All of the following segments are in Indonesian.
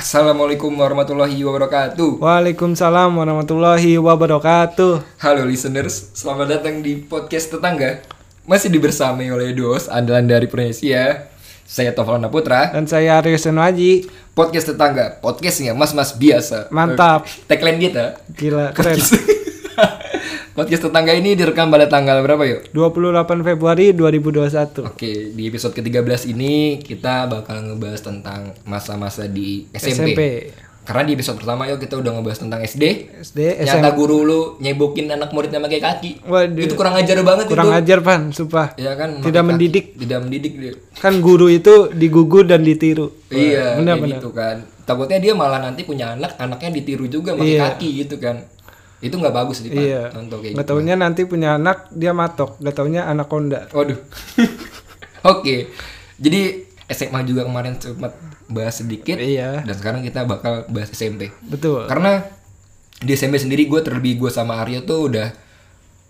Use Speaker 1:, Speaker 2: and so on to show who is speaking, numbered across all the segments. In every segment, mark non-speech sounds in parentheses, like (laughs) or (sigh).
Speaker 1: Assalamualaikum warahmatullahi wabarakatuh.
Speaker 2: Waalaikumsalam warahmatullahi wabarakatuh.
Speaker 1: Halo listeners, selamat datang di podcast tetangga. Masih dibersamai oleh Dos andalan dari Indonesia. Saya Taufan Putra.
Speaker 2: Dan saya Aryo Senuaji.
Speaker 1: Podcast tetangga, podcastnya mas-mas biasa.
Speaker 2: Mantap.
Speaker 1: Eh, Tagline kita.
Speaker 2: Gila, keren.
Speaker 1: (laughs) podcast tetangga ini direkam pada tanggal berapa yuk?
Speaker 2: 28 Februari 2021.
Speaker 1: Oke, di episode ke-13 ini kita bakal ngebahas tentang masa-masa di SMP.
Speaker 2: SMP.
Speaker 1: Karena di episode pertama yuk kita udah ngebahas tentang SD.
Speaker 2: SD, SMP.
Speaker 1: Nyata guru lu nyebokin anak muridnya pakai kaki.
Speaker 2: Waduh.
Speaker 1: Itu kurang ajar banget
Speaker 2: Kurang
Speaker 1: itu.
Speaker 2: ajar, Pan, sumpah.
Speaker 1: Ya kan.
Speaker 2: Tidak
Speaker 1: pakai kaki.
Speaker 2: mendidik.
Speaker 1: Tidak mendidik dia.
Speaker 2: Kan guru itu digugur dan ditiru.
Speaker 1: iya,
Speaker 2: benar,
Speaker 1: kayak
Speaker 2: benar.
Speaker 1: gitu kan. Takutnya dia malah nanti punya anak, anaknya ditiru juga pakai
Speaker 2: Iya.
Speaker 1: kaki gitu kan. Itu nggak bagus sih, Pak.
Speaker 2: Iya.
Speaker 1: Contoh kayak gitu.
Speaker 2: Gak taunya nanti punya anak, dia matok. Gak taunya anak konda.
Speaker 1: Waduh. (laughs) Oke. Jadi SMA juga kemarin sempat bahas sedikit
Speaker 2: Iya,
Speaker 1: dan sekarang kita bakal bahas SMP.
Speaker 2: betul.
Speaker 1: Karena di SMP sendiri gue terlebih gue sama Aryo tuh udah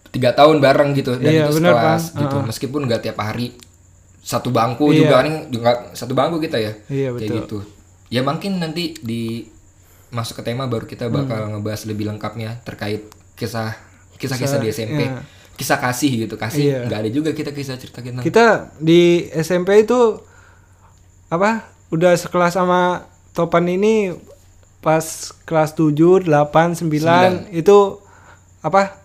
Speaker 1: tiga tahun bareng gitu dan
Speaker 2: Iya,
Speaker 1: itu
Speaker 2: bener,
Speaker 1: sekelas
Speaker 2: Bang.
Speaker 1: gitu meskipun nggak tiap hari satu bangku
Speaker 2: Iya.
Speaker 1: juga kan juga satu bangku kita ya
Speaker 2: Iya,
Speaker 1: kayak
Speaker 2: betul.
Speaker 1: gitu ya mungkin nanti di masuk ke tema baru kita bakal
Speaker 2: Hmm.
Speaker 1: ngebahas lebih lengkapnya terkait kisah kisah-kisah di SMP
Speaker 2: iya.
Speaker 1: kisah kasih gitu
Speaker 2: Iya.
Speaker 1: kasih nggak ada juga kita kisah cerita kita
Speaker 2: Kita di SMP itu apa? Udah sekelas sama Topan ini pas kelas 7, 8, 9 itu apa?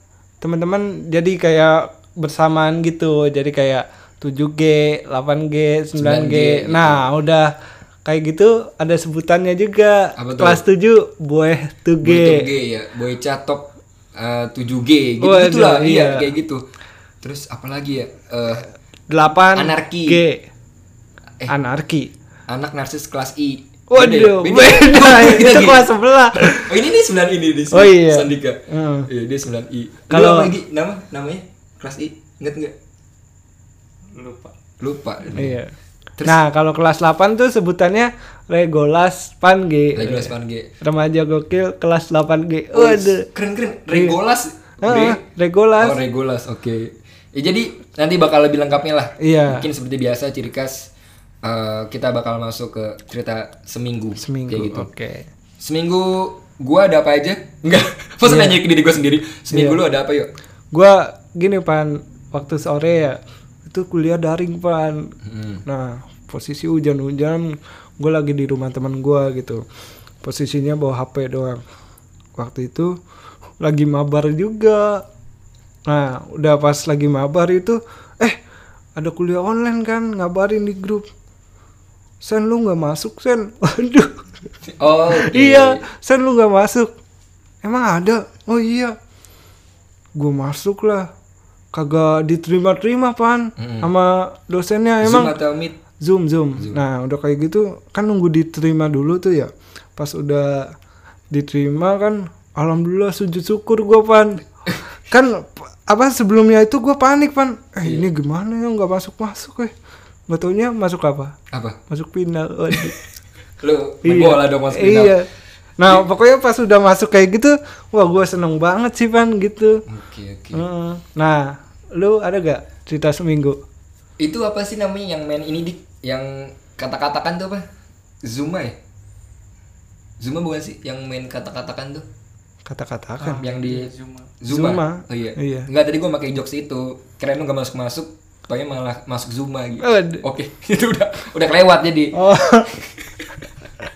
Speaker 2: Teman-teman jadi kayak bersamaan gitu. Jadi kayak 7G, 8G, 9G.
Speaker 1: 9G,
Speaker 2: Nah, udah kayak gitu ada sebutannya juga.
Speaker 1: Apa tuh?
Speaker 2: Kelas 7 boy 2G.
Speaker 1: Boy G ya, boy catok eh, 7G gitu
Speaker 2: Waduh,
Speaker 1: gitulah iya.
Speaker 2: iya.
Speaker 1: kayak gitu. Terus apalagi ya Eh,
Speaker 2: 8
Speaker 1: Anarki.
Speaker 2: G.
Speaker 1: Eh.
Speaker 2: Anarki.
Speaker 1: anak narsis kelas I. Beda ya?
Speaker 2: Waduh, beda,
Speaker 1: (laughs)
Speaker 2: (laughs)
Speaker 1: Beda. ya? Kita
Speaker 2: itu
Speaker 1: gini.
Speaker 2: kelas sebelah.
Speaker 1: Oh, ini nih 9 ini di
Speaker 2: Oh, iya.
Speaker 1: Sandika.
Speaker 2: Heeh.
Speaker 1: Iya, dia 9 I. Kalau
Speaker 2: Kalau-
Speaker 1: lagi nama namanya kelas I, inget nggak? Lupa. Lupa.
Speaker 2: Iya. Nah, kalau kelas 8 tuh sebutannya Regolas Pan G.
Speaker 1: Lagi kelas 8 G.
Speaker 2: Remaja gokil kelas 8 G. Waduh.
Speaker 1: Keren-keren, Regolas.
Speaker 2: Ah,
Speaker 1: Re-
Speaker 2: Regolas.
Speaker 1: Oh, Regulas, oke. Ya, jadi nanti bakal lebih lengkapnya lah.
Speaker 2: Iya.
Speaker 1: Mungkin seperti biasa ciri khas eh, kita bakal masuk ke cerita seminggu.
Speaker 2: Seminggu.
Speaker 1: Kayak gitu.
Speaker 2: Oke.
Speaker 1: Seminggu gua ada apa aja? Enggak. (laughs)
Speaker 2: Iya.
Speaker 1: Masa nanya ke diri gua sendiri. Seminggu lu ada apa yuk?
Speaker 2: Gua gini Pan, waktu sore ya itu kuliah daring Pan. Nah, posisi hujan-hujan gue lagi di rumah teman gua gitu. Posisinya bawa HP doang. Waktu itu lagi mabar juga. Nah, udah pas lagi mabar itu eh ada kuliah online kan ngabarin di grup. Sen lu nggak masuk Sen. (laughs) Waduh. (laughs)
Speaker 1: Oh,
Speaker 2: Iya, Sen lu gak masuk. Emang ada? Oh iya. Gue masuk lah. Kagak diterima-terima pan sama dosennya
Speaker 1: Zoom
Speaker 2: emang
Speaker 1: atau Meet?
Speaker 2: zoom, zoom Nah, udah kayak gitu kan nunggu diterima dulu tuh ya. Pas udah diterima kan alhamdulillah sujud syukur gue
Speaker 1: (laughs)
Speaker 2: pan. kan p- apa sebelumnya itu gue panik pan. Eh
Speaker 1: Iya.
Speaker 2: ini gimana ya nggak masuk-masuk eh. Gak taunya masuk apa?
Speaker 1: Apa?
Speaker 2: Masuk final. Waduh.
Speaker 1: Lu (laughs) main bola dong mas final.
Speaker 2: Iya. Nah, pokoknya pas udah masuk kayak gitu, wah gue seneng banget sih, Pan, gitu.
Speaker 1: Oke, oke.
Speaker 2: Heeh. Nah, lu ada gak cerita seminggu?
Speaker 1: Itu apa sih namanya yang main ini dik yang kata-katakan tuh apa? Zuma ya? Zuma bukan sih yang main kata-katakan tuh? Ah,
Speaker 2: Kata-katakan.
Speaker 1: yang di Zuma.
Speaker 2: Zuma.
Speaker 1: Oh iya.
Speaker 2: Iya.
Speaker 1: Enggak tadi gua pakai jokes itu. Keren lu gak masuk-masuk, taunya malah masuk Zuma gitu.
Speaker 2: Aduh.
Speaker 1: Oke, (laughs) itu udah udah kelewat jadi.
Speaker 2: Oh, (laughs)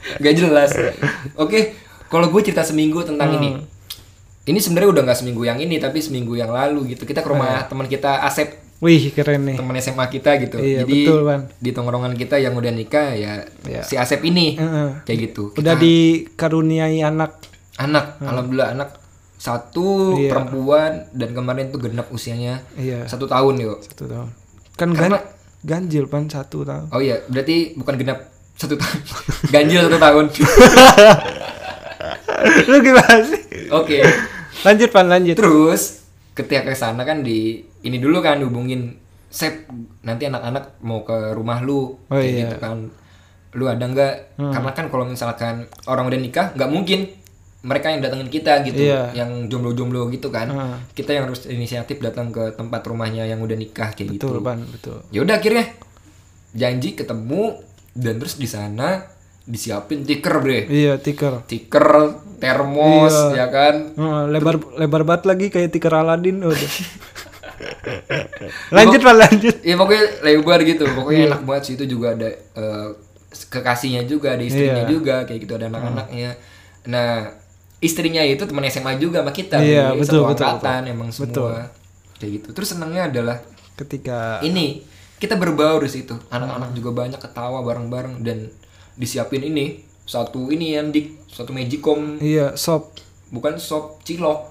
Speaker 1: (laughs) Gak jelas. Oke, kalau gue cerita seminggu tentang ini.
Speaker 2: Hmm.
Speaker 1: Ini sebenarnya udah nggak seminggu yang ini tapi seminggu yang lalu gitu. Kita ke
Speaker 2: Iya.
Speaker 1: rumah teman kita Asep,
Speaker 2: wih keren nih.
Speaker 1: teman SMA kita gitu.
Speaker 2: Iya,
Speaker 1: jadi
Speaker 2: betul, Wan.
Speaker 1: di tongkrongan kita yang udah nikah ya
Speaker 2: Iya.
Speaker 1: si Asep ini
Speaker 2: Heeh.
Speaker 1: kayak gitu.
Speaker 2: Udah dikaruniai anak.
Speaker 1: Anak, alhamdulillah anak satu
Speaker 2: Iya.
Speaker 1: perempuan dan kemarin tuh genap usianya
Speaker 2: Iya,
Speaker 1: satu tahun yuk
Speaker 2: satu tahun. Kan gan-
Speaker 1: Karena-
Speaker 2: ganjil, Pan, satu tahun. (laughs)
Speaker 1: oh iya berarti bukan genap satu tahun (laughs) ganjil satu tahun
Speaker 2: (laughs) lu gimana sih?
Speaker 1: oke
Speaker 2: Lanjut, Pan, lanjut.
Speaker 1: terus ketika ke sana kan di ini dulu kan hubungin Sep nanti anak-anak mau ke rumah lu
Speaker 2: Oh
Speaker 1: Kayak
Speaker 2: iya. Hmm.
Speaker 1: gitu kan lu ada nggak karena kan kalau misalkan orang udah nikah nggak mungkin mereka yang datengin kita gitu
Speaker 2: Iya. Hmm.
Speaker 1: yang jomblo-jomblo gitu kan
Speaker 2: Heeh.
Speaker 1: kita yang harus inisiatif datang ke tempat rumahnya yang udah nikah kayak gitu
Speaker 2: Betul, Pan, betul.
Speaker 1: ya udah akhirnya janji ketemu dan terus di sana disiapin tiker bre
Speaker 2: iya tikar
Speaker 1: tiker termos ya kan
Speaker 2: Heeh, lebar lebar banget lagi kayak tikar Aladin
Speaker 1: (laughs)
Speaker 2: udah lanjut pak lanjut
Speaker 1: ya pokoknya lebar gitu pokoknya
Speaker 2: Iya.
Speaker 1: enak banget sih itu juga ada eh, kekasihnya juga ada istrinya
Speaker 2: Iya.
Speaker 1: juga kayak gitu ada anak-anaknya nah istrinya itu teman SMA juga sama kita
Speaker 2: Iya,
Speaker 1: Bre.
Speaker 2: betul,
Speaker 1: satu
Speaker 2: betul,
Speaker 1: angkatan emang semua kayak gitu terus senangnya adalah
Speaker 2: ketika
Speaker 1: ini kita berbaur di situ anak-anak juga banyak ketawa bareng-bareng dan disiapin ini satu ini yang di satu magicom
Speaker 2: iya sop
Speaker 1: bukan sop cilok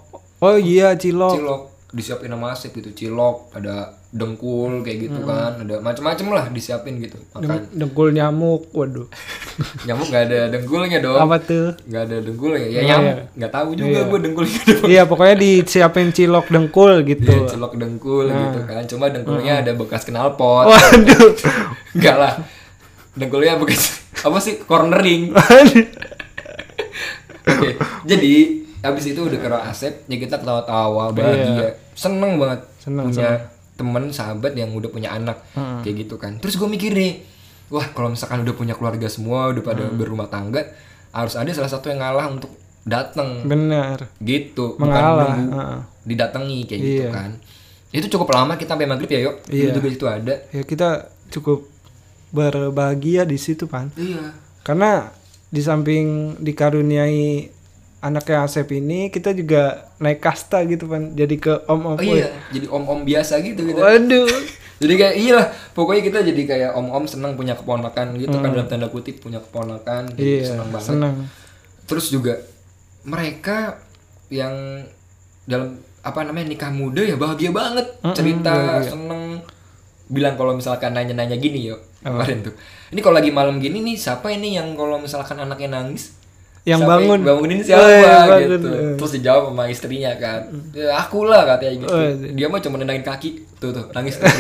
Speaker 2: oh iya cilok
Speaker 1: cilok disiapin sama Asep gitu cilok ada dengkul kayak gitu kan ada macam-macam lah disiapin gitu makan
Speaker 2: dengkul nyamuk waduh
Speaker 1: nyamuk nggak ada dengkulnya dong
Speaker 2: apa tuh
Speaker 1: nggak ada dengkulnya ya nyamuk nggak tahu juga gue dengkulnya (laughs) ada.
Speaker 2: iya pokoknya disiapin cilok dengkul gitu
Speaker 1: cilok dengkul gitu kan cuma dengkulnya ada bekas knalpot
Speaker 2: waduh
Speaker 1: enggak lah dengkulnya bekas apa sih cornering Oke, jadi abis itu udah ke ruang Asep, ya kita ketawa-tawa, bahagia, seneng banget punya temen sahabat yang udah punya anak, kayak gitu kan. Terus gue mikir nih, wah kalau misalkan udah punya keluarga semua, udah pada berumah tangga, harus ada salah satu yang ngalah untuk datang,
Speaker 2: benar
Speaker 1: gitu, bukan
Speaker 2: mengalah
Speaker 1: nunggu
Speaker 2: heeh.
Speaker 1: didatangi kayak gitu kan. Itu cukup lama kita sampai maghrib ya yuk, itu juga itu ada.
Speaker 2: ya kita cukup berbahagia di situ pan
Speaker 1: Iya,
Speaker 2: karena di samping dikaruniai anaknya Asep ini kita juga naik kasta gitu pan jadi ke om om
Speaker 1: oh iya, jadi om-om biasa gitu gitu.
Speaker 2: waduh
Speaker 1: jadi kayak iyalah pokoknya kita jadi kayak om-om seneng punya keponakan gitu kan dalam tanda kutip punya keponakan gitu,
Speaker 2: iya
Speaker 1: seneng banget
Speaker 2: senang
Speaker 1: terus juga mereka yang dalam apa namanya nikah muda ya bahagia banget cerita
Speaker 2: Iya,
Speaker 1: seneng bilang kalau misalkan nanya-nanya gini yo
Speaker 2: Oh.
Speaker 1: kemarin tuh ini kalau lagi malam gini nih siapa ini yang kalau misalkan anaknya nangis
Speaker 2: Yang
Speaker 1: Siapa
Speaker 2: bangun.
Speaker 1: bangunin siapa
Speaker 2: Oh, iya, Mm. bangun.
Speaker 1: gitu terus dijawab sama istrinya kan ya, aku lah katanya gitu
Speaker 2: Oh, iya.
Speaker 1: dia mah cuma nendangin kaki tuh tuh nangis tuh.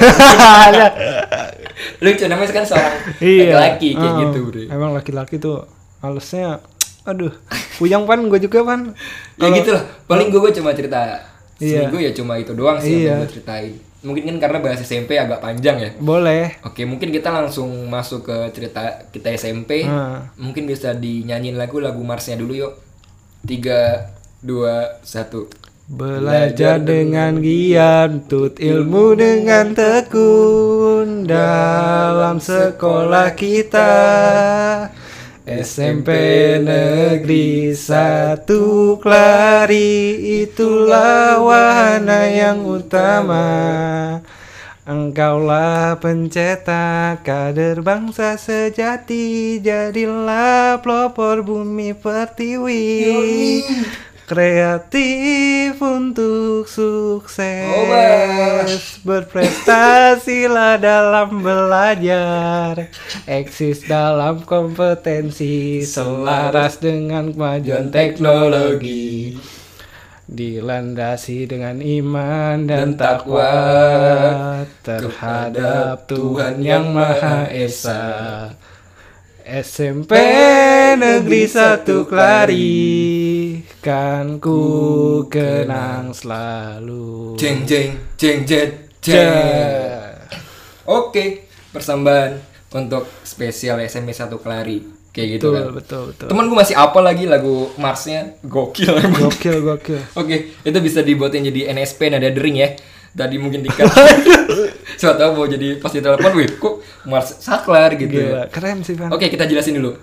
Speaker 1: (laughs) lucu namanya kan seorang
Speaker 2: Iya.
Speaker 1: laki-laki kayak
Speaker 2: Heeh.
Speaker 1: gitu bro
Speaker 2: emang laki-laki tuh malesnya aduh puyang pan gue juga pan
Speaker 1: ya gitu lah paling gue cuma cerita
Speaker 2: Iya.
Speaker 1: seminggu ya cuma itu doang sih yang gue ceritain mungkin kan karena bahas SMP agak panjang ya
Speaker 2: boleh
Speaker 1: oke mungkin kita langsung masuk ke cerita kita SMP
Speaker 2: Nah.
Speaker 1: mungkin bisa dinyanyiin lagu lagu Marsnya dulu yuk tiga dua satu
Speaker 2: Belajar dengan giat, tut ilmu dengan tekun dalam sekolah kita SMP Negeri Satu Klari itulah wahana yang utama Engkaulah pencetak kader bangsa sejati Jadilah pelopor bumi pertiwi Kreatif untuk sukses Berprestasilah dalam belajar Eksis dalam kompetensi Selaras dengan kemajuan teknologi Dilandasi dengan iman
Speaker 1: Dan
Speaker 2: dan,
Speaker 1: takwa
Speaker 2: takwa Terhadap Tuhan Yang Maha Esa SMP Negeri Satu Klari Kan ku kenang selalu
Speaker 1: jeng jeng jeng jeng jeng
Speaker 2: Ja.
Speaker 1: oke persembahan untuk spesial SMP 1 Kelari kayak gitu kan
Speaker 2: Betul, betul, betul
Speaker 1: Temen gue masih apa lagi lagu Marsnya gokil emang.
Speaker 2: Gokil, gokil
Speaker 1: Oke, itu bisa dibuatin jadi NSP nada dering ya. Tadi mungkin di
Speaker 2: (laughs)
Speaker 1: Siapa tahu mau jadi pas ditelepon, wih kok Mars saklar gitu. ya.
Speaker 2: Gila, keren sih Pan
Speaker 1: Oke, kita jelasin dulu.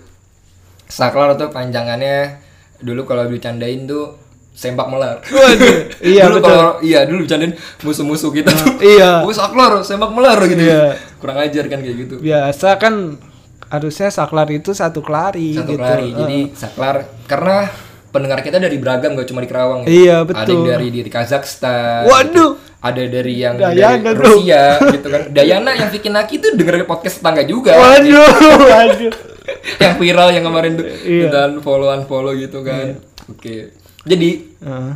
Speaker 1: Saklar itu panjangannya dulu kalau dicandain tuh sempak melar. (laughs)
Speaker 2: iya,
Speaker 1: dulu
Speaker 2: betul.
Speaker 1: kalau iya dulu bercandain musuh-musuh kita tuh.
Speaker 2: iya.
Speaker 1: "Wih, saklar, sempak melar gitu.
Speaker 2: Iya.
Speaker 1: Kurang ajar kan kayak gitu.
Speaker 2: Biasa kan harusnya saklar itu satu klari
Speaker 1: satu
Speaker 2: gitu
Speaker 1: kelari jadi saklar karena pendengar kita dari beragam gak cuma di Kerawang ya.
Speaker 2: Iya,
Speaker 1: ada yang
Speaker 2: betul.
Speaker 1: dari di Kazakhstan
Speaker 2: Waduh.
Speaker 1: gitu. ada dari yang
Speaker 2: Dayana,
Speaker 1: dari
Speaker 2: bro.
Speaker 1: Rusia gitu kan Dayana yang bikin Naki tuh dengerin podcast tetangga juga
Speaker 2: (laughs) Waduh, waduh
Speaker 1: yang viral yang kemarin tuh
Speaker 2: Iya.
Speaker 1: dan followan follow gitu kan oke jadi
Speaker 2: Heeh.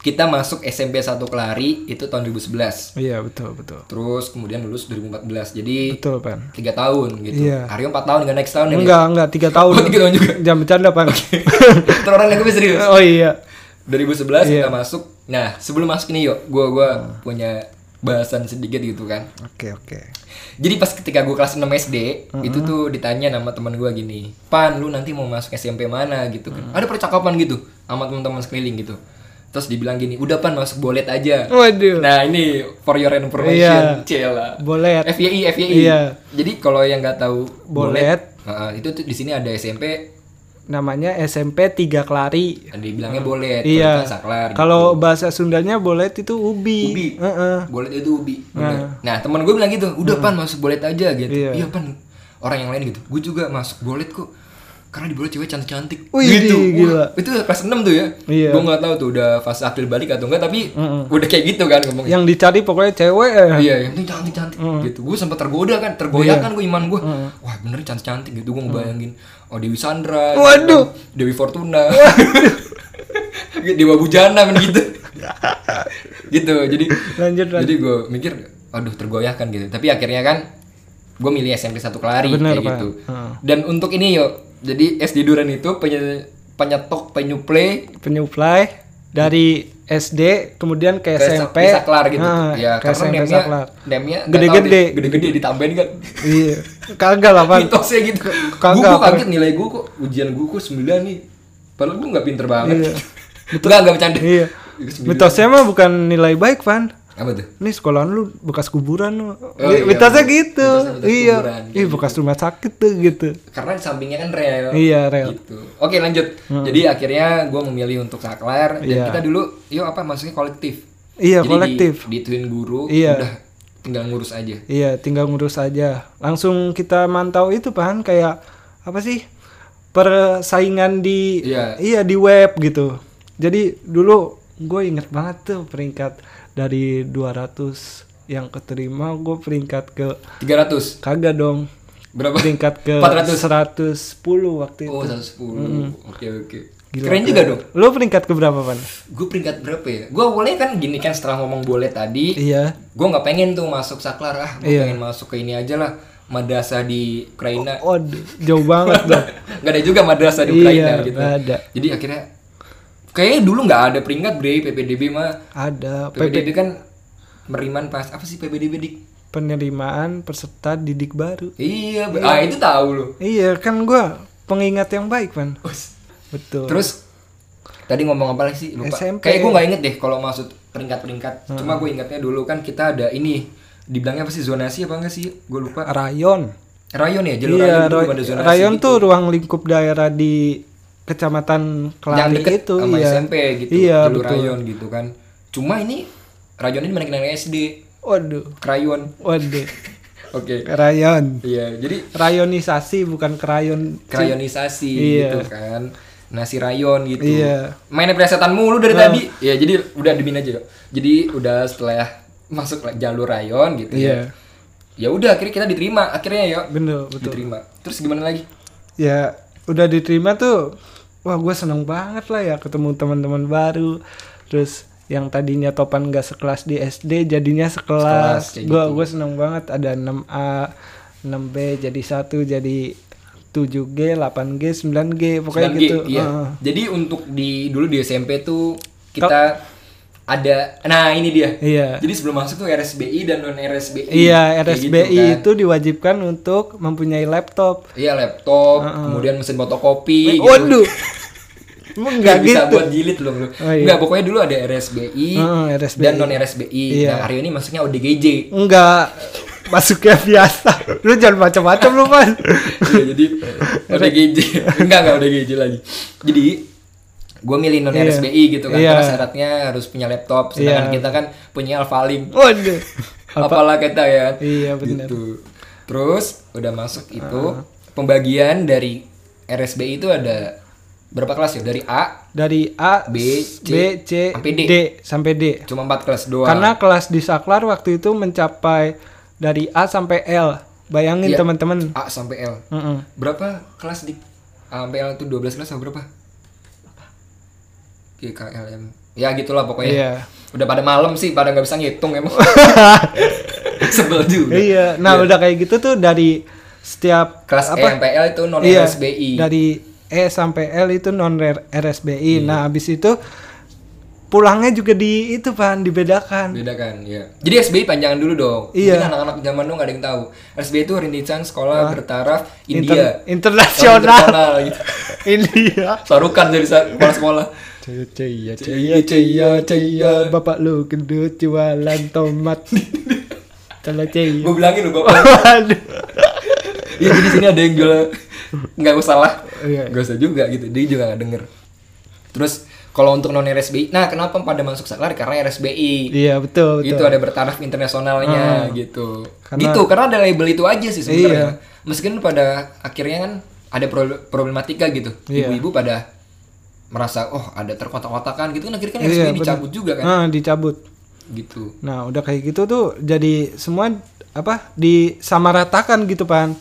Speaker 1: kita masuk SMP 1 Kelari itu tahun 2011
Speaker 2: Iya betul, betul
Speaker 1: terus kemudian lulus 2014 jadi
Speaker 2: Betul Pan
Speaker 1: tiga tahun gitu
Speaker 2: Iya.
Speaker 1: Aryo empat tahun nggak next tahun ya
Speaker 2: Enggak, enggak, tiga
Speaker 1: Oh,
Speaker 2: tahun
Speaker 1: (laughs) tiga tahun juga.
Speaker 2: Jangan bercanda Pan
Speaker 1: Terus orang yang gue serius
Speaker 2: (laughs) Oh iya
Speaker 1: 2011 kita masuk. Nah, sebelum masuk nih yuk, gua gua punya bahasan sedikit gitu kan
Speaker 2: Oke oke.
Speaker 1: jadi pas ketika gue kelas 6 SD itu tuh ditanya sama teman gue gini pan lu nanti mau masuk SMP mana gitu kan ada percakapan gitu sama teman-teman sekeliling gitu terus dibilang gini udah pan masuk bolet aja
Speaker 2: Waduh.
Speaker 1: nah ini for your information
Speaker 2: Iya.
Speaker 1: Cela
Speaker 2: Bolet.
Speaker 1: FYI FYI
Speaker 2: Iya.
Speaker 1: jadi kalau yang nggak tahu
Speaker 2: Bolet.
Speaker 1: heeh, itu tuh di sini ada SMP
Speaker 2: Namanya SMP 3 Klari.
Speaker 1: ada dibilangnya bolet kalau
Speaker 2: Iya.
Speaker 1: kita saklar gitu.
Speaker 2: Kalau bahasa Sundanya bolet itu ubi.
Speaker 1: Ubi.
Speaker 2: Heeh.
Speaker 1: bolet itu ubi bener. nah teman gue bilang gitu udah pan masuk bolet aja gitu
Speaker 2: Iya.
Speaker 1: iya pan orang yang lain gitu gue juga masuk bolet kok karena di bolet cewek cantik cantik
Speaker 2: Wih,
Speaker 1: gitu
Speaker 2: di-
Speaker 1: Wah, itu kelas 6 tuh ya
Speaker 2: Iya.
Speaker 1: gue nggak tahu tuh udah fase akil balik atau enggak tapi udah kayak gitu kan ngomongnya
Speaker 2: Yang dicari pokoknya cewek. eh.
Speaker 1: Iya, yang penting cantik-cantik
Speaker 2: Hmm.
Speaker 1: gitu. Gue sempat tergoda kan,
Speaker 2: Iya.
Speaker 1: tergoyahkan gue iman gue. Wah, bener cantik-cantik gitu. Gue ngebayangin oh Dewi Sandra,
Speaker 2: Hmm.
Speaker 1: kan.
Speaker 2: Waduh.
Speaker 1: Dewi Fortuna. (laughs) Dewa Bujana kan
Speaker 2: (laughs)
Speaker 1: gitu. gitu. Jadi
Speaker 2: Lanjut, lanjut.
Speaker 1: Jadi gue mikir aduh tergoyahkan gitu. Tapi akhirnya kan gue milih SMP 1 Kelari
Speaker 2: Bener,
Speaker 1: kayak
Speaker 2: Pak. Hmm.
Speaker 1: gitu. Dan untuk ini yo, jadi SD Duren itu penye- penyetok penyuplai
Speaker 2: Penyuplai dari SD kemudian ke, SMP.
Speaker 1: bisa kelar gitu.
Speaker 2: Nah,
Speaker 1: ya,
Speaker 2: ke
Speaker 1: karena
Speaker 2: SMP
Speaker 1: name-nya
Speaker 2: saklar.
Speaker 1: name-nya nggak tahu
Speaker 2: Gede-gede.
Speaker 1: deh, gede-gede ditambahin kan.
Speaker 2: Iya. Kagak lah,
Speaker 1: (laughs)
Speaker 2: Pan.
Speaker 1: mitosnya gitu
Speaker 2: Kagak,
Speaker 1: gue kok
Speaker 2: apa?
Speaker 1: kaget nilai gue kok ujian gue kok 9 nih padahal gue gak pinter banget (laughs)
Speaker 2: Iya.
Speaker 1: enggak enggak bercanda
Speaker 2: Iya.
Speaker 1: Sembilan.
Speaker 2: Mitosnya mah bukan nilai baik, Pan.
Speaker 1: apa tuh
Speaker 2: Ini sekolahan lu bekas kuburan
Speaker 1: Oh,
Speaker 2: lu.
Speaker 1: iya,
Speaker 2: mitosnya
Speaker 1: bener.
Speaker 2: gitu.
Speaker 1: Mitosnya bekas
Speaker 2: iya.
Speaker 1: kuburan, gitu.
Speaker 2: Ih, bekas rumah sakit tuh gitu.
Speaker 1: karena di sampingnya kan rel
Speaker 2: Iya, rel. Hmm.
Speaker 1: gitu oke lanjut jadi akhirnya gue memilih untuk saklar dan
Speaker 2: Iya.
Speaker 1: kita dulu yuk apa maksudnya kolektif
Speaker 2: Iya,
Speaker 1: Jadi
Speaker 2: kolektif.
Speaker 1: di, dituin guru
Speaker 2: Iya.
Speaker 1: udah tinggal ngurus aja
Speaker 2: Iya, tinggal ngurus aja. Langsung kita mantau itu, Pan, kayak apa sih? Persaingan di
Speaker 1: Iya.
Speaker 2: iya di web gitu. Jadi dulu gue inget banget tuh peringkat dari 200 yang keterima gue peringkat ke
Speaker 1: 300
Speaker 2: kagak dong
Speaker 1: berapa
Speaker 2: peringkat ke
Speaker 1: 400
Speaker 2: 110 waktu itu.
Speaker 1: oh 110 oke oke keren juga dong
Speaker 2: Lo peringkat ke berapa, Pan?
Speaker 1: gue peringkat berapa ya gue awalnya kan gini kan setelah ngomong boleh tadi
Speaker 2: Iya.
Speaker 1: gue nggak pengen tuh masuk saklar ah gue
Speaker 2: Iya.
Speaker 1: pengen masuk ke ini aja lah madrasah di Ukraina
Speaker 2: Waduh, Oh, jauh banget dong.
Speaker 1: nggak ada juga madrasah di
Speaker 2: Iya,
Speaker 1: Ukraina gitu
Speaker 2: nggak ada.
Speaker 1: jadi akhirnya kayaknya dulu nggak ada peringkat bre PPDB mah
Speaker 2: Ada
Speaker 1: PPDB kan meriman pas apa sih PPDB dik
Speaker 2: penerimaan peserta didik baru.
Speaker 1: iya be- ah itu tahu lo
Speaker 2: Iya, kan gua pengingat yang baik, Pan. Betul.
Speaker 1: terus tadi ngomong apa lagi sih lupa
Speaker 2: SMP.
Speaker 1: kayak gue nggak inget deh kalau maksud peringkat-peringkat
Speaker 2: Hmm.
Speaker 1: cuma gue ingatnya dulu kan kita ada ini dibilangnya apa sih zonasi apa enggak sih gue lupa
Speaker 2: rayon.
Speaker 1: rayon ya jalur
Speaker 2: Iya,
Speaker 1: rayon dulu
Speaker 2: ra-
Speaker 1: ada zonasi
Speaker 2: rayon
Speaker 1: gitu.
Speaker 2: tuh ruang lingkup daerah di kecamatan
Speaker 1: yang
Speaker 2: Kelari
Speaker 1: deket
Speaker 2: itu,
Speaker 1: sama
Speaker 2: iya.
Speaker 1: SMP gitu,
Speaker 2: Iya,
Speaker 1: jalur
Speaker 2: betul.
Speaker 1: rayon gitu kan. Cuma ini rayon ini mana kenal SD,
Speaker 2: Waduh,
Speaker 1: krayon.
Speaker 2: waduh.
Speaker 1: Oke.
Speaker 2: Rayon.
Speaker 1: Iya, jadi
Speaker 2: Rayonisasi bukan krayon.
Speaker 1: krayonisasi
Speaker 2: Iya.
Speaker 1: gitu kan. Nasi rayon gitu.
Speaker 2: Iya. Nah.
Speaker 1: Mainnya presetan mulu dari tadi. Ya, jadi udah dimin aja. Jadi udah setelah (laughs) masuk jalur rayon gitu
Speaker 2: Iya.
Speaker 1: ya. Ya udah akhirnya kita diterima akhirnya ya.
Speaker 2: Bener, betul.
Speaker 1: Diterima. Terus gimana lagi?
Speaker 2: ya udah diterima tuh wah gue seneng banget lah ya ketemu teman-teman baru terus yang tadinya topan gak sekelas di SD jadinya
Speaker 1: Sekelas,
Speaker 2: sekelas
Speaker 1: kayak gitu.
Speaker 2: gue gue seneng banget ada 6A 6B jadi satu jadi 7G 8G 9G pokoknya
Speaker 1: 9G,
Speaker 2: gitu
Speaker 1: iya.
Speaker 2: Heeh.
Speaker 1: Jadi untuk di dulu di SMP tuh kita ada nah ini dia.
Speaker 2: iya
Speaker 1: Jadi sebelum masuk tuh RSBI dan non RSBI.
Speaker 2: iya
Speaker 1: Kayak
Speaker 2: RSBI
Speaker 1: gitu kan.
Speaker 2: itu diwajibkan untuk mempunyai laptop
Speaker 1: Iya laptop, kemudian mesin fotokopi. gitu. (laughs)
Speaker 2: waduh emang oh, nggak
Speaker 1: bisa
Speaker 2: gitu
Speaker 1: buat jilid loh bro.
Speaker 2: Oh, iya.
Speaker 1: Nggak, pokoknya dulu ada RSBI,
Speaker 2: Heeh, RSBI.
Speaker 1: dan non RSBI.
Speaker 2: Iya.
Speaker 1: Nah hari ini masuknya ODGJ.
Speaker 2: Enggak masuknya biasa. Lu jangan macam-macam lu, Pan.
Speaker 1: (laughs) Iya, jadi
Speaker 2: (laughs)
Speaker 1: ODGJ, enggak enggak ODGJ lagi. Jadi gue milih non
Speaker 2: Iya.
Speaker 1: RSBI gitu kan
Speaker 2: Iya.
Speaker 1: karena syaratnya harus punya laptop, sedangkan
Speaker 2: Iya.
Speaker 1: kita kan punya Alphaling.
Speaker 2: Waduh.
Speaker 1: apalah kita ya
Speaker 2: Iya, Ah. benar.
Speaker 1: gitu. terus udah masuk itu pembagian dari RSBI itu ada berapa kelas ya dari A
Speaker 2: Dari A,
Speaker 1: B,
Speaker 2: S-
Speaker 1: C,
Speaker 2: B, C,
Speaker 1: sampai D.
Speaker 2: sampai D.
Speaker 1: cuma empat kelas doang
Speaker 2: Karena kelas di Saklar waktu itu mencapai dari A sampai L. Bayangin
Speaker 1: Iya.
Speaker 2: teman-teman.
Speaker 1: A sampai L
Speaker 2: Mm-mm.
Speaker 1: berapa kelas di A sampai L itu 12 kelas atau berapa GKLM ya gitulah pokoknya
Speaker 2: Iya.
Speaker 1: udah pada malam sih pada nggak bisa ngitung
Speaker 2: (laughs)
Speaker 1: emang sebel juga
Speaker 2: Iya. Nah, udah kayak gitu tuh dari setiap
Speaker 1: kelas E sampai L itu non
Speaker 2: Iya,
Speaker 1: RSBI Iya.
Speaker 2: Dari E sampai L itu non RSBI. Nah, habis itu pulangnya juga di itu pan dibedakan
Speaker 1: bedakan ya jadi SBI panjangan dulu dong
Speaker 2: Iya.
Speaker 1: Mungkin anak-anak zaman dulu nggak ada yang tahu SBI itu rintisan sekolah bertaraf
Speaker 2: Inter-
Speaker 1: India
Speaker 2: internasional.
Speaker 1: Internasional, gitu.
Speaker 2: (laughs) India
Speaker 1: sarukan dari sa- kepala sekolah
Speaker 2: Cia, cia,
Speaker 1: Cia, cia, cia.
Speaker 2: Bapak lu gendut jualan
Speaker 1: (laughs)
Speaker 2: tomat. Cala cia.
Speaker 1: gue bilangin lu bapak
Speaker 2: Waduh.
Speaker 1: Iya jadi sini ada yang jual nggak usah lah,
Speaker 2: Iya.
Speaker 1: nggak usah juga gitu. Dia juga nggak denger. Terus kalau untuk non RSBI, nah kenapa pada masuk saklar karena RSBI
Speaker 2: Iya betul
Speaker 1: gitu
Speaker 2: betul.
Speaker 1: ada bertaraf internasionalnya gitu.
Speaker 2: Karena- Iya.
Speaker 1: gitu karena ada label itu aja sih sebenarnya. Meskipun pada akhirnya kan ada pro- problematika gitu.
Speaker 2: Iya.
Speaker 1: Ibu-ibu pada merasa oh ada terkotak-kotakan gitu kan akhirnya kan
Speaker 2: Iya,
Speaker 1: RSBI
Speaker 2: bener.
Speaker 1: dicabut juga kan
Speaker 2: Nah, dicabut.
Speaker 1: gitu.
Speaker 2: Nah udah kayak gitu tuh jadi semua apa disamaratakan gitu pan.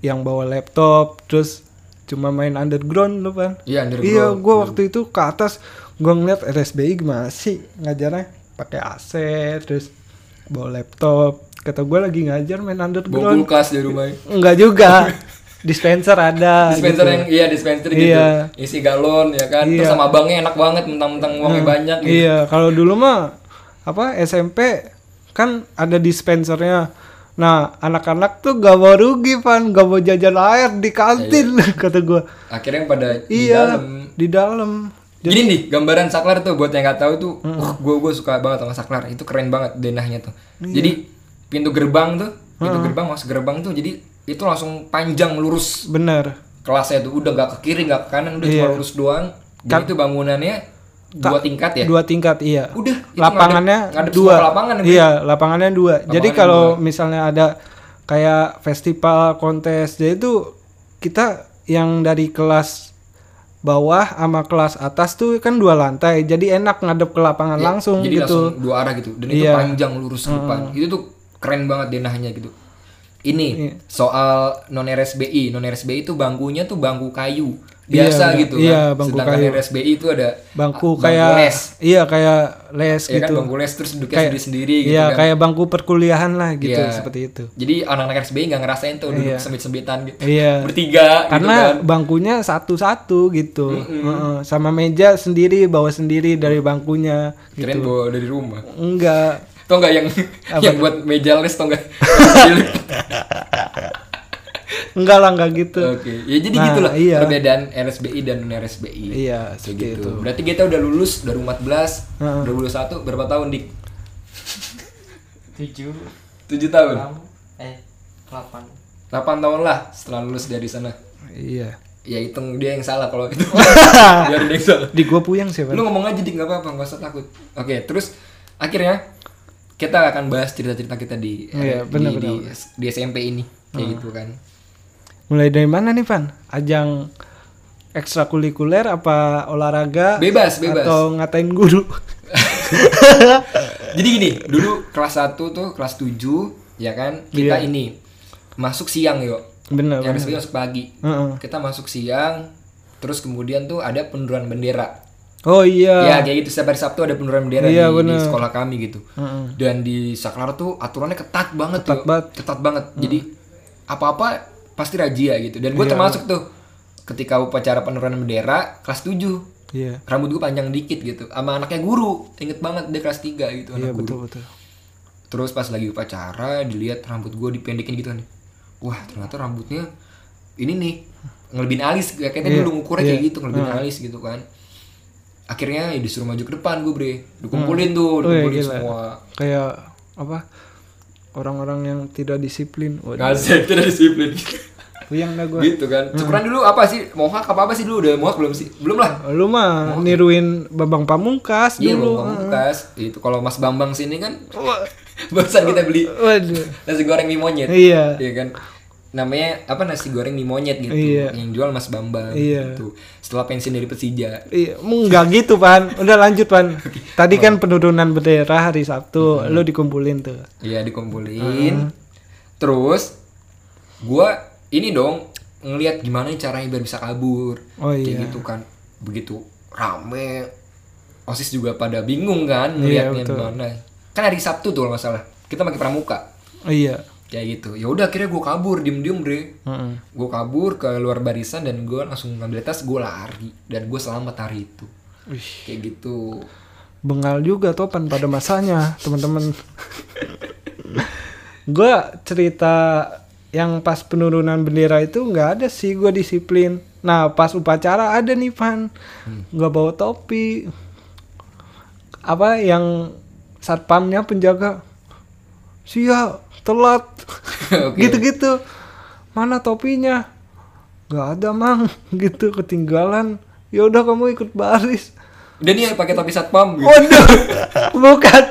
Speaker 2: Yang bawa laptop terus cuma main underground lu pan.
Speaker 1: Iya underground.
Speaker 2: Iya, gue waktu itu ke atas gue ngeliat RSBI gimana sih ngajarnya pakai AC terus bawa laptop. Kata gue lagi ngajar main
Speaker 1: Bawa
Speaker 2: underground.
Speaker 1: kulkas dari rumah.
Speaker 2: Enggak
Speaker 1: (laughs)
Speaker 2: juga. dispenser ada.
Speaker 1: dispenser
Speaker 2: gitu.
Speaker 1: yang iya dispenser gitu
Speaker 2: Iya.
Speaker 1: isi galon ya kan terus
Speaker 2: Iya.
Speaker 1: sama abangnya enak banget mentang-mentang uangnya banyak gitu
Speaker 2: Iya, kalau dulu mah apa SMP kan ada dispensernya. Nah, anak-anak tuh gak mau rugi, Pan. Gak mau jajan air di kantin, (laughs) kata gue.
Speaker 1: akhirnya yang pada Iya, di
Speaker 2: Iya,
Speaker 1: dalam
Speaker 2: di dalam.
Speaker 1: gini nih gambaran saklar tuh buat yang nggak tahu tuh
Speaker 2: Hmm.
Speaker 1: gue gue suka banget sama saklar itu keren banget denahnya tuh
Speaker 2: Iya.
Speaker 1: jadi pintu gerbang tuh pintu
Speaker 2: Hmm.
Speaker 1: gerbang masuk gerbang tuh jadi itu langsung panjang lurus
Speaker 2: Bener.
Speaker 1: kelasnya tuh udah nggak ke kiri nggak ke kanan udah
Speaker 2: Iya.
Speaker 1: cuma lurus doang dan itu bangunannya dua tingkat ya
Speaker 2: Dua tingkat, iya.
Speaker 1: udah itu
Speaker 2: lapangannya
Speaker 1: ngadep- ngadep semua
Speaker 2: dua.
Speaker 1: ke lapangan gitu. ya,
Speaker 2: iya, lapangannya dua. jadi kalau misalnya ada kayak festival, kontes, jadi itu kita yang dari kelas bawah sama kelas atas tuh kan dua lantai. Jadi enak ngadep ke lapangan langsung
Speaker 1: Iya, jadi
Speaker 2: gitu. Iya.
Speaker 1: langsung dua arah gitu dan itu panjang lurus ke depan itu tuh keren banget denahnya gitu ini
Speaker 2: Iya.
Speaker 1: soal non RSBI non RSBI itu bangkunya tuh bangku kayu biasa gitu kan
Speaker 2: Iya, bangku
Speaker 1: sedangkan RSBI itu ada
Speaker 2: Bangku
Speaker 1: bangku
Speaker 2: kayak
Speaker 1: les.
Speaker 2: iya kayak les
Speaker 1: ya kan
Speaker 2: gitu.
Speaker 1: bangku les terus duduknya sendiri sendiri gitu
Speaker 2: Iya,
Speaker 1: kan
Speaker 2: kayak bangku perkuliahan lah gitu
Speaker 1: Iya.
Speaker 2: seperti itu.
Speaker 1: jadi anak-anak RSBI nggak ngerasain tuh duduk sembit-sembitan gitu
Speaker 2: Iya.
Speaker 1: bertiga
Speaker 2: karena
Speaker 1: gitu kan
Speaker 2: bangkunya satu-satu gitu Heeh, sama meja sendiri bawa sendiri dari bangkunya
Speaker 1: keren bawa dari rumah
Speaker 2: enggak
Speaker 1: tau nggak yang yang buat meja les tau
Speaker 2: (laughs)
Speaker 1: nggak
Speaker 2: enggak lah enggak gitu
Speaker 1: oke ya jadi
Speaker 2: Nah,
Speaker 1: gitulah
Speaker 2: iya.
Speaker 1: perbedaan RSBI dan non RSBI
Speaker 2: iya
Speaker 1: Kayak
Speaker 2: seperti
Speaker 1: gitu.
Speaker 2: itu
Speaker 1: Berarti kita udah lulus 2014, 2021 berapa tahun dik?
Speaker 3: tujuh
Speaker 1: 7 tahun.
Speaker 3: enam eh delapan
Speaker 1: 8 tahun lah setelah lulus dari sana.
Speaker 2: iya
Speaker 1: Ya hitung dia yang salah kalau
Speaker 2: (laughs)
Speaker 1: itu. Biar dia yang salah.
Speaker 2: di gua puyeng sih
Speaker 1: Lu
Speaker 2: Pan.
Speaker 1: ngomong aja dik nggak apa-apa, nggak usah takut. Oke, terus akhirnya kita akan bahas cerita-cerita kita di eh,
Speaker 2: Iya,
Speaker 1: di,
Speaker 2: benar,
Speaker 1: di, di SMP ini kayak gitu kan.
Speaker 2: mulai dari mana nih pan ajang ekstrakurikuler apa olahraga
Speaker 1: Bebas, bebas.
Speaker 2: atau ngatain guru (laughs)
Speaker 1: Jadi gini, dulu kelas 1 tuh kelas 7 ya kan kita
Speaker 2: Iya.
Speaker 1: ini masuk siang yuk.
Speaker 2: bener
Speaker 1: Ya, resmi masuk pagi.
Speaker 2: Heeh.
Speaker 1: Kita masuk siang, terus kemudian tuh ada penurunan bendera.
Speaker 2: oh iya
Speaker 1: Ya kayak gitu setiap hari Sabtu ada penurunan bendera
Speaker 2: Iya,
Speaker 1: di, di
Speaker 2: bener.
Speaker 1: sekolah kami gitu. Dan di Saklar tuh aturannya ketat banget
Speaker 2: Ketat
Speaker 1: tuh.
Speaker 2: banget. Mm.
Speaker 1: Ketat banget. Jadi apa-apa pasti razia gitu. Dan gue
Speaker 2: Iya.
Speaker 1: termasuk tuh ketika upacara penurunan bendera kelas 7
Speaker 2: iya
Speaker 1: rambut gue panjang dikit gitu sama anaknya guru inget banget dia kelas 3 gitu anak
Speaker 2: iya
Speaker 1: guru
Speaker 2: betul betul
Speaker 1: Terus pas lagi upacara dilihat rambut gue dipendekin gitu kan. Wah ternyata rambutnya ini nih ngelebihin alis kayaknya dulu ngukurnya kayak gitu ngelebihin alis gitu kan. Akhirnya ya disuruh maju ke depan gue bre, dikumpulin tuh, dikumpulin semua.
Speaker 2: kayak apa orang-orang yang tidak disiplin waduh
Speaker 1: Ngasih tidak disiplin.
Speaker 2: puyeng dah gua
Speaker 1: gitu kan. Cukuran dulu apa sih? Mohak apa apa sih dulu? Udah mohak belum sih? Belum lah.
Speaker 2: Lu mah niruin Babang Pamungkas
Speaker 1: Iya
Speaker 2: dulu.
Speaker 1: belum pamungkas. Itu kalau Mas Bambang sini kan (laughs) barusan kita beli
Speaker 2: Waduh.
Speaker 1: nasi goreng mie monyet.
Speaker 2: Iya.
Speaker 1: Iya kan namanya apa nasi goreng mie monyet gitu
Speaker 2: Iya.
Speaker 1: yang jual Mas Bambang
Speaker 2: Iya.
Speaker 1: gitu. Setelah pensiun dari Persija.
Speaker 2: Iya, enggak gitu, Pan. Udah lanjut, Pan. Tadi kan penurunan bendera hari Sabtu, lu dikumpulin tuh.
Speaker 1: Iya dikumpulin.
Speaker 2: Ah.
Speaker 1: Terus gua ini dong ngelihat gimana caranya biar bisa kabur.
Speaker 2: Oh,
Speaker 1: Kayak
Speaker 2: iya.
Speaker 1: gitu kan. Begitu rame OSIS juga pada bingung
Speaker 2: Iya,
Speaker 1: kan ngelihatnya gimana. Kan hari Sabtu tuh kalau nggak salah. Kita pakai pramuka.
Speaker 2: Oh, iya.
Speaker 1: Kayak gitu. Ya udah akhirnya gua kabur diem-diem, Bre.
Speaker 2: Heeh.
Speaker 1: gue kabur ke luar barisan dan gue langsung ngambil tas gue lari dan gue selamat hari itu
Speaker 2: Wih.
Speaker 1: kayak gitu (laughs)
Speaker 2: bengal juga topan pada masanya teman-teman gue cerita yang pas penurunan bendera itu nggak ada sih gue disiplin nah pas upacara ada nih pan nggak bawa topi apa yang satpamnya penjaga siap telat
Speaker 1: Oke.
Speaker 2: Gitu. gitu-gitu mana topinya nggak ada mang (laughs) gitu ketinggalan ya udah kamu ikut baris
Speaker 1: Udah nih pakai topi satpam
Speaker 2: (laughs)
Speaker 1: gitu.
Speaker 2: waduh
Speaker 1: (laughs)
Speaker 2: bukan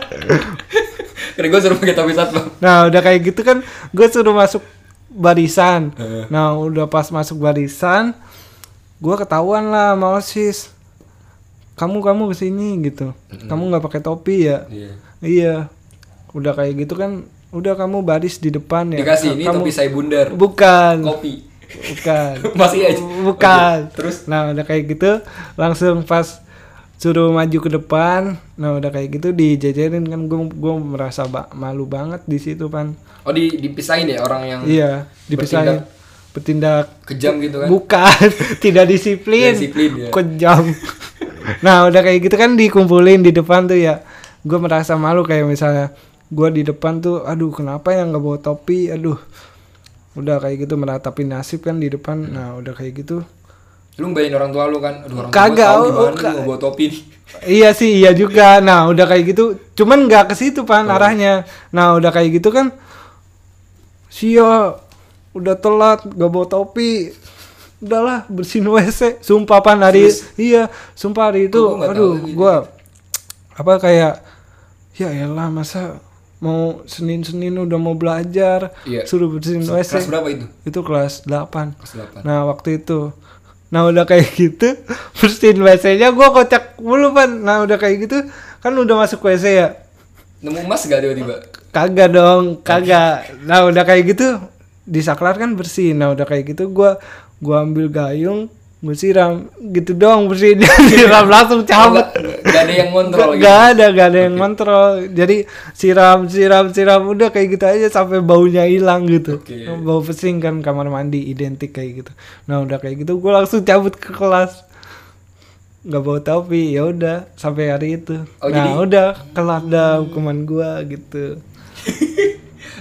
Speaker 1: Kira gue suruh pakai topi satpam.
Speaker 2: nah udah kayak gitu kan gue suruh masuk barisan
Speaker 1: Heeh.
Speaker 2: nah udah pas masuk barisan gue ketahuan lah sama osis kamu kamu kesini gitu kamu nggak pakai topi ya
Speaker 1: Iya.
Speaker 2: iya udah kayak gitu kan udah kamu baris di depan ya
Speaker 1: Dikasih ini
Speaker 2: kamu
Speaker 1: topi saya bundar.
Speaker 2: bukan
Speaker 1: Kopi.
Speaker 2: bukan
Speaker 1: (laughs) Masih aja.
Speaker 2: bukan
Speaker 1: Oke, terus?
Speaker 2: nah udah kayak gitu langsung pas suruh maju ke depan nah udah kayak gitu dijajarin kan gue gue merasa ba- malu banget di situ pan
Speaker 1: Oh di dipisahin ya orang yang
Speaker 2: iya dipisahin bertindak
Speaker 1: kejam gitu kan.
Speaker 2: bukan (laughs) tidak
Speaker 1: Tidak
Speaker 2: disiplin,
Speaker 1: disiplin, ya. (laughs)
Speaker 2: kejam nah udah kayak gitu kan dikumpulin di depan tuh ya gue merasa malu kayak misalnya gue di depan tuh aduh kenapa yang nggak bawa topi aduh udah kayak gitu meratapi nasib kan di depan nah udah kayak gitu
Speaker 1: Lu ngebayangin orang tua lu kan. Aduh orang tua
Speaker 2: Kagak,
Speaker 1: gua tahu
Speaker 2: oh,
Speaker 1: gimana
Speaker 2: kagak.
Speaker 1: nih mau bawa topi. nih.
Speaker 2: iya sih iya juga nah udah kayak gitu cuman nggak ke situ pan
Speaker 1: Oh.
Speaker 2: arahnya nah udah kayak gitu kan Sio udah telat gak bawa topi udahlah bersihin WC sumpah pan hari iya sumpah hari itu
Speaker 1: Oh, gua nggak
Speaker 2: aduh
Speaker 1: tahu gitu.
Speaker 2: gua apa kayak ya elah masa mau Senin-Senin udah mau belajar
Speaker 1: Iya.
Speaker 2: suruh bersihin
Speaker 1: Kelas
Speaker 2: WC
Speaker 1: berapa itu?
Speaker 2: itu kelas 8
Speaker 1: Kelas 8.
Speaker 2: Nah waktu itu Nah udah kayak gitu (laughs) Bersihin WC-nya gue kocak mulu pan Nah udah kayak gitu Kan udah masuk WC ya
Speaker 1: Nemu emas gak tiba-tiba?
Speaker 2: Kagak dong Kagak Nah udah kayak gitu Di saklar kan bersih Nah udah kayak gitu gua gua ambil gayung Gue siram Gitu dong bersihinnya (laughs) Siram langsung cabut
Speaker 1: Gak, gak ada yang ngontrol gitu.
Speaker 2: Gak ada, gak ada yang ngontrol. Jadi siram, siram, siram udah kayak gitu aja sampai baunya hilang gitu.
Speaker 1: Oke.
Speaker 2: Bau pesing kan kamar mandi identik kayak gitu. Nah udah kayak gitu, gue langsung cabut ke kelas. Gak bawa topi, ya udah sampai hari itu.
Speaker 1: Oh,
Speaker 2: nah
Speaker 1: jadi-
Speaker 2: udah kelar dah hukuman gue gitu.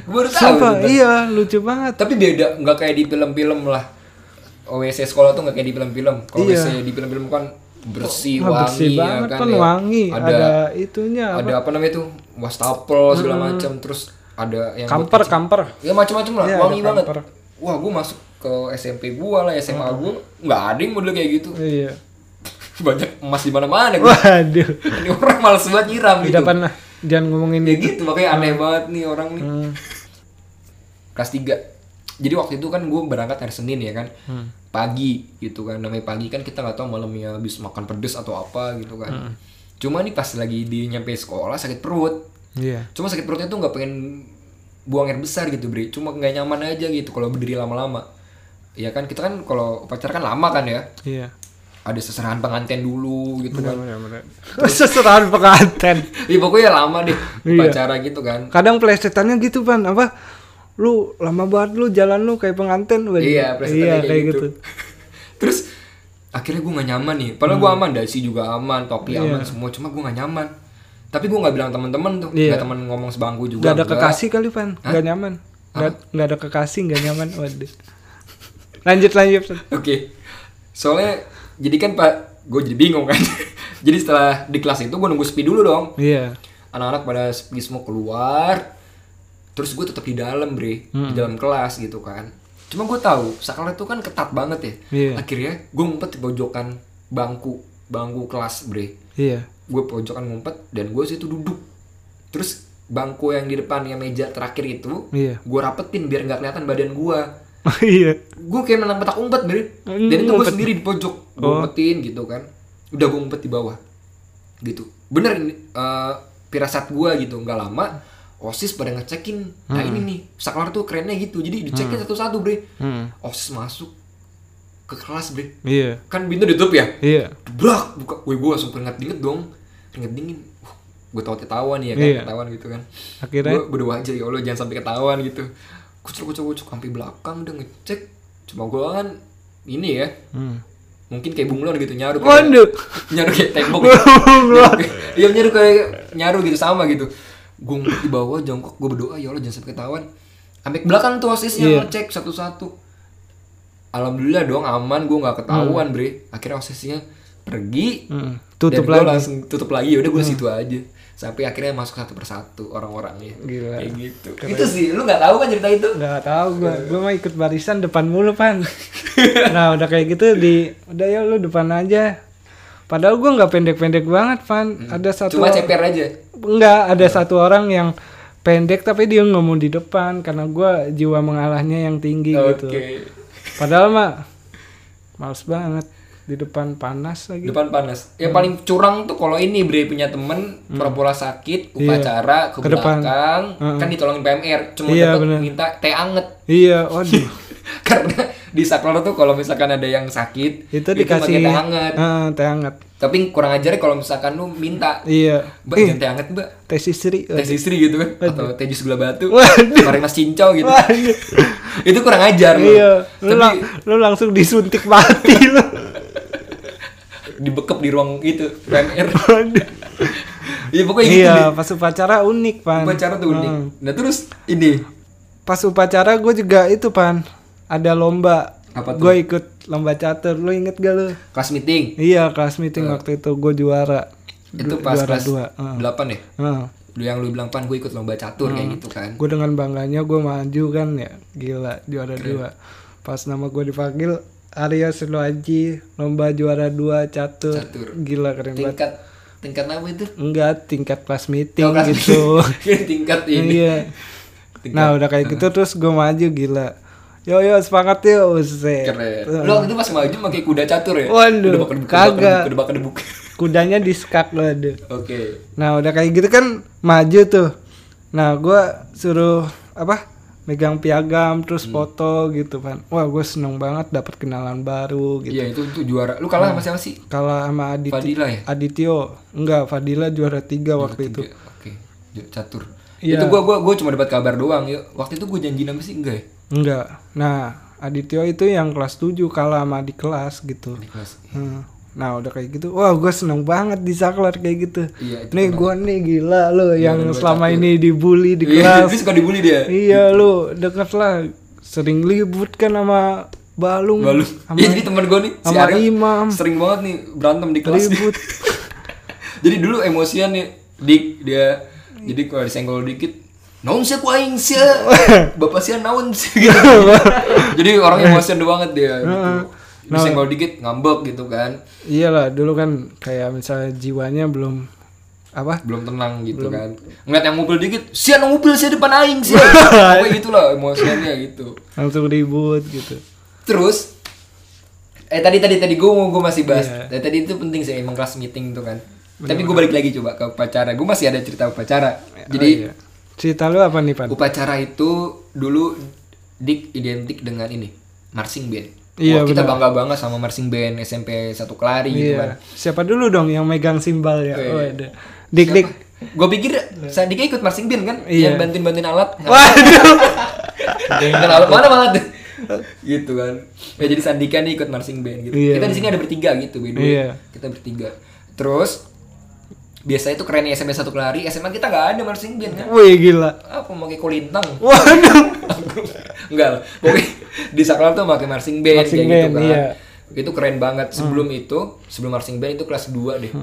Speaker 1: Gua baru tahu.
Speaker 2: Sumpah,
Speaker 1: itu.
Speaker 2: iya lucu banget.
Speaker 1: Tapi beda, nggak kayak di film-film lah. WC sekolah tuh nggak kayak di film-film. Kalau
Speaker 2: Iya.
Speaker 1: WC di film-film kan bersih, wangi,
Speaker 2: Wah, bersih
Speaker 1: ya
Speaker 2: banget
Speaker 1: kan,
Speaker 2: kan,
Speaker 1: ya.
Speaker 2: wangi. Ada,
Speaker 1: Ada,
Speaker 2: itunya
Speaker 1: ada,
Speaker 2: apa?
Speaker 1: apa namanya tuh wastafel segala macam. Terus ada yang buat
Speaker 2: Kamper,
Speaker 1: cuci-
Speaker 2: kamper.
Speaker 1: Ya macam-macam lah,
Speaker 2: Iya, ada
Speaker 1: wangi banget.
Speaker 2: kamper.
Speaker 1: Wah, gue masuk ke SMP gua lah, SMA gua nggak ada yang model kayak gitu. (laughs)
Speaker 2: Iya.
Speaker 1: Banyak emas di mana-mana. gua.
Speaker 2: Waduh.
Speaker 1: Ini orang males banget nyiram gitu.
Speaker 2: Tidak pernah. Jangan ngomongin
Speaker 1: Ya gitu makanya aneh banget nih orang nih. Kelas 3. Jadi waktu itu kan gue berangkat hari Senin ya kan. Pagi gitu kan. Namanya pagi kan kita nggak tahu malamnya habis makan pedes atau apa gitu kan. Cuma nih pas lagi di nyampe sekolah sakit perut.
Speaker 2: Iya.
Speaker 1: Cuma sakit perutnya tuh nggak pengen buang air besar gitu, Bre. Cuma nggak nyaman aja gitu kalau berdiri lama-lama. Ya kan kita kan kalau upacara kan lama kan ya.
Speaker 2: Iya.
Speaker 1: Ada seserahan pengantin dulu gitu kan.
Speaker 2: Seserahan pengantin.
Speaker 1: Iya pokoknya lama deh
Speaker 2: Iya.
Speaker 1: upacara gitu kan.
Speaker 2: Kadang plesetannya gitu, Pan. Apa? Lu lama banget lu jalan lu kayak pengantin. Pan.
Speaker 1: Iya, presetannya
Speaker 2: Iya,
Speaker 1: kayak, gitu. (laughs) Terus akhirnya gue gak nyaman nih. Padahal
Speaker 2: Hmm.
Speaker 1: gue aman, dasi juga aman, topi
Speaker 2: Iya.
Speaker 1: aman semua. Cuma gue gak nyaman. Tapi gue gak bilang teman-teman tuh.
Speaker 2: Iya.
Speaker 1: Gak teman ngomong sebangku juga.
Speaker 2: Gak ada
Speaker 1: enggak.
Speaker 2: kekasih kali, Pan. Gak nyaman. Gak, gak ada kekasih, gak nyaman. Waduh. Lanjut lanjut. Pan.
Speaker 1: (laughs) Oke. Soalnya jadi kan pak, gue jadi bingung kan. (laughs) jadi setelah di kelas itu gue nunggu sepi dulu dong.
Speaker 2: Iya.
Speaker 1: Anak-anak pada sepi semua keluar. Terus gue tetap di dalam bre,
Speaker 2: Hmm.
Speaker 1: di dalam kelas gitu kan. Cuma gue tahu saklar itu kan ketat banget ya.
Speaker 2: Iya.
Speaker 1: Akhirnya gue ngumpet di pojokan bangku, bangku kelas bre.
Speaker 2: Iya.
Speaker 1: gue pojokan ngumpet dan gue situ duduk terus bangku yang di depan yang meja terakhir itu
Speaker 2: Iya. (laughs)
Speaker 1: gue rapetin biar nggak kelihatan badan gue
Speaker 2: Oh, iya.
Speaker 1: gue kayak menang petak umpet bre
Speaker 2: Hmm,
Speaker 1: dan itu gue
Speaker 2: ngumpet. Oh.
Speaker 1: sendiri di pojok gue umpetin gitu kan udah gue umpet di bawah gitu bener ini eh, pirasat gue gitu nggak lama osis pada ngecekin nah
Speaker 2: Hmm.
Speaker 1: ini nih saklar tuh kerennya gitu jadi dicekin satu-satu bre osis masuk ke kelas bre
Speaker 2: Iya.
Speaker 1: kan pintu ditutup ya
Speaker 2: Iya.
Speaker 1: Brak, buka, wih gue langsung keringat dingin dong, keringat dingin. Uh, gue tau ketahuan ya kan,
Speaker 2: Iya.
Speaker 1: ketahuan gitu kan.
Speaker 2: Akhirnya
Speaker 1: Gue berdoa aja ya Allah jangan sampai ketahuan gitu. Kucuk kucuk kucuk sampai belakang udah ngecek, cuma gue kan ini ya
Speaker 2: Hmm.
Speaker 1: mungkin kayak bunglon gitu nyaru kayak-
Speaker 2: Waduh.
Speaker 1: nyaru kayak
Speaker 2: (laughs)
Speaker 1: tembok
Speaker 2: Bunglon.
Speaker 1: iya nyaru kayak nyaru gitu sama gitu gue di bawah jongkok gue berdoa ya Allah jangan sampai ketahuan sampai ke belakang tuh osisnya
Speaker 2: Iya.
Speaker 1: ngecek satu-satu alhamdulillah dong aman gue nggak ketahuan bre akhirnya osisnya pergi
Speaker 2: Hmm, tutup
Speaker 1: dan gua
Speaker 2: lagi. Hmm.
Speaker 1: langsung tutup lagi Ya udah gue situ aja sampai akhirnya masuk satu persatu orang-orangnya
Speaker 2: Gila.
Speaker 1: kayak gitu itu sih lu nggak tahu kan cerita itu
Speaker 2: nggak tahu gue gue mah ikut barisan depan mulu pan (laughs) nah udah kayak gitu di udah ya lu depan aja padahal gue nggak pendek-pendek banget pan ada satu
Speaker 1: Hmm. cuma Iya. ceper aja
Speaker 2: nggak ada satu orang yang pendek tapi dia nggak mau di depan karena gue jiwa mengalahnya yang tinggi gitu
Speaker 1: oke
Speaker 2: padahal mah males banget di depan panas lagi
Speaker 1: Gitu. depan panas yang paling
Speaker 2: Hmm.
Speaker 1: curang tuh kalau ini bre punya temen pura-pura sakit upacara ke,
Speaker 2: Iya. Ke depan.
Speaker 1: belakang kan ditolongin PMR cuma
Speaker 2: Iya,
Speaker 1: dapat
Speaker 2: bener.
Speaker 1: minta teh anget (laughs)
Speaker 2: iya waduh
Speaker 1: karena di saklar tuh kalau misalkan ada yang sakit
Speaker 2: itu dikasih
Speaker 1: pakai teh anget
Speaker 2: Eh, teh hangat.
Speaker 1: tapi kurang ajarnya kalau misalkan lu minta
Speaker 2: iya
Speaker 1: mbak jangan teh anget mbak
Speaker 2: teh sisri eh.
Speaker 1: teh istri gitu kan atau teh jus gula batu
Speaker 2: Waduh.
Speaker 1: kemarin mas cincau gitu (laughs) itu kurang ajar lu
Speaker 2: Iya, lu,
Speaker 1: tapi
Speaker 2: lang- lu langsung disuntik mati lu.
Speaker 1: dibekep di ruang itu PMR
Speaker 2: Waduh.
Speaker 1: (laughs) ya pokoknya gitu
Speaker 2: iya, pas upacara unik, Pan. Hmm.
Speaker 1: upacara tuh unik nah terus ini
Speaker 2: Pas upacara gue juga itu, Pan. Ada lomba.
Speaker 1: Apa tuh?
Speaker 2: Gue ikut lomba catur. Lu inget gak lu?
Speaker 1: kelas meeting
Speaker 2: Iya, kelas meeting waktu itu gue juara.
Speaker 1: itu pas
Speaker 2: juara
Speaker 1: kelas
Speaker 2: dua. ah.
Speaker 1: delapan deh lu yang lu bilang pan gue ikut lomba catur kayak gitu kan
Speaker 2: Gue dengan bangganya gue maju kan ya. Gila, juara dua. Pas nama gue dipanggil Arya Senoaji lomba juara dua catur.
Speaker 1: Catur.
Speaker 2: Gila keren banget.
Speaker 1: tingkat tingkat apa itu
Speaker 2: Enggak, tingkat kelas meeting
Speaker 1: Oh, kelas
Speaker 2: gitu. (laughs)
Speaker 1: meeting. (laughs) tingkat ini
Speaker 2: Iya. Nah udah kayak gitu terus gue maju gila. Yo yo semangat yo Buset.
Speaker 1: keren lu waktu itu pas maju pakai kuda catur ya
Speaker 2: Iya. Ah. Waduh,
Speaker 1: kedebuk,
Speaker 2: kagak.
Speaker 1: kedebuk, kedebuk, kedebuk.
Speaker 2: Kudanya di skak loh aduh.
Speaker 1: (laughs) oke
Speaker 2: Nah udah kayak gitu kan maju tuh. Nah gue suruh apa? Megang piagam terus foto gitu kan. Wah gue seneng banget dapat kenalan baru gitu. Ah.
Speaker 1: iya itu itu juara lu kalah sama siapa sih
Speaker 2: Kalau sama Adit
Speaker 1: Fadila ya
Speaker 2: Adityo enggak Fadila juara tiga waktu itu.
Speaker 1: Tiga. oke Ju- catur
Speaker 2: Iya.
Speaker 1: itu gua gua gua cuma dapat kabar doang yuk waktu itu gua janji nama sih enggak ya
Speaker 2: Enggak. Nah Adityo itu yang kelas 7 kalah sama di kelas gitu.
Speaker 1: di kelas
Speaker 2: Hmm. Nah udah kayak gitu, wah gue seneng banget di saklar kayak gitu.
Speaker 1: Iya, itu
Speaker 2: nih gue nih gila lo yang
Speaker 1: dua
Speaker 2: selama ini dibully
Speaker 1: Iya,
Speaker 2: di
Speaker 1: dia
Speaker 2: kelas.
Speaker 1: suka dibully dia
Speaker 2: (laughs) iya lo deket lah, sering libut kan sama balung,
Speaker 1: Balu.
Speaker 2: sama
Speaker 1: Iya jadi teman gue nih si
Speaker 2: sama
Speaker 1: Ariel
Speaker 2: Imam.
Speaker 1: sering banget nih berantem di kelas.
Speaker 2: Ribut.
Speaker 1: (laughs) jadi dulu emosian nih dik dia jadi kalau disenggol dikit naon sih ku aing sih bapak sih naon sih (laughs) gitu. jadi orang emosian banget dia gitu. disenggol dikit ngambek gitu kan
Speaker 2: Iyalah dulu kan kayak misalnya jiwanya belum apa?
Speaker 1: belum tenang gitu kan ngeliat yang mobil dikit sih yang mobil sih depan aing sih kayak gitulah emosiannya gitu
Speaker 2: Langsung ribut gitu.
Speaker 1: Terus eh tadi tadi tadi gue gue masih bahas.
Speaker 2: Iya.
Speaker 1: Tadi, tadi itu penting sih emang kelas meeting tuh kan. Tapi gue balik lagi coba ke upacara. Gue masih ada cerita upacara. Jadi
Speaker 2: Iya. Cerita lu apa nih pan?
Speaker 1: upacara itu dulu dik identik dengan ini marching band.
Speaker 2: Iya,
Speaker 1: Wah, kita bangga banget sama marching band SMP satu Kelari gitu kan.
Speaker 2: Iya. Siapa dulu dong yang megang simbal ya?
Speaker 1: Iya.
Speaker 2: Waduh. Dik dik.
Speaker 1: Gue pikir Sandika ikut marching band kan,
Speaker 2: Iya.
Speaker 1: yang bantuin-bantuin alat.
Speaker 2: (laughs) Waduh.
Speaker 1: Dengan alat mana alat?
Speaker 2: (laughs)
Speaker 1: gitu kan. Ya jadi Sandika nih ikut marching band gitu.
Speaker 2: Iya.
Speaker 1: Kita di sini ada bertiga gitu, beda.
Speaker 2: Iya.
Speaker 1: Kita bertiga. Terus biasanya itu kerennya SMA satu kelari, SMA kita nggak ada marching band kan.
Speaker 2: Wih gila.
Speaker 1: Apa mau kayak kolintang? (laughs)
Speaker 2: Waduh.
Speaker 1: Enggak lah. Pokoknya di sakral tuh pakai marching band
Speaker 2: Marching
Speaker 1: kayak
Speaker 2: band,
Speaker 1: gitu kan.
Speaker 2: iya. Hmm.
Speaker 1: Itu keren banget. Sebelum itu, sebelum marching band itu kelas 2 deh.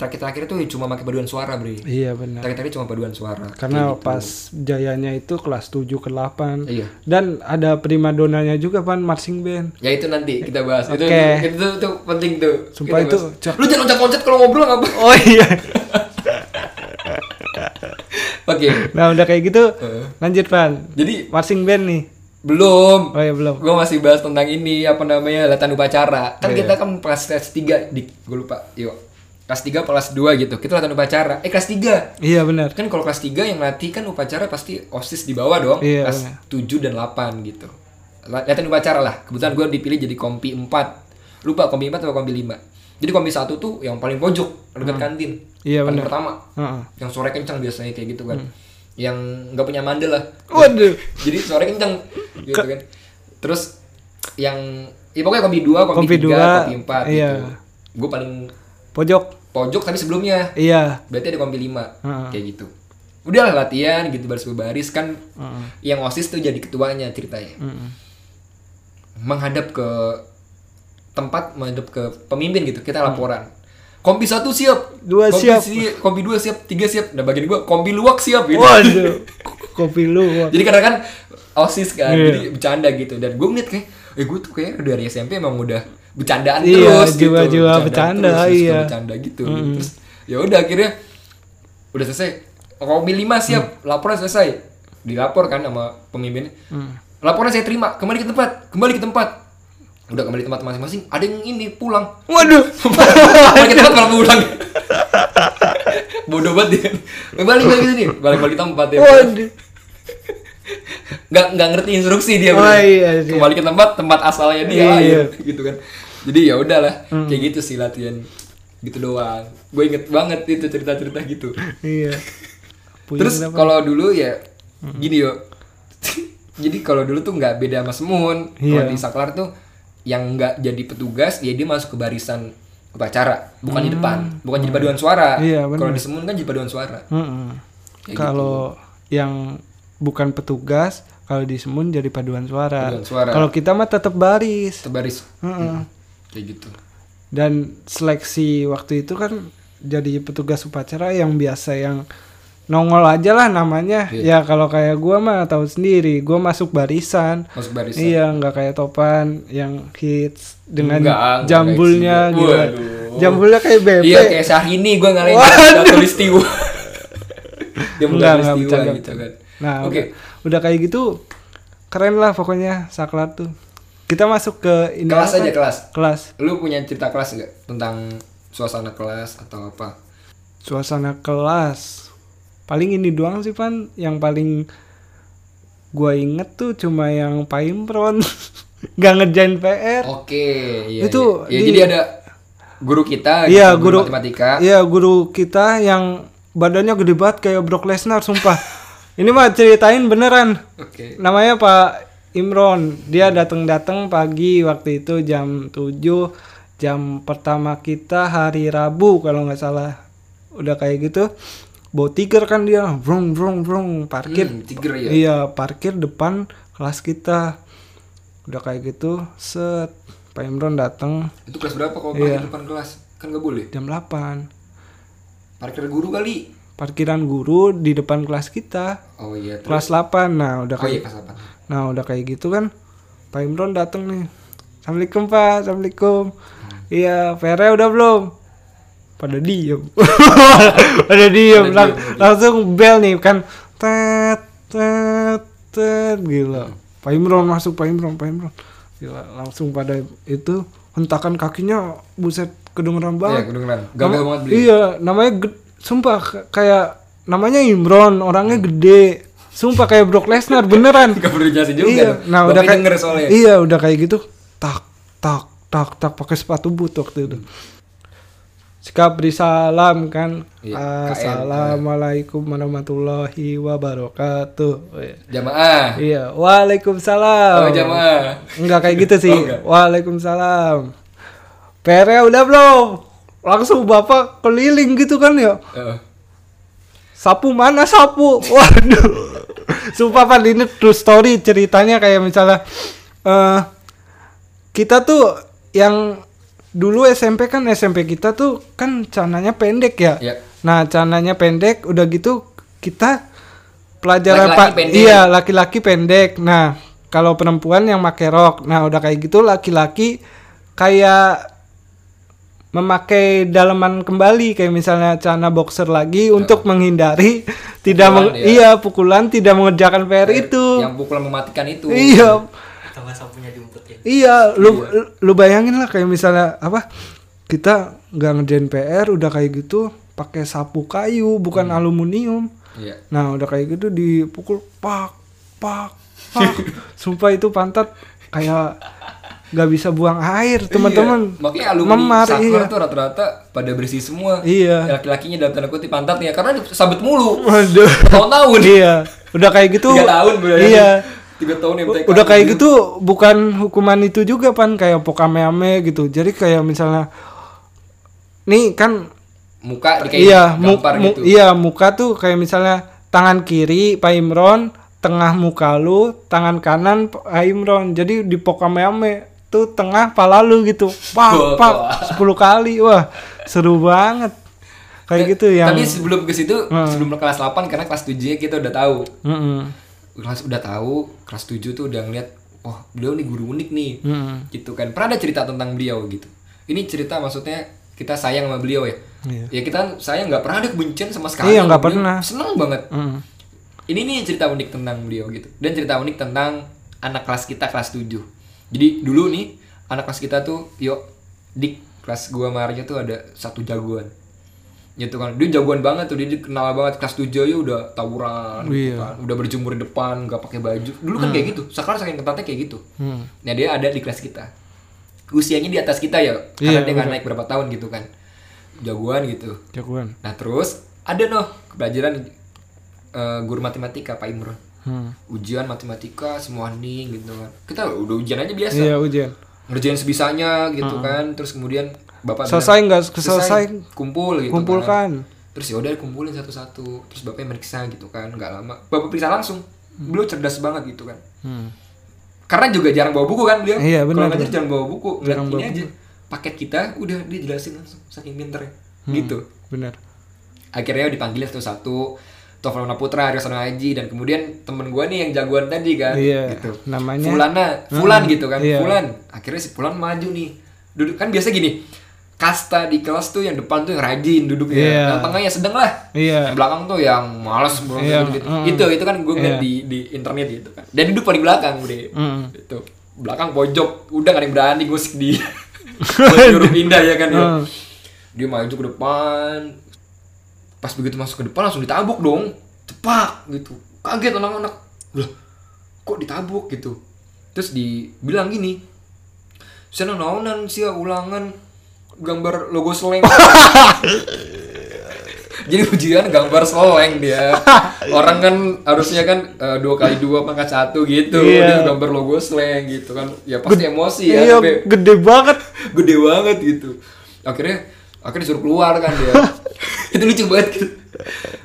Speaker 1: Terakhir-terakhir itu cuma pakai paduan suara, Bre.
Speaker 2: Iya benar.
Speaker 1: Terakhir-terakhir cuma paduan suara.
Speaker 2: Karena pas jayanya itu kelas 7 ke 8.
Speaker 1: Iya.
Speaker 2: Dan ada primadonanya juga pan marching
Speaker 1: (laughs)
Speaker 2: band.
Speaker 1: Ya itu nanti kita bahas. Itu
Speaker 2: Oke.
Speaker 1: itu, itu, itu penting tuh.
Speaker 2: Sumpah
Speaker 1: Kita
Speaker 2: itu
Speaker 1: bahas.
Speaker 2: cak-
Speaker 1: Lu jangan loncat-loncat kalau ngobrol apa?
Speaker 2: Oh iya.
Speaker 1: Oke.
Speaker 2: Nah, udah kayak gitu lanjut pan.
Speaker 1: Jadi
Speaker 2: Marching band nih.
Speaker 1: belum.
Speaker 2: Oh ya belum.
Speaker 1: Gue masih bahas tentang ini apa namanya latihan upacara. Kan
Speaker 2: Iya.
Speaker 1: kita kan kelas kelas 3 di gue lupa. Yuk. Kelas 3 kelas 2 gitu. Kita latihan upacara. Eh kelas 3.
Speaker 2: Iya benar.
Speaker 1: Kan kalau kelas 3 yang latih kan upacara pasti OSIS di bawah dong.
Speaker 2: Iya,
Speaker 1: kelas
Speaker 2: bener.
Speaker 1: 7 dan 8 gitu. La- Latihan upacara lah. Kebetulan gue dipilih jadi kompi 4. Lupa kompi 4 atau kompi 5. Jadi kompi 1 tuh yang paling pojok dekat kantin.
Speaker 2: Iya,
Speaker 1: Paling
Speaker 2: bener. Hmm.
Speaker 1: pertama.
Speaker 2: Heeh.
Speaker 1: Yang sore kencang biasanya kayak gitu kan. Yang nggak punya mandel lah
Speaker 2: Waduh.
Speaker 1: jadi suara kenceng gitu kan terus yang ya pokoknya kompi 2, kompi,
Speaker 2: Kompi
Speaker 1: 3,
Speaker 2: dua,
Speaker 1: kompi 4
Speaker 2: iya.
Speaker 1: gitu. Gue paling
Speaker 2: pojok
Speaker 1: pojok tapi sebelumnya.
Speaker 2: iya
Speaker 1: Berarti ada kompi 5.
Speaker 2: Heeh.
Speaker 1: Kayak gitu. Udah lah latihan gitu baris berbaris kan yang OSIS tuh jadi ketuanya ceritanya.
Speaker 2: Mm-mm.
Speaker 1: Menghadap ke tempat menghadap ke pemimpin gitu. Kita laporan. Kompi 1 siap.
Speaker 2: Dua
Speaker 1: kompi
Speaker 2: siap.
Speaker 1: si- kompi 2 siap, 3 siap. Nah bagian gua kompi luwak siap gitu.
Speaker 2: waduh kopi lu wah.
Speaker 1: Jadi karena kan osis kan,
Speaker 2: Iya.
Speaker 1: jadi bercanda gitu. Dan gue ngeliat kayak, eh gue tuh kayak dari SMP emang udah bercandaan
Speaker 2: Iya,
Speaker 1: terus gitu.
Speaker 2: jiwa-jiwa bercanda,
Speaker 1: terus, suka
Speaker 2: iya.
Speaker 1: bercanda gitu. Terus ya udah akhirnya udah selesai. Kompi lima siap,
Speaker 2: Mm.
Speaker 1: laporan selesai. Dilapor kan sama pemimpinnya.
Speaker 2: Mm.
Speaker 1: Laporan saya terima, kembali ke tempat, kembali ke tempat. Udah kembali ke tempat masing-masing, ada yang ini pulang.
Speaker 2: waduh
Speaker 1: (laughs) Kembali ke tempat malah pulang. (laughs) Bodoh banget dia. Balik balik ke sini, balik-balik ke tempat ya
Speaker 2: waduh
Speaker 1: nggak nggak ngerti instruksi dia
Speaker 2: Oh,
Speaker 1: bener.
Speaker 2: iya, iya.
Speaker 1: kembali ke tempat tempat asalnya dia
Speaker 2: Iya,
Speaker 1: lah,
Speaker 2: iya. Hmm.
Speaker 1: gitu- (laughs) gitu kan jadi ya udahlah kayak gitu sih latihan gitu doang gue inget banget itu cerita cerita gitu
Speaker 2: iya Puyeng
Speaker 1: terus
Speaker 2: kenapa? Hmm.
Speaker 1: kalau dulu ya gini yo (laughs) jadi kalau dulu tuh nggak beda sama semun kalau
Speaker 2: Iya.
Speaker 1: di saklar tuh yang nggak jadi petugas ya dia masuk ke barisan upacara bukan di depan bukan jadi paduan suara
Speaker 2: Hmm. Iya, bener.
Speaker 1: kalau di semun kan jadi paduan suara
Speaker 2: Mm-mm.
Speaker 1: Kayak
Speaker 2: Kalau yang bukan petugas, kalau di Semun jadi paduan suara.
Speaker 1: Paduan suara.
Speaker 2: Kalau kita mah tetap baris.
Speaker 1: terbaris
Speaker 2: Mm-mm.
Speaker 1: kayak gitu
Speaker 2: Dan seleksi waktu itu kan jadi petugas upacara yang biasa yang nongol aja lah namanya.
Speaker 1: Iya.
Speaker 2: Ya kalau kayak gua mah tahu sendiri, gua masuk barisan.
Speaker 1: masuk Oh, barisan
Speaker 2: Iya, nggak kayak topan yang hits dengan
Speaker 1: Nggak, nggak
Speaker 2: jambulnya
Speaker 1: kayak
Speaker 2: gitu.
Speaker 1: gitu. Waduh.
Speaker 2: Jambulnya kayak bebek.
Speaker 1: Iya kayak Syahrini gue ngalahin
Speaker 2: Waduh. (laughs)
Speaker 1: Datulistiwa Dia
Speaker 2: Enggak,
Speaker 1: menggunakan
Speaker 2: enggak,
Speaker 1: peristiwa
Speaker 2: bercanda,
Speaker 1: gitu kan
Speaker 2: Nah,
Speaker 1: Oke.
Speaker 2: udah, udah kayak gitu keren lah pokoknya saklar tuh. Kita masuk ke ini
Speaker 1: Kelas
Speaker 2: apa?
Speaker 1: aja kelas
Speaker 2: Kelas.
Speaker 1: Lu punya cerita kelas nggak? Tentang suasana kelas atau apa
Speaker 2: Suasana kelas. Paling ini doang sih Pan yang paling gua inget tuh cuma yang paimpron (laughs) nggak ngerjain PR.
Speaker 1: Oke iya,
Speaker 2: Itu
Speaker 1: iya. Ya,
Speaker 2: di-
Speaker 1: Jadi ada guru kita
Speaker 2: Iya,
Speaker 1: gitu,
Speaker 2: guru-
Speaker 1: matematika
Speaker 2: Iya, guru kita yang badannya gede banget kayak Brock Lesnar sumpah. ini mah ceritain beneran.
Speaker 1: Oke
Speaker 2: namanya Pak Imron dia datang-datang pagi waktu itu jam 7 jam pertama kita hari Rabu kalau nggak salah udah kayak gitu bawa tiger kan dia vrung vrung vrung parkir
Speaker 1: Hmm, Tiger ya
Speaker 2: iya parkir depan kelas kita udah kayak gitu set Pak Imron datang
Speaker 1: Itu kelas berapa kalau
Speaker 2: Iya.
Speaker 1: parkir depan kelas? Kan nggak boleh
Speaker 2: jam 8
Speaker 1: Parkir guru kali
Speaker 2: parkiran guru di depan kelas kita
Speaker 1: Oh iya terus.
Speaker 2: kelas 8 nah
Speaker 1: Oh
Speaker 2: udah kayak
Speaker 1: iya kelas apa?
Speaker 2: Nah udah kayak gitu kan Pak Imron datang nih Assalamualaikum Pak Assalamualaikum Iya PR udah belum Pada diem (laughs) Pada diem Lang- Langsung bel nih kan Tet tet tet Gila Pak Imron masuk Pak Imron Pak Imron Gila langsung pada itu Hentakan kakinya Buset
Speaker 1: Iya
Speaker 2: kedengeran banget
Speaker 1: kedengeran Gagal
Speaker 2: Nama-
Speaker 1: banget (laughs) beli
Speaker 2: Iya, namanya ged- sumpah k- kayak namanya Imron, orangnya gede. Sumpah kayak Brock Lesnar beneran.
Speaker 1: Hmm. (laughs) Gak perlu jelasin Gitu juga
Speaker 2: iya,
Speaker 1: dong.
Speaker 2: nah
Speaker 1: Bapak
Speaker 2: udah kayak
Speaker 1: denger soalnya
Speaker 2: Iya, udah kayak gitu. Tak tak tak tak pakai sepatu boot waktu itu. Sikap beri salam kan.
Speaker 1: Iya, KN.
Speaker 2: Assalamualaikum warahmatullahi wabarakatuh. Oh, iya.
Speaker 1: Jamaah
Speaker 2: Iya, waalaikumsalam.
Speaker 1: Oh, jamaah
Speaker 2: Enggak kayak gitu sih.
Speaker 1: Oh, enggak.
Speaker 2: Waalaikumsalam. PR-nya udah belum? Langsung bapak keliling gitu kan ya.
Speaker 1: Heeh.
Speaker 2: Sapu mana sapu? Waduh. Sumpah Pan ini true story ceritanya kayak misalnya eh kita tuh yang dulu SMP kan SMP kita tuh kan cananya pendek ya.
Speaker 1: Ya.
Speaker 2: Nah, cananya pendek udah gitu kita pelajaran
Speaker 1: Laki-laki
Speaker 2: Pak
Speaker 1: pendek.
Speaker 2: iya laki-laki pendek. Nah, kalau perempuan yang pakai rok. Nah, udah kayak gitu laki-laki kayak memakai daleman kembali kayak misalnya celana boxer lagi untuk menghindari tidak meng-
Speaker 1: ya.
Speaker 2: iya pukulan tidak mengerjakan PR itu.
Speaker 1: Yang pukulan mematikan itu
Speaker 2: Iya,
Speaker 3: atau nggak sapunya diumpetin
Speaker 2: Iya, lu lu bayangin lah kayak misalnya apa kita nggak ngerjain PR udah kayak gitu pakai sapu kayu
Speaker 1: Hmm.
Speaker 2: bukan aluminium.
Speaker 1: Iya
Speaker 2: Nah udah kayak gitu dipukul pak pak
Speaker 1: (laughs)
Speaker 2: pak. Sumpah itu pantat kayak nggak bisa buang air teman-teman.
Speaker 1: Iya. Makanya alumni
Speaker 2: Memar,
Speaker 1: saklar
Speaker 2: iya.
Speaker 1: tuh Ya. rata-rata pada bersih semua.
Speaker 2: Iya.
Speaker 1: Laki-lakinya dalam tanda kutip ya,
Speaker 2: (laughs)
Speaker 1: pantatnya karena disabet mulu.
Speaker 2: Waduh.
Speaker 1: Tahun-tahun.
Speaker 2: iya. Udah kayak gitu.
Speaker 1: Tiga tahun ya. gue.
Speaker 2: Iya.
Speaker 1: tiga tahun MTK
Speaker 2: udah kayak gitu bukan hukuman itu juga pan kayak pokame-ame gitu jadi kayak misalnya nih kan
Speaker 1: muka di kayak
Speaker 2: iya mu-
Speaker 1: gampar
Speaker 2: mu-
Speaker 1: gitu
Speaker 2: iya muka tuh kayak misalnya tangan kiri Pak Imron tengah muka lu tangan kanan Pak Imron jadi di pokame-ame tuh tengah pala lu gitu pak pak 10 kali wah seru banget kayak gitu yang Hmm.
Speaker 1: tapi sebelum ke situ sebelum kelas 8 karena kelas 7 kita udah tahu
Speaker 2: Mm-mm.
Speaker 1: kelas udah tahu kelas 7 tuh udah ngeliat wah beliau nih guru unik nih
Speaker 2: Mm-mm.
Speaker 1: gitu kan pernah ada cerita tentang beliau gitu ini cerita maksudnya kita sayang sama beliau ya
Speaker 2: Iya.
Speaker 1: ya kita kan sayang nggak pernah ada kebencian sama sekali
Speaker 2: Iya,
Speaker 1: sama
Speaker 2: nggak
Speaker 1: beliau.
Speaker 2: pernah.
Speaker 1: seneng banget
Speaker 2: Mm.
Speaker 1: ini nih cerita unik tentang beliau gitu dan cerita unik tentang anak kelas kita kelas 7 jadi dulu nih anak kelas kita tuh yuk di kelas gua Maria tuh ada satu jagoan gitu kan dia jagoan banget tuh dia kenal banget kelas 7 ya udah tawuran gitu kan. udah berjemur di depan nggak pakai baju dulu kan kayak gitu sekarang saking ketatnya kayak gitu nah dia ada di kelas kita usianya di atas kita ya karena dia nggak naik berapa tahun gitu kan jagoan gitu
Speaker 2: jagoan
Speaker 1: Nah terus ada noh pelajaran eh, guru matematika Pak Imron.
Speaker 2: Hmm.
Speaker 1: Ujian matematika semua nih gitu kan. Kita udah ujian aja biasa.
Speaker 2: iya ujian
Speaker 1: Ngerjain sebisanya gitu kan. Terus kemudian bapak bilang,
Speaker 2: selesai nggak selesai
Speaker 1: kumpul gitu kan.
Speaker 2: kumpulkan
Speaker 1: Terus ya udah kumpulin satu-satu. Terus bapaknya meriksa gitu kan. Nggak lama. Bapak periksa langsung.
Speaker 2: Hmm.
Speaker 1: Beliau cerdas banget gitu kan. Karena juga jarang bawa buku kan beliau.
Speaker 2: Iya, benar,
Speaker 1: Kalau ngajar
Speaker 2: benar.
Speaker 1: jarang bawa buku. Jarang ini aja paket kita udah dia jelasin langsung saking pinternya.
Speaker 2: Hmm.
Speaker 1: Gitu
Speaker 2: benar
Speaker 1: akhirnya dipanggil satu-satu Taufan Putra, Rio Haji dan kemudian temen gue nih yang jagoan tadi kan,
Speaker 2: Iya,
Speaker 1: gitu.
Speaker 2: namanya-
Speaker 1: Fulana, Fulan gitu kan,
Speaker 2: iya.
Speaker 1: Fulan. Akhirnya si Fulan maju nih, duduk kan biasa gini, kasta di kelas tuh yang depan tuh yang rajin duduknya,
Speaker 2: Iya.
Speaker 1: yang tengah yang sedang lah, yang
Speaker 2: Iya.
Speaker 1: belakang tuh yang malas bro,
Speaker 2: Iya,
Speaker 1: gitu.
Speaker 2: mm.
Speaker 1: Itu itu kan gue ngeliat
Speaker 2: Iya.
Speaker 1: di di internet gitu kan, dan duduk paling belakang deh,
Speaker 2: Mm.
Speaker 1: itu belakang pojok, udah gak ada yang berani gue
Speaker 2: (laughs)
Speaker 1: di buat nyuruh pindah ya kan ya.
Speaker 2: Mm.
Speaker 1: Dia maju ke depan, pas begitu masuk ke depan langsung ditabuk dong cepak gitu kaget anak-anak loh kok ditabuk gitu terus dibilang gini sana naonan sih ya, ulangan gambar logo
Speaker 2: (laughs)
Speaker 1: seleng jadi ujian gambar seleng
Speaker 2: (laughs)
Speaker 1: dia orang kan harusnya kan eh, dua kali dua pangkat satu gitu dia
Speaker 2: Iya.
Speaker 1: gambar logo seleng gitu kan ya pasti emosi ya
Speaker 2: iya
Speaker 1: sampai-
Speaker 2: gede banget
Speaker 1: (laughs) gede banget gitu akhirnya akhirnya disuruh keluar kan dia itu lucu banget gitu.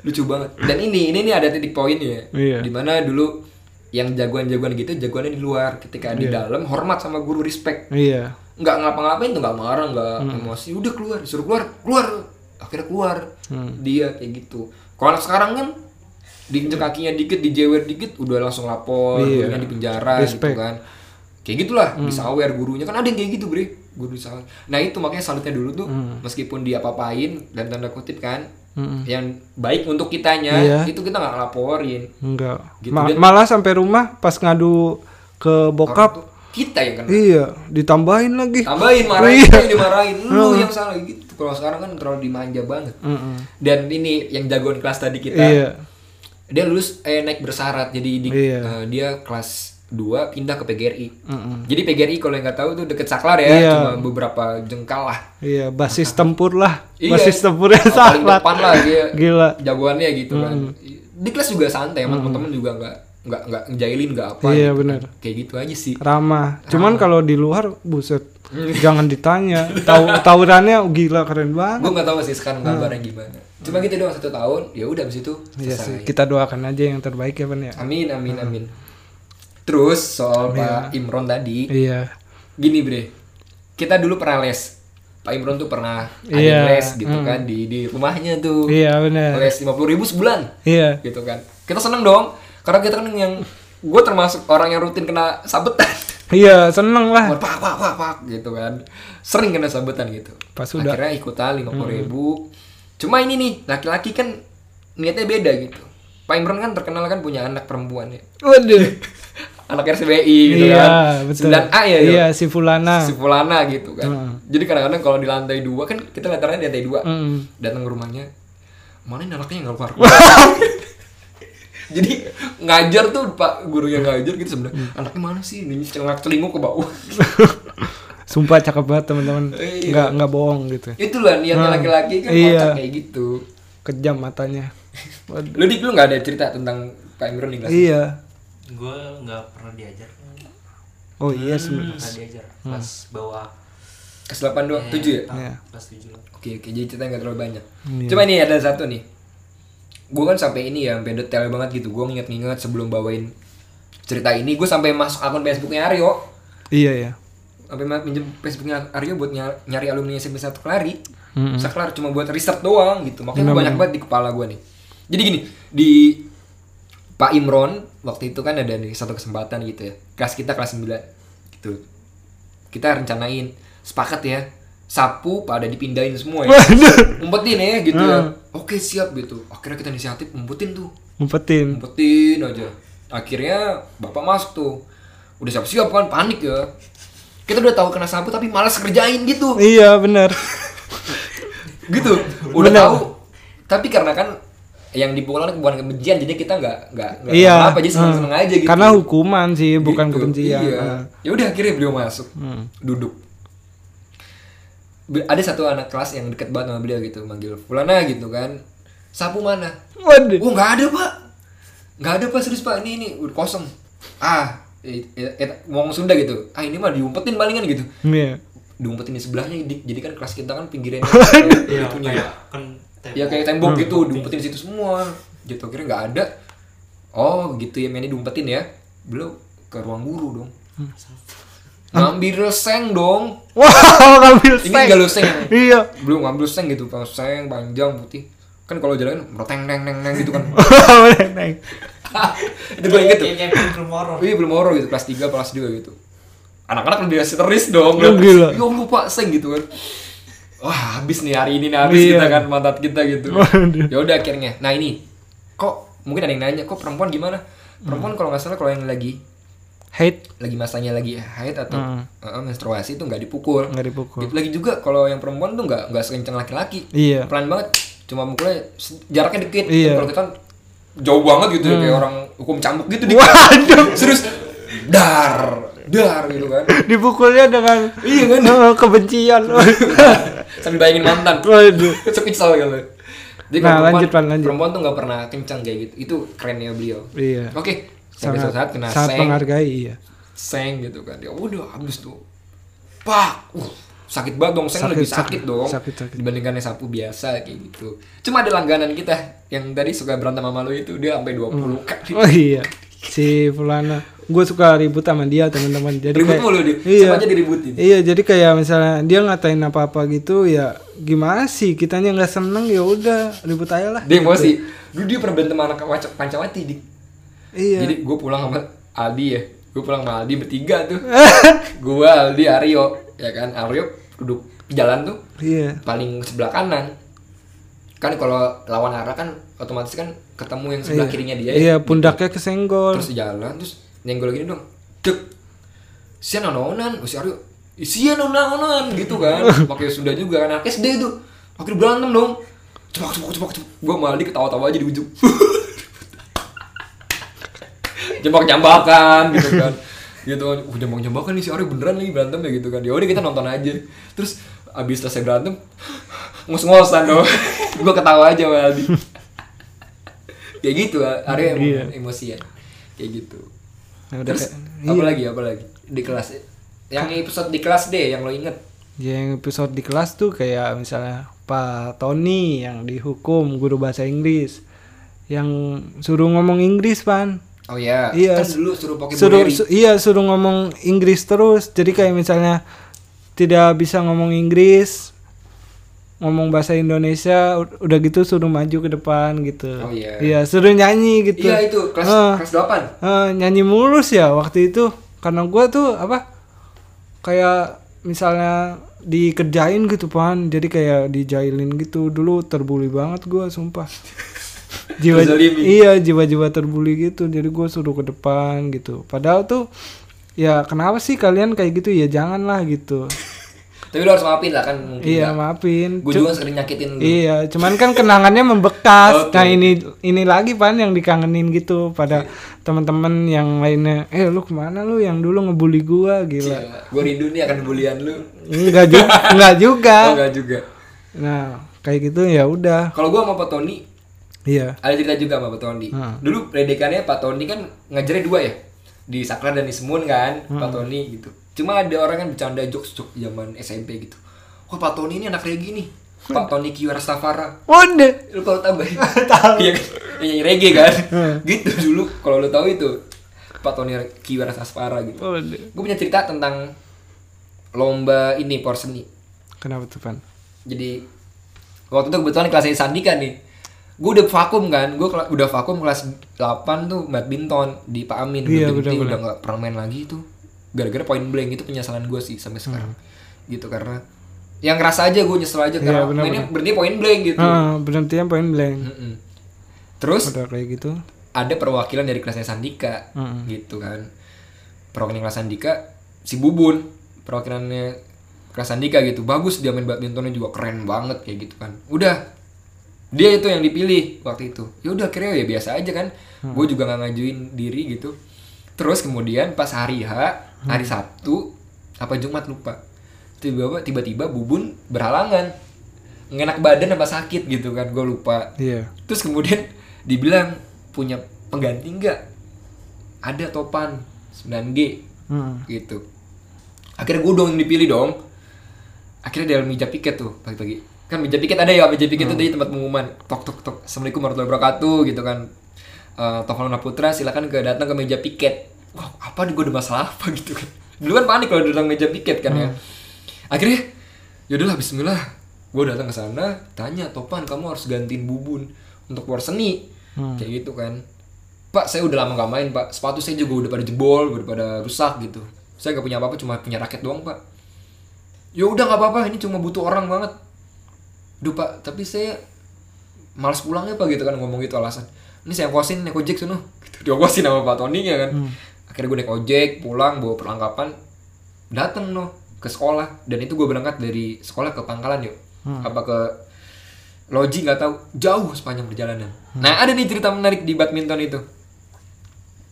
Speaker 1: lucu banget dan ini ini nih ada titik poinnya
Speaker 2: Iya.
Speaker 1: dimana dulu yang jagoan-jagoan gitu jagoannya di luar ketika di dalam hormat sama guru respect
Speaker 2: iya
Speaker 1: nggak ngapa-ngapain tuh nggak marah nggak
Speaker 2: Hmm.
Speaker 1: emosi udah keluar disuruh keluar keluar akhirnya keluar
Speaker 2: Hmm.
Speaker 1: dia kayak gitu kalau anak sekarang kan diinjek kakinya dikit dijewer dikit udah langsung lapor
Speaker 2: Iya.
Speaker 1: gurunya di penjara
Speaker 2: Respect. Hmm.
Speaker 1: gitu kan kayak gitulah disawer gurunya kan ada yang kayak gitu bre guru disawer nah itu makanya salutnya dulu tuh
Speaker 2: Hmm.
Speaker 1: meskipun dia apa-apain dan tanda kutip kan yang baik untuk kitanya
Speaker 2: Iya.
Speaker 1: itu kita nggak ngelaporin
Speaker 2: enggak
Speaker 1: Gitu,
Speaker 2: Ma-
Speaker 1: dan-
Speaker 2: malah sampai rumah pas ngadu ke bokap
Speaker 1: kita yang kena
Speaker 2: iya ditambahin lagi
Speaker 1: tambahin marahin
Speaker 2: Iya.
Speaker 1: kita yang dimarahin lu yang salah gitu kalau sekarang kan terlalu dimanja banget
Speaker 2: Mm-mm.
Speaker 1: dan ini yang jagoan kelas tadi kita
Speaker 2: iya
Speaker 1: dia lulus eh, naik bersyarat jadi di-
Speaker 2: Iya.
Speaker 1: eh, dia kelas 2 pindah ke PGRI jadi PGRI kalau yang nggak tahu tuh deket Saklar ya
Speaker 2: Iya.
Speaker 1: cuma beberapa jengkal lah
Speaker 2: iya basis tempur lah
Speaker 1: Iya.
Speaker 2: basis tempurnya
Speaker 1: Oh, paling
Speaker 2: salah
Speaker 1: depan lah dia
Speaker 2: ya, Gila.
Speaker 1: jagoannya gitu kan di kelas juga santai emang teman-teman juga nggak nggak nggak ngejailin nggak apa
Speaker 2: Iya,
Speaker 1: gitu kan.
Speaker 2: bener.
Speaker 1: kayak gitu aja sih
Speaker 2: ramah cuman kalau di luar buset
Speaker 1: Hmm.
Speaker 2: jangan ditanya tahu
Speaker 1: (laughs)
Speaker 2: tawurannya gila keren banget
Speaker 1: gue nggak tahu sih sekarang gambarnya gimana cuma gitu doang satu tahun ya udah abis itu
Speaker 2: Iya
Speaker 1: selesai
Speaker 2: sih, kita doakan aja yang terbaik ya pan ya
Speaker 1: Amin, amin, amin. Terus soal Pak Imron tadi,
Speaker 2: iya
Speaker 1: gini bre, kita dulu pernah les. Pak Imron tuh pernah ada
Speaker 2: Iya,
Speaker 1: les gitu kan di di rumahnya tuh.
Speaker 2: iya benar
Speaker 1: Les lima ribu sebulan,
Speaker 2: iya
Speaker 1: gitu kan. Kita seneng dong, karena kita kan yang gue termasuk orang yang rutin kena sabetan. (laughs)
Speaker 2: iya seneng lah
Speaker 1: Pak, pak, pak, pak, gitu kan. Sering kena sabetan gitu.
Speaker 2: Pas udah. Hmm.
Speaker 1: Akhirnya ikutan lima ribu. Cuma ini nih laki-laki kan niatnya beda gitu. Pak Imron kan terkenal kan punya anak perempuan ya (laughs)
Speaker 2: waduh
Speaker 1: anak RCBI gitu
Speaker 2: iya
Speaker 1: kan.
Speaker 2: betul
Speaker 1: 9A ya.
Speaker 2: iya
Speaker 1: Iya.
Speaker 2: si fulana
Speaker 1: Si Fulana gitu kan. Jadi kadang-kadang kalau di lantai dua kan kita latarnya di lantai dua.
Speaker 2: Mm.
Speaker 1: Datang ke rumahnya, mana ini anaknya yang keluar. Jadi ngajar tuh Pak guru yang ngajar gitu sebenarnya. Anaknya mana sih? Ini celak celinguk ke bawah.
Speaker 2: Sumpah cakep banget teman-teman.
Speaker 1: Iya.
Speaker 2: Nggak nggak bohong gitu.
Speaker 1: Itulah niatnya laki-laki kan
Speaker 2: Iya.
Speaker 1: kocak kayak gitu.
Speaker 2: Kejam matanya. Waduh.
Speaker 1: Lu dik lu nggak ada cerita tentang Pak Imron di kelas?
Speaker 2: iya.
Speaker 3: gue nggak pernah diajar
Speaker 2: oh iya sebenarnya
Speaker 3: nggak pernah diajar pas bawah
Speaker 1: Kelas 8 doang, 7 ya?
Speaker 2: Iya.
Speaker 3: kelas tujuh lah.
Speaker 1: Oke oke jadi ceritanya nggak terlalu banyak. Cuma ini ada satu nih. Gue kan sampai ini ya sampai detail banget gitu. Gue nginget-nginget sebelum bawain cerita ini gue sampai masuk akun Facebooknya Aryo.
Speaker 2: iya ya
Speaker 1: Sampai ma- minjem Facebooknya Aryo buat nyari, nyari alumni SMP 1 Kelari. Saklar cuma buat riset doang gitu. Makanya banyak banget di kepala gue nih. Jadi gini, di Pak Imron waktu itu kan ada nih satu kesempatan gitu ya. Kelas kita kelas 9 gitu. Kita rencanain sepakat ya sapu pada dipindahin semua ya umpetin ya gitu ya oke siap gitu akhirnya kita inisiatif umpetin tuh
Speaker 2: ngumpetin
Speaker 1: umpetin aja akhirnya bapak masuk tuh udah siap-siap kan panik ya kita udah tahu kena sapu tapi malas kerjain gitu
Speaker 2: iya benar (laughs)
Speaker 1: gitu udah tahu tapi karena kan yang dipukul kan bukan kebencian jadi kita nggak nggak nggak
Speaker 2: iya
Speaker 1: apa aja seneng-seneng aja gitu
Speaker 2: karena hukuman sih bukan
Speaker 1: Gitu,
Speaker 2: kebencian Hmm.
Speaker 1: iya.
Speaker 2: Ah.
Speaker 1: ya udah akhirnya beliau masuk duduk Be- ada satu anak kelas yang deket banget sama beliau gitu manggil Fulana gitu kan sapu mana
Speaker 2: waduh
Speaker 1: oh nggak ada pak nggak ada pak serius pak ini ini udah kosong ah eh, eh, eh, ngomong Sunda gitu ah ini mah diumpetin palingan gitu
Speaker 2: iya
Speaker 1: diumpetin di sebelahnya di- jadi kan kelas kita kan pinggirannya
Speaker 3: Iya,
Speaker 1: kayak itunya
Speaker 3: kayak kan tembok.
Speaker 1: ya kayak tembok gitu diumpetin di situ semua gitu akhirnya nggak ada oh gitu ya mainnya diumpetin ya belum ke ruang guru dong ngambil seng dong
Speaker 2: wah ngambil
Speaker 1: ini ya?
Speaker 2: seng.
Speaker 1: galuseng yang
Speaker 2: iya
Speaker 1: belum ngambil seng gitu pas seng panjang putih kan kalau jalan meroteng neng neng neng gitu kan
Speaker 2: (laughs) Boleh, Neng.
Speaker 1: itu gue inget tuh
Speaker 3: Kayak- kayak film horor.
Speaker 1: Iya belum horor gitu kelas 3 kelas 2 gitu. Anak-anak lebih histeris dong.
Speaker 2: Lu Iya, gila.
Speaker 1: Ya Allah Pak seng gitu kan. Wah, habis nih hari ini nih habis
Speaker 2: Iya.
Speaker 1: kita kan mantat kita gitu.
Speaker 2: Waduh.
Speaker 1: ya udah akhirnya. Nah, ini kok mungkin ada yang nanya kok perempuan gimana? Perempuan
Speaker 2: Hmm.
Speaker 1: kalau nggak salah kalau yang lagi
Speaker 2: hate
Speaker 1: lagi masanya lagi haid atau
Speaker 2: Hmm.
Speaker 1: eh, menstruasi itu nggak dipukul.
Speaker 2: nggak dipukul
Speaker 1: Lagi juga kalau yang perempuan tuh nggak nggak sekencang laki-laki.
Speaker 2: iya
Speaker 1: Pelan banget. Cuma mukulnya se- jaraknya dikit.
Speaker 2: Iya. Hmm.
Speaker 1: Kalau kita kan jauh banget gitu ya, kayak orang hukum cambuk gitu di
Speaker 2: waduh
Speaker 1: serius dar dar gitu kan
Speaker 2: dipukulnya dengan
Speaker 1: Iya, kan?
Speaker 2: eh, (laughs) kebencian
Speaker 1: sambil bayangin
Speaker 2: (laughs)
Speaker 1: mantan
Speaker 2: waduh
Speaker 1: sepiksel gitu jadi kalau
Speaker 2: Nah,
Speaker 1: perempuan,
Speaker 2: lanjut, Pan, lanjut.
Speaker 1: perempuan tuh nggak pernah kencang kayak gitu itu kerennya beliau
Speaker 2: iya
Speaker 1: oke sampai suatu saat kena
Speaker 2: sangat
Speaker 1: seng
Speaker 2: menghargai iya
Speaker 1: seng gitu kan ya udah habis tuh pak uh, sakit banget dong seng
Speaker 2: Sakit,
Speaker 1: lebih sakit,
Speaker 2: sakit,
Speaker 1: dong
Speaker 2: sakit, sakit.
Speaker 1: dibandingkan yang sapu biasa kayak gitu cuma ada langganan kita yang tadi suka berantem sama lo itu dia sampai kan. 20 kali
Speaker 2: oh iya si Fulana gue suka ribut sama dia teman-teman jadi
Speaker 1: ribut
Speaker 2: kayak-
Speaker 1: mulu dia
Speaker 2: iya
Speaker 1: sama aja diributin
Speaker 2: iya jadi kayak misalnya dia ngatain apa apa gitu ya gimana sih kitanya nggak seneng ya udah ribut aja lah
Speaker 1: (laughs) dia emosi dulu dia pernah berantem sama anak Panca- pancawati dik
Speaker 2: iya
Speaker 1: Jadi gue pulang sama Aldi ya. Gue pulang sama Aldi bertiga
Speaker 2: (laughs)
Speaker 1: tuh. gue Aldi Aryo ya kan. Aryo duduk di jalan tuh
Speaker 2: iya
Speaker 1: paling sebelah kanan. Kan kalau lawan arah kan otomatis kan ketemu yang sebelah kirinya dia. ya.
Speaker 2: iya pundaknya kesenggol
Speaker 1: Terus di jalan terus nyenggol gini dong. Dek. Sian nononan, oh, si Aryo. Sian nononan gitu kan. Pakai sudah juga kan anak SD tuh. Akhirnya berantem dong. Cepak cepak cepak cepak. Gue malah Aldi ketawa-tawa aja di ujung. (laughs) jebak jambakan gitu kan gitu kan uh jebak jambakan nih si Aryo beneran lagi berantem ya gitu kan ya udah kita nonton aja terus abis selesai berantem (gasps) ngos-ngosan dong (laughs) gue ketawa aja sama Aldi kayak gitu Aryo emang
Speaker 2: Iya.
Speaker 1: emosian kayak gitu
Speaker 2: Nah, udah
Speaker 1: terus
Speaker 2: kayak-
Speaker 1: apa lagi apa lagi di kelas yang episode di kelas D yang lo inget
Speaker 2: ya yang episode di kelas tuh kayak misalnya Pak Tony yang dihukum guru bahasa Inggris yang suruh ngomong Inggris pan
Speaker 1: oh ya
Speaker 2: Iya,
Speaker 1: kan dulu suruh pakai
Speaker 2: suruh
Speaker 1: Buneri.
Speaker 2: su- iya suruh ngomong Inggris terus jadi kayak misalnya tidak bisa ngomong Inggris ngomong bahasa Indonesia u- udah gitu suruh maju ke depan gitu
Speaker 1: Oh, iya.
Speaker 2: suruh nyanyi gitu
Speaker 1: iya itu kelas
Speaker 2: Ah.
Speaker 1: kelas delapan
Speaker 2: Eh, nyanyi mulus ya waktu itu karena gua tuh apa kayak misalnya dikerjain gitu pan jadi kayak dijailin gitu dulu terbuli banget gua sumpah jiwa
Speaker 1: Terzalimi.
Speaker 2: iya jiwa-jiwa terbuli gitu jadi gua suruh ke depan gitu padahal tuh ya kenapa sih kalian kayak gitu ya janganlah gitu
Speaker 1: tapi lo harus maafin lah kan mungkin
Speaker 2: iya maafin
Speaker 1: gue
Speaker 2: Cu-
Speaker 1: juga sering nyakitin lo
Speaker 2: Iya, cuman kan kenangannya
Speaker 1: Gitu. Oke.
Speaker 2: membekas.
Speaker 1: Iya.
Speaker 2: Nah ini ini lagi pan yang dikangenin gitu pada teman-teman yang lainnya. Eh lu kemana lu yang dulu ngebully gua gila.
Speaker 1: gue rindu nih akan bulian lu
Speaker 2: Iya. Enggak
Speaker 1: (laughs)
Speaker 2: juga, enggak juga.
Speaker 1: Oh, enggak juga.
Speaker 2: Nah kayak gitu ya udah.
Speaker 1: Kalau gua sama Pak Tony
Speaker 2: Iya.
Speaker 1: Ada cerita juga sama Pak Tondi.
Speaker 2: Ah.
Speaker 1: Dulu pendidikannya Pak Tondi kan ngajarnya dua ya. Di Saklar dan di Semun kan,
Speaker 2: Ah.
Speaker 1: Pak Tondi gitu. Cuma ada orang yang bercanda jokes-jokes zaman SMP gitu. Wah Pak Tony ini anak reggae nih. Pak Tony Kiwara Safara.
Speaker 2: Wonder.
Speaker 1: Lu kalau
Speaker 2: (laughs)
Speaker 1: tambahin. Tahu. Iya kan? Yang nyanyi reggae kan.
Speaker 2: Hmm.
Speaker 1: gitu dulu kalau lu tahu itu. Pak Tony Kiwara Safara gitu.
Speaker 2: Wonder.
Speaker 1: Gue punya cerita tentang lomba ini porseni.
Speaker 2: Kenapa tuh pan?
Speaker 1: Jadi waktu itu kebetulan kelasnya Sandika nih. Gue udah vakum kan, gue kela- udah vakum kelas 8 tuh badminton di Pak Amin.
Speaker 2: Iya,
Speaker 1: udah gede,
Speaker 2: benar-benar.
Speaker 1: udah nggak pernah main lagi itu. Gara-gara point blank itu penyesalan gue sih sampai
Speaker 2: Hmm.
Speaker 1: sekarang. Gitu karena yang ngerasa aja gue nyesel aja karena
Speaker 2: Iya, benar-benar.
Speaker 1: mainnya berhenti point blank gitu.
Speaker 2: Ah, berhentinya poin blank.
Speaker 1: Mm-mm. Terus
Speaker 2: Udah kayak gitu.
Speaker 1: ada perwakilan dari kelasnya Sandika gitu kan perwakilan kelas Sandika si Bubun perwakilannya kelas Sandika gitu bagus dia main badmintonnya juga keren banget kayak gitu kan udah dia itu yang dipilih waktu itu ya udah akhirnya ya biasa aja kan gue juga nggak ngajuin diri gitu terus kemudian pas hari H hari Sabtu apa Jumat lupa tiba-tiba tiba-tiba Bubun berhalangan ngenak badan apa sakit gitu kan gue lupa
Speaker 2: Iya.
Speaker 1: Terus kemudian dibilang punya pengganti nggak? Ada topan 9G
Speaker 2: Hmm.
Speaker 1: gitu. Akhirnya gue dong yang dipilih dong. Akhirnya dalam meja piket tuh pagi-pagi. Kan meja piket ada ya, meja piket itu di tempat pengumuman. Tok tok tok. Assalamualaikum warahmatullahi wabarakatuh gitu kan. Eh Taufan Luna Putra silakan ke datang ke meja piket. Wah, apa nih gue ada masalah apa gitu kan. Dulu kan panik kalau datang meja piket kan ya. Akhirnya yaudahlah bismillah. Gue datang ke sana, tanya Topan kamu harus gantiin bubun untuk war seni. Kayak gitu kan. Pak, saya udah lama nggak main, Pak. Sepatu saya juga udah pada jebol, udah pada rusak gitu. Saya nggak punya apa-apa, cuma punya raket doang, Pak. Ya udah nggak apa-apa, ini cuma butuh orang banget. Duh, Pak, tapi saya malas pulangnya, Pak, gitu kan ngomong gitu alasan. Ini saya kosin naik ojek sono. (laughs) Gitu. Diokosin sama Pak Tony ya kan. Akhirnya gue naik ojek, pulang bawa perlengkapan, dateng noh ke sekolah dan itu gue berangkat dari sekolah ke Pangkalan yuk. Apa ke Loji nggak tahu jauh sepanjang perjalanan. Nah ada nih cerita menarik di badminton itu.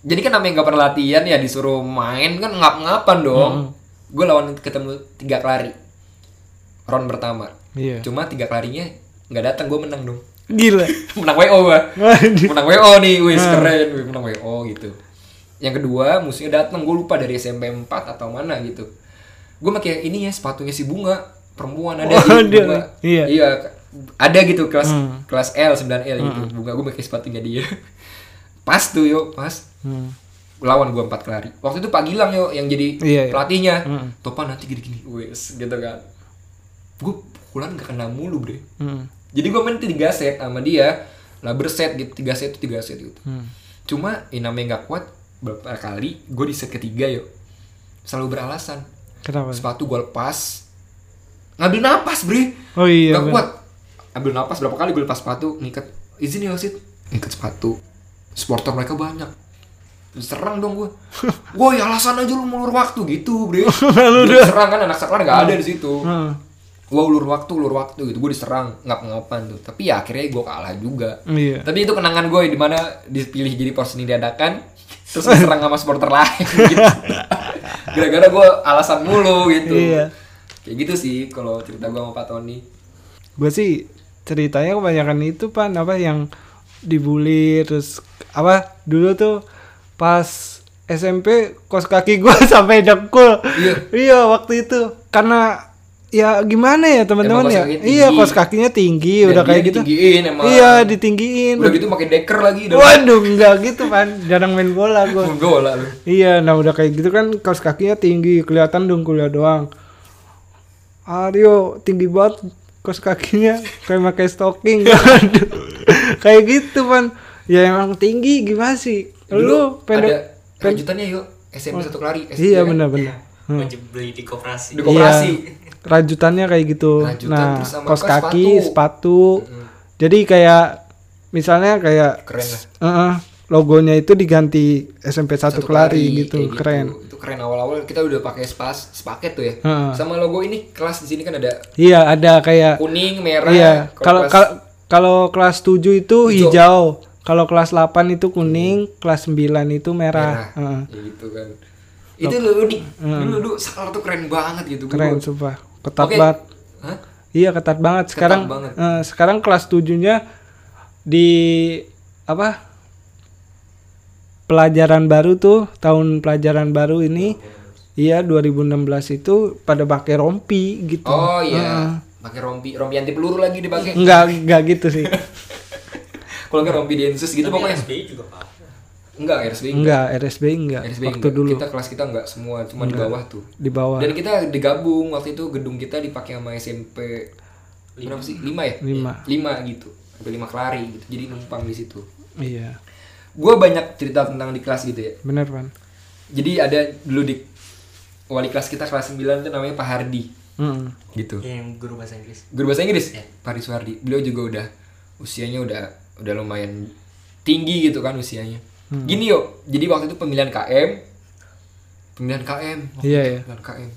Speaker 1: Jadi kan namanya nggak pernah latihan ya disuruh main kan ngap-ngapan dong. Gue lawan ketemu tiga kelari. Round pertama.
Speaker 2: Iya.
Speaker 1: Cuma tiga kelarinya nggak datang gue menang dong. (laughs)
Speaker 2: Gila.
Speaker 1: menang WO gue.
Speaker 2: (laughs) Waduh.
Speaker 1: menang WO nih,
Speaker 2: Ah.
Speaker 1: wis keren, wih, menang WO gitu. Yang kedua musuhnya datang gue lupa dari SMP 4 atau mana gitu. Gue pakai ini ya sepatunya si bunga perempuan ada di
Speaker 2: Waduh,
Speaker 1: bunga.
Speaker 2: iya. Hmm.
Speaker 1: Iya, ada gitu kelas kelas L 9L gitu. Bunga gue pakai sepatunya dia. (laughs) pas tuh yuk, pas. Lawan gue empat kelari. Waktu itu Pak Gilang yuk yang jadi
Speaker 2: Iya, iya.
Speaker 1: pelatihnya. Topan nanti gini-gini, wes gitu kan. Gue pukulan gak kena mulu bre.
Speaker 2: Hmm.
Speaker 1: Jadi gue main tiga set sama dia, lah berset gitu, tiga set itu tiga set gitu. Cuma ini namanya nggak kuat, beberapa kali gue di set ketiga yuk, selalu beralasan.
Speaker 2: Kenapa?
Speaker 1: Sepatu gue lepas, ngambil napas bre,
Speaker 2: Oh iya.
Speaker 1: nggak
Speaker 2: bener.
Speaker 1: kuat. Ambil napas berapa kali gue lepas sepatu, ngikat, izin ya wasit, ngikat sepatu. Supporter mereka banyak, serang dong
Speaker 2: (laughs)
Speaker 1: gue. Woi alasan aja lu mulur waktu gitu bre.
Speaker 2: Nah,
Speaker 1: Lu serang kan anak saklar nggak ada di situ
Speaker 2: Hmm.
Speaker 1: gue ulur waktu ulur waktu gitu gue diserang ngap ngapan tuh tapi ya akhirnya gue kalah juga
Speaker 2: Iya.
Speaker 1: tapi itu kenangan gue di mana dipilih jadi porseni
Speaker 2: (laughs)
Speaker 1: dadakan terus diserang sama supporter lain (laughs) gitu gara-gara gue alasan mulu gitu
Speaker 2: Iya.
Speaker 1: kayak gitu sih kalau cerita gue sama Pak Tony
Speaker 2: gue sih ceritanya kebanyakan itu pan apa yang dibully terus apa dulu tuh pas SMP kos kaki gue (laughs) sampai dengkul
Speaker 1: Iya.
Speaker 2: waktu itu karena ya gimana ya teman-teman
Speaker 1: Emang kos
Speaker 2: ya
Speaker 1: kakinya
Speaker 2: iya
Speaker 1: tinggi.
Speaker 2: kos kakinya tinggi
Speaker 1: Dan
Speaker 2: udah
Speaker 1: dia
Speaker 2: kayak gitu
Speaker 1: ditinggiin emang.
Speaker 2: iya ditinggiin
Speaker 1: udah gitu pakai deker lagi udah
Speaker 2: waduh nggak gitu pan jarang main bola gue
Speaker 1: main bola lu
Speaker 2: Iya, nah udah kayak gitu kan kaos kakinya tinggi, kelihatan dengkulnya doang. Aryo tinggi banget kaos kakinya kayak pakai
Speaker 1: (laughs)
Speaker 2: stocking. Aduh. kayak gitu, Pan. Ya emang tinggi gimana sih? Lu
Speaker 1: Dulu
Speaker 2: pendek.
Speaker 1: ada lanjutannya yuk SMP satu kelari SD
Speaker 2: Iya,
Speaker 1: kan?
Speaker 2: benar-benar.
Speaker 3: wajib beli di koperasi
Speaker 1: di koperasi
Speaker 2: Rajutannya kayak gitu.
Speaker 1: Rajutan,
Speaker 2: nah,
Speaker 1: terus sama
Speaker 2: kaos
Speaker 1: kaos
Speaker 2: kaki,
Speaker 1: sepatu. Mm-hmm.
Speaker 2: sepatu. Jadi kayak misalnya kayak
Speaker 1: keren lah
Speaker 2: eh, logonya itu diganti SMP 1 Kelari
Speaker 1: kelari,
Speaker 2: gitu,
Speaker 1: kayak
Speaker 2: keren.
Speaker 1: itu keren awal-awal kita udah pakai spas sepaket tuh ya
Speaker 2: Heeh.
Speaker 1: sama logo ini kelas di sini kan ada
Speaker 2: Iya, ada kayak
Speaker 1: kuning merah
Speaker 2: Iya, kalau
Speaker 1: kelas-
Speaker 2: kalau kalau kelas 7 itu hijau. Kalau kelas 8 itu kuning, kelas 9 itu merah. Heeh.
Speaker 1: Ya gitu kan itu lu unik dulu dulu saklar tuh keren banget gitu
Speaker 2: Keren
Speaker 1: Gua-
Speaker 2: sumpah. Ketat
Speaker 1: Oke.
Speaker 2: banget.
Speaker 1: Hah?
Speaker 2: Iya, ketat banget. Sekarang
Speaker 1: banget.
Speaker 2: eh, sekarang kelas 7-nya di apa pelajaran baru tuh tahun pelajaran baru ini iya 2016 itu pada pakai rompi gitu
Speaker 1: Oh iya. Pakai rompi, rompi anti peluru lagi dipakai.
Speaker 2: enggak (laughs) enggak gitu sih
Speaker 1: Kalau nggak rompi densus gitu pokoknya.
Speaker 3: SBI juga pak
Speaker 1: Enggak, RSB.
Speaker 2: enggak RSB enggak
Speaker 1: RSB
Speaker 2: waktu
Speaker 1: enggak.
Speaker 2: dulu
Speaker 1: Kita kelas kita enggak semua, cuma di bawah tuh.
Speaker 2: di bawah
Speaker 1: Dan kita digabung waktu itu gedung kita dipakai sama SMP berapa sih? 5 ya?
Speaker 2: Lima.
Speaker 1: 5 gitu. Sampai 5 kelari gitu. Jadi numpang di situ.
Speaker 2: iya
Speaker 1: Gue banyak cerita tentang di kelas gitu ya.
Speaker 2: bener pan
Speaker 1: Jadi ada dulu di wali kelas kita kelas 9 itu namanya Pak Hardi
Speaker 2: Mm.
Speaker 1: gitu.
Speaker 3: Iya, yang guru bahasa Inggris
Speaker 1: Guru bahasa Inggris Pak Hari Suhardi. Beliau juga udah usianya udah udah lumayan tinggi gitu kan usianya.
Speaker 2: Hmm.
Speaker 1: Gini yo, jadi waktu itu pemilihan KM pemilihan KM. waktu
Speaker 2: Iya,
Speaker 1: itu
Speaker 2: iya.
Speaker 1: Pemilihan KM.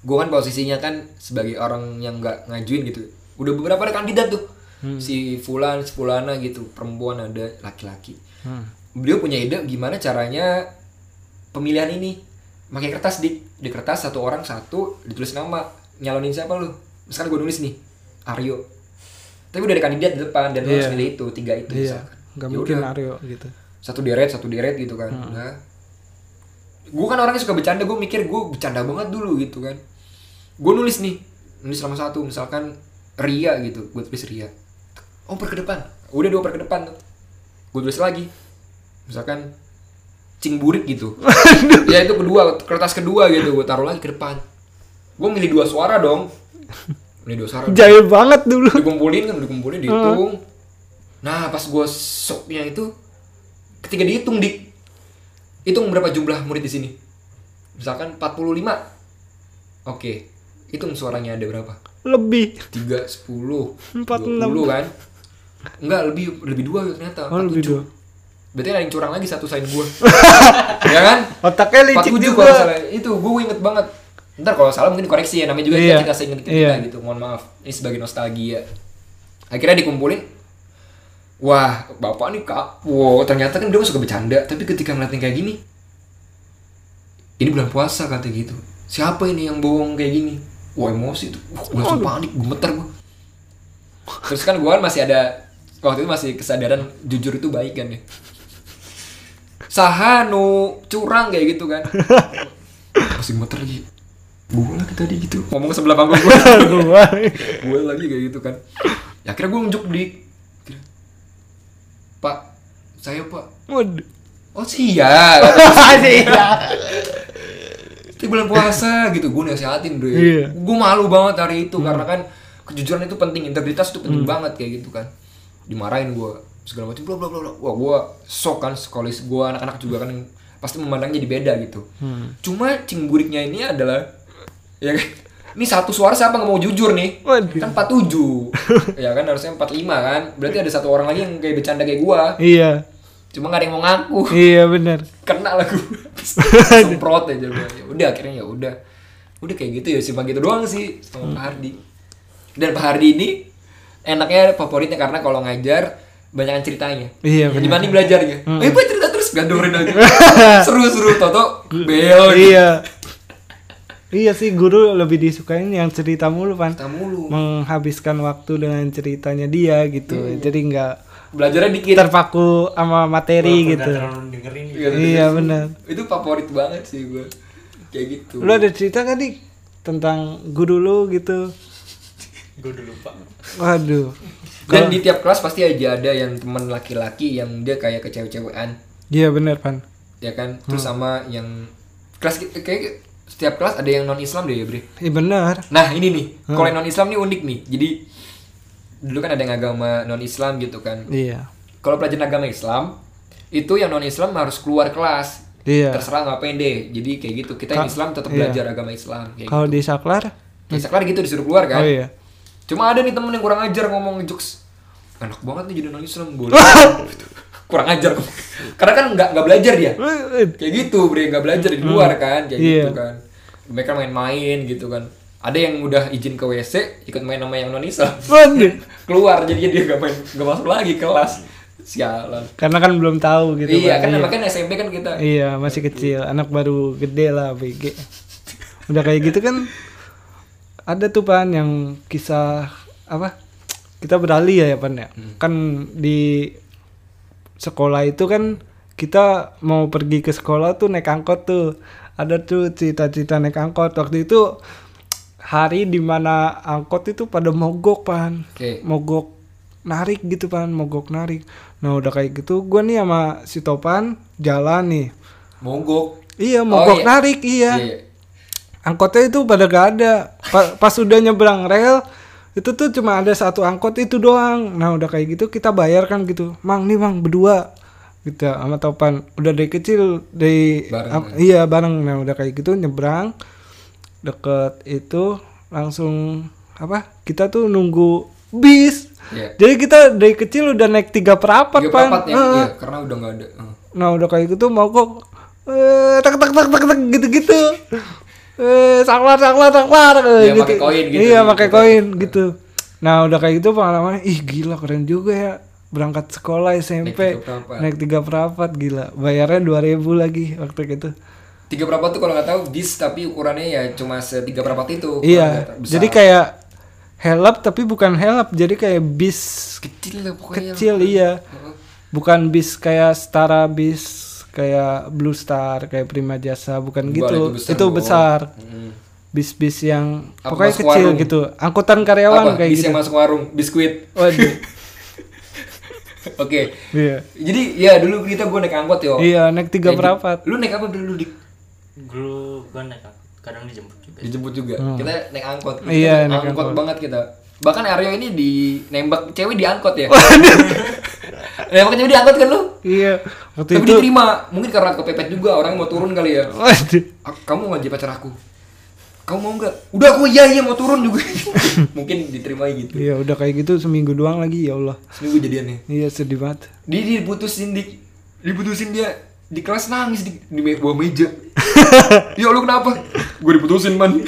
Speaker 1: Gue ya. kan posisinya kan sebagai orang yang nggak ngajuin gitu. Udah beberapa ada kandidat tuh.
Speaker 2: Hmm.
Speaker 1: Si fulan, si fulana gitu, perempuan ada, laki-laki. Beliau punya ide gimana caranya pemilihan ini pakai kertas di di kertas satu orang satu ditulis nama nyalonin siapa lu misalkan gue nulis nih Aryo tapi udah ada kandidat di depan dan lu harus
Speaker 2: Iya.
Speaker 1: milih itu tiga itu
Speaker 2: iya
Speaker 1: misalkan.
Speaker 2: nggak
Speaker 1: Ya
Speaker 2: mungkin
Speaker 1: udah,
Speaker 2: Aryo gitu
Speaker 1: satu deret satu deret gitu kan nah gue kan orangnya suka bercanda gue mikir gue bercanda banget dulu gitu kan gue nulis nih nulis nama satu misalkan Ria gitu gue tulis Ria oh per ke depan udah dua per ke depan tuh gue tulis lagi misalkan cingburik (laughs) gitu ya itu kedua kertas kedua gitu gue taruh lagi ke depan gue milih dua suara (laughs) dong milih dua suara
Speaker 2: jahil banget dulu (laughs)
Speaker 1: dikumpulin kan dikumpulin dihitung
Speaker 2: Hmm.
Speaker 1: nah pas gue soknya itu ketika dihitung dik hitung berapa jumlah murid di sini misalkan 45 oke hitung suaranya ada berapa
Speaker 2: lebih
Speaker 1: tiga sepuluh
Speaker 2: 46.
Speaker 1: kan enggak lebih lebih dua ya ternyata
Speaker 2: oh lebih
Speaker 1: 47.
Speaker 2: dua
Speaker 1: berarti ada yang curang lagi satu sain
Speaker 2: (laughs)
Speaker 1: gue ya kan
Speaker 2: otaknya
Speaker 1: empat
Speaker 2: licik
Speaker 1: tujuh
Speaker 2: Iya, juga
Speaker 1: kalau
Speaker 2: (laughs)
Speaker 1: salah itu gue inget banget ntar kalau salah mungkin koreksi ya namanya juga
Speaker 2: Iya.
Speaker 1: kita seinget kita
Speaker 2: Iya.
Speaker 1: gitu mohon maaf ini sebagai nostalgia akhirnya dikumpulin wah bapak nih kak wow ternyata kan dia suka bercanda tapi ketika ngeliatin kayak gini ini bulan puasa kata gitu siapa ini yang bohong kayak gini wah emosi tuh wah, gue langsung panik gemeter gue terus kan gue masih ada waktu itu masih kesadaran jujur itu baik kan ya sahanu curang kayak gitu kan masih muter lagi gue lagi tadi gitu ngomong ke sebelah panggung gue
Speaker 2: (laughs) Gua.
Speaker 1: gue lagi kayak gitu kan ya akhirnya gue nunjuk di pak saya pak
Speaker 2: Waduh.
Speaker 1: oh iya itu bulan puasa gitu gue nasihatin deh
Speaker 2: Iya. Hmm.
Speaker 1: gue malu banget hari itu karena kan kejujuran itu penting integritas itu penting banget kayak gitu kan dimarahin gue segala macam bla bla bla bla. wah gue sok kan sekolah gue anak-anak juga kan pasti memandang jadi beda gitu
Speaker 2: Hmm.
Speaker 1: cuma cingburiknya ini adalah ya kan ini satu suara siapa nggak mau jujur nih
Speaker 2: Waduh.
Speaker 1: kan
Speaker 2: (laughs)
Speaker 1: 47 ya kan harusnya 45 kan berarti ada satu orang lagi yang kayak bercanda kayak gue
Speaker 2: iya
Speaker 1: cuma nggak ada yang mau ngaku
Speaker 2: iya bener
Speaker 1: kena
Speaker 2: (laughs)
Speaker 1: lagu semprot aja gua. ya udah akhirnya ya udah udah kayak gitu ya sih gitu doang sih
Speaker 2: Hmm.
Speaker 1: sama Pak Hardi dan Pak Hardi ini enaknya favoritnya karena kalau ngajar banyak ceritanya
Speaker 2: Iya, Hmm. benar.
Speaker 1: dibanding belajarnya eh pak cerita terus gandorin
Speaker 2: (laughs)
Speaker 1: aja seru seru toto bel
Speaker 2: iya iya sih guru lebih disukain yang cerita mulu pan
Speaker 1: kita mulu
Speaker 2: menghabiskan waktu dengan ceritanya dia gitu
Speaker 1: Iya.
Speaker 2: jadi nggak
Speaker 1: belajarnya dikit
Speaker 2: terpaku sama materi
Speaker 3: Walaupun
Speaker 2: gitu
Speaker 3: nggak terlalu dengerin gitu.
Speaker 1: Gitu.
Speaker 2: iya benar
Speaker 1: itu favorit banget sih gue kayak gitu
Speaker 2: lu ada cerita kan dik tentang guru lu gitu
Speaker 3: gue dulu pak
Speaker 2: waduh
Speaker 1: dan di tiap kelas pasti aja ada yang teman laki-laki yang dia kayak kecewe-cewean
Speaker 2: iya bener pan
Speaker 1: ya kan terus
Speaker 2: Hmm.
Speaker 1: sama yang kelas ki- kayak setiap kelas ada yang non Islam deh ya Bre
Speaker 2: iya bener
Speaker 1: nah ini nih
Speaker 2: Hmm.
Speaker 1: kalau yang non Islam nih unik nih jadi dulu kan ada yang agama non Islam gitu kan
Speaker 2: iya
Speaker 1: kalau pelajaran agama Islam itu yang non Islam harus keluar kelas
Speaker 2: Iya.
Speaker 1: terserah ngapain deh jadi kayak gitu kita yang Islam tetap belajar agama Islam kayak gitu
Speaker 2: kalau di saklar
Speaker 1: kayak sekelar gitu disuruh keluar kan
Speaker 2: oh iya
Speaker 1: cuma ada nih temen yang kurang ajar ngomong jokes enak banget nih jadi non Islam
Speaker 2: (laughs)
Speaker 1: boleh kurang ajar karena kan nggak nggak belajar dia
Speaker 2: Eh, eh,
Speaker 1: kayak gitu bre nggak belajar di luar kan kayak
Speaker 2: Iya.
Speaker 1: gitu kan mereka main-main gitu kan ada yang udah izin ke wc ikut main sama yang non Islam
Speaker 2: waduh
Speaker 1: (laughs) keluar jadinya dia nggak main nggak masuk lagi kelas sialan
Speaker 2: karena kan belum tahu gitu
Speaker 1: iya
Speaker 2: Pan.
Speaker 1: kan makanya SMP kan kita
Speaker 2: Iya masih kecil, anak baru gede lah BG. Udah kayak gitu kan ada tuh pan yang kisah apa kita beralih ya ya Pan ya. Kan di sekolah itu kan kita mau pergi ke sekolah tuh naik angkot tuh. Ada tuh cita-cita naik angkot. Waktu itu hari dimana angkot itu pada mogok pan.
Speaker 1: Oke.
Speaker 2: Mogok narik gitu pan, mogok narik. Nah udah kayak gitu, gua nih sama si Topan jalan nih.
Speaker 1: Mogok.
Speaker 2: Iya
Speaker 1: Oh,
Speaker 2: mogok
Speaker 1: iya.
Speaker 2: narik iya.
Speaker 1: Iya.
Speaker 2: Angkotnya itu pada gak ada. Pa- pas udah nyebrang rel itu tuh cuma ada satu angkot itu doang. Nah udah kayak gitu kita bayar kan gitu. Mang nih mang berdua gitu sama Topan. Udah dari kecil dari
Speaker 1: Bareng, ya?
Speaker 2: am- iya bareng. Nah udah kayak gitu nyebrang deket itu langsung apa? Kita tuh nunggu bis.
Speaker 1: Iya.
Speaker 2: Jadi kita dari kecil udah naik tiga perapat,
Speaker 1: Tiga
Speaker 2: Pan.
Speaker 1: perapat ya,
Speaker 2: Heeh.
Speaker 1: iya, karena udah nggak ada. Heeh.
Speaker 2: Nah udah kayak gitu mau kok eh tak tak tak tak tak gitu-gitu. Eh saklar saklar saklar eh,
Speaker 1: Iya, pakai koin gitu.
Speaker 2: Iya pakai koin gitu. Nah udah kayak gitu pengalaman ih gila keren juga ya berangkat sekolah SMP
Speaker 1: tiga perapat.
Speaker 2: naik tiga perapat gila bayarnya 2000 lagi waktu gitu. itu
Speaker 1: Tiga perapat tuh kalau nggak tahu bis tapi ukurannya ya cuma setiga perapat itu. Kalau nggak
Speaker 2: iya
Speaker 1: tahu, Oh, besar.
Speaker 2: jadi kayak helap tapi bukan helap jadi kayak bis
Speaker 1: kecil lah pokoknya.
Speaker 2: kecil iya bukan bis kayak setara bis kayak Blue Star kayak Prima Jasa
Speaker 1: Bukan,
Speaker 2: bukan gitu
Speaker 1: itu besar Hmm.
Speaker 2: itu
Speaker 1: dong.
Speaker 2: besar
Speaker 1: Heeh.
Speaker 2: bis-bis yang
Speaker 1: Apa,
Speaker 2: pokoknya
Speaker 1: masuk
Speaker 2: kecil
Speaker 1: warung?
Speaker 2: gitu angkutan karyawan
Speaker 1: Apa?
Speaker 2: kayak
Speaker 1: bis
Speaker 2: gitu
Speaker 1: yang masuk warung, biskuit.
Speaker 2: waduh
Speaker 1: (laughs) Oke.
Speaker 2: iya
Speaker 1: Jadi ya dulu kita gue naik angkot yo.
Speaker 2: iya naik
Speaker 1: Kayak
Speaker 2: tiga
Speaker 1: gitu.
Speaker 2: perapat
Speaker 1: Lu naik apa dulu Dik?
Speaker 3: Dulu gua naik angkot, kadang dijemput juga.
Speaker 1: Dijemput juga. Kita naik angkot. Kita
Speaker 2: Hmm. Iya,
Speaker 1: naik
Speaker 2: naik
Speaker 1: angkot, banget kita. Bahkan Aryo ini di nembak cewek di angkot ya. (laughs) nembak cewek di angkot kan lu?
Speaker 2: iya waktu
Speaker 1: Tapi
Speaker 2: itu
Speaker 1: diterima. Mungkin karena kepepet juga orang mau turun kali ya.
Speaker 2: waduh
Speaker 1: "Ah, Kamu mau jadi pacar aku? Kamu mau nggak? Udah aku iya iya mau turun
Speaker 2: (laughs)
Speaker 1: juga. Mungkin diterima gitu.
Speaker 2: iya udah kayak gitu seminggu doang lagi ya Allah
Speaker 1: Seminggu jadiannya.
Speaker 2: iya sedih banget
Speaker 1: Dia diputusin di diputusin dia di kelas nangis di, di me- bawah
Speaker 2: (laughs)
Speaker 1: meja. ya lu kenapa? Gue diputusin man.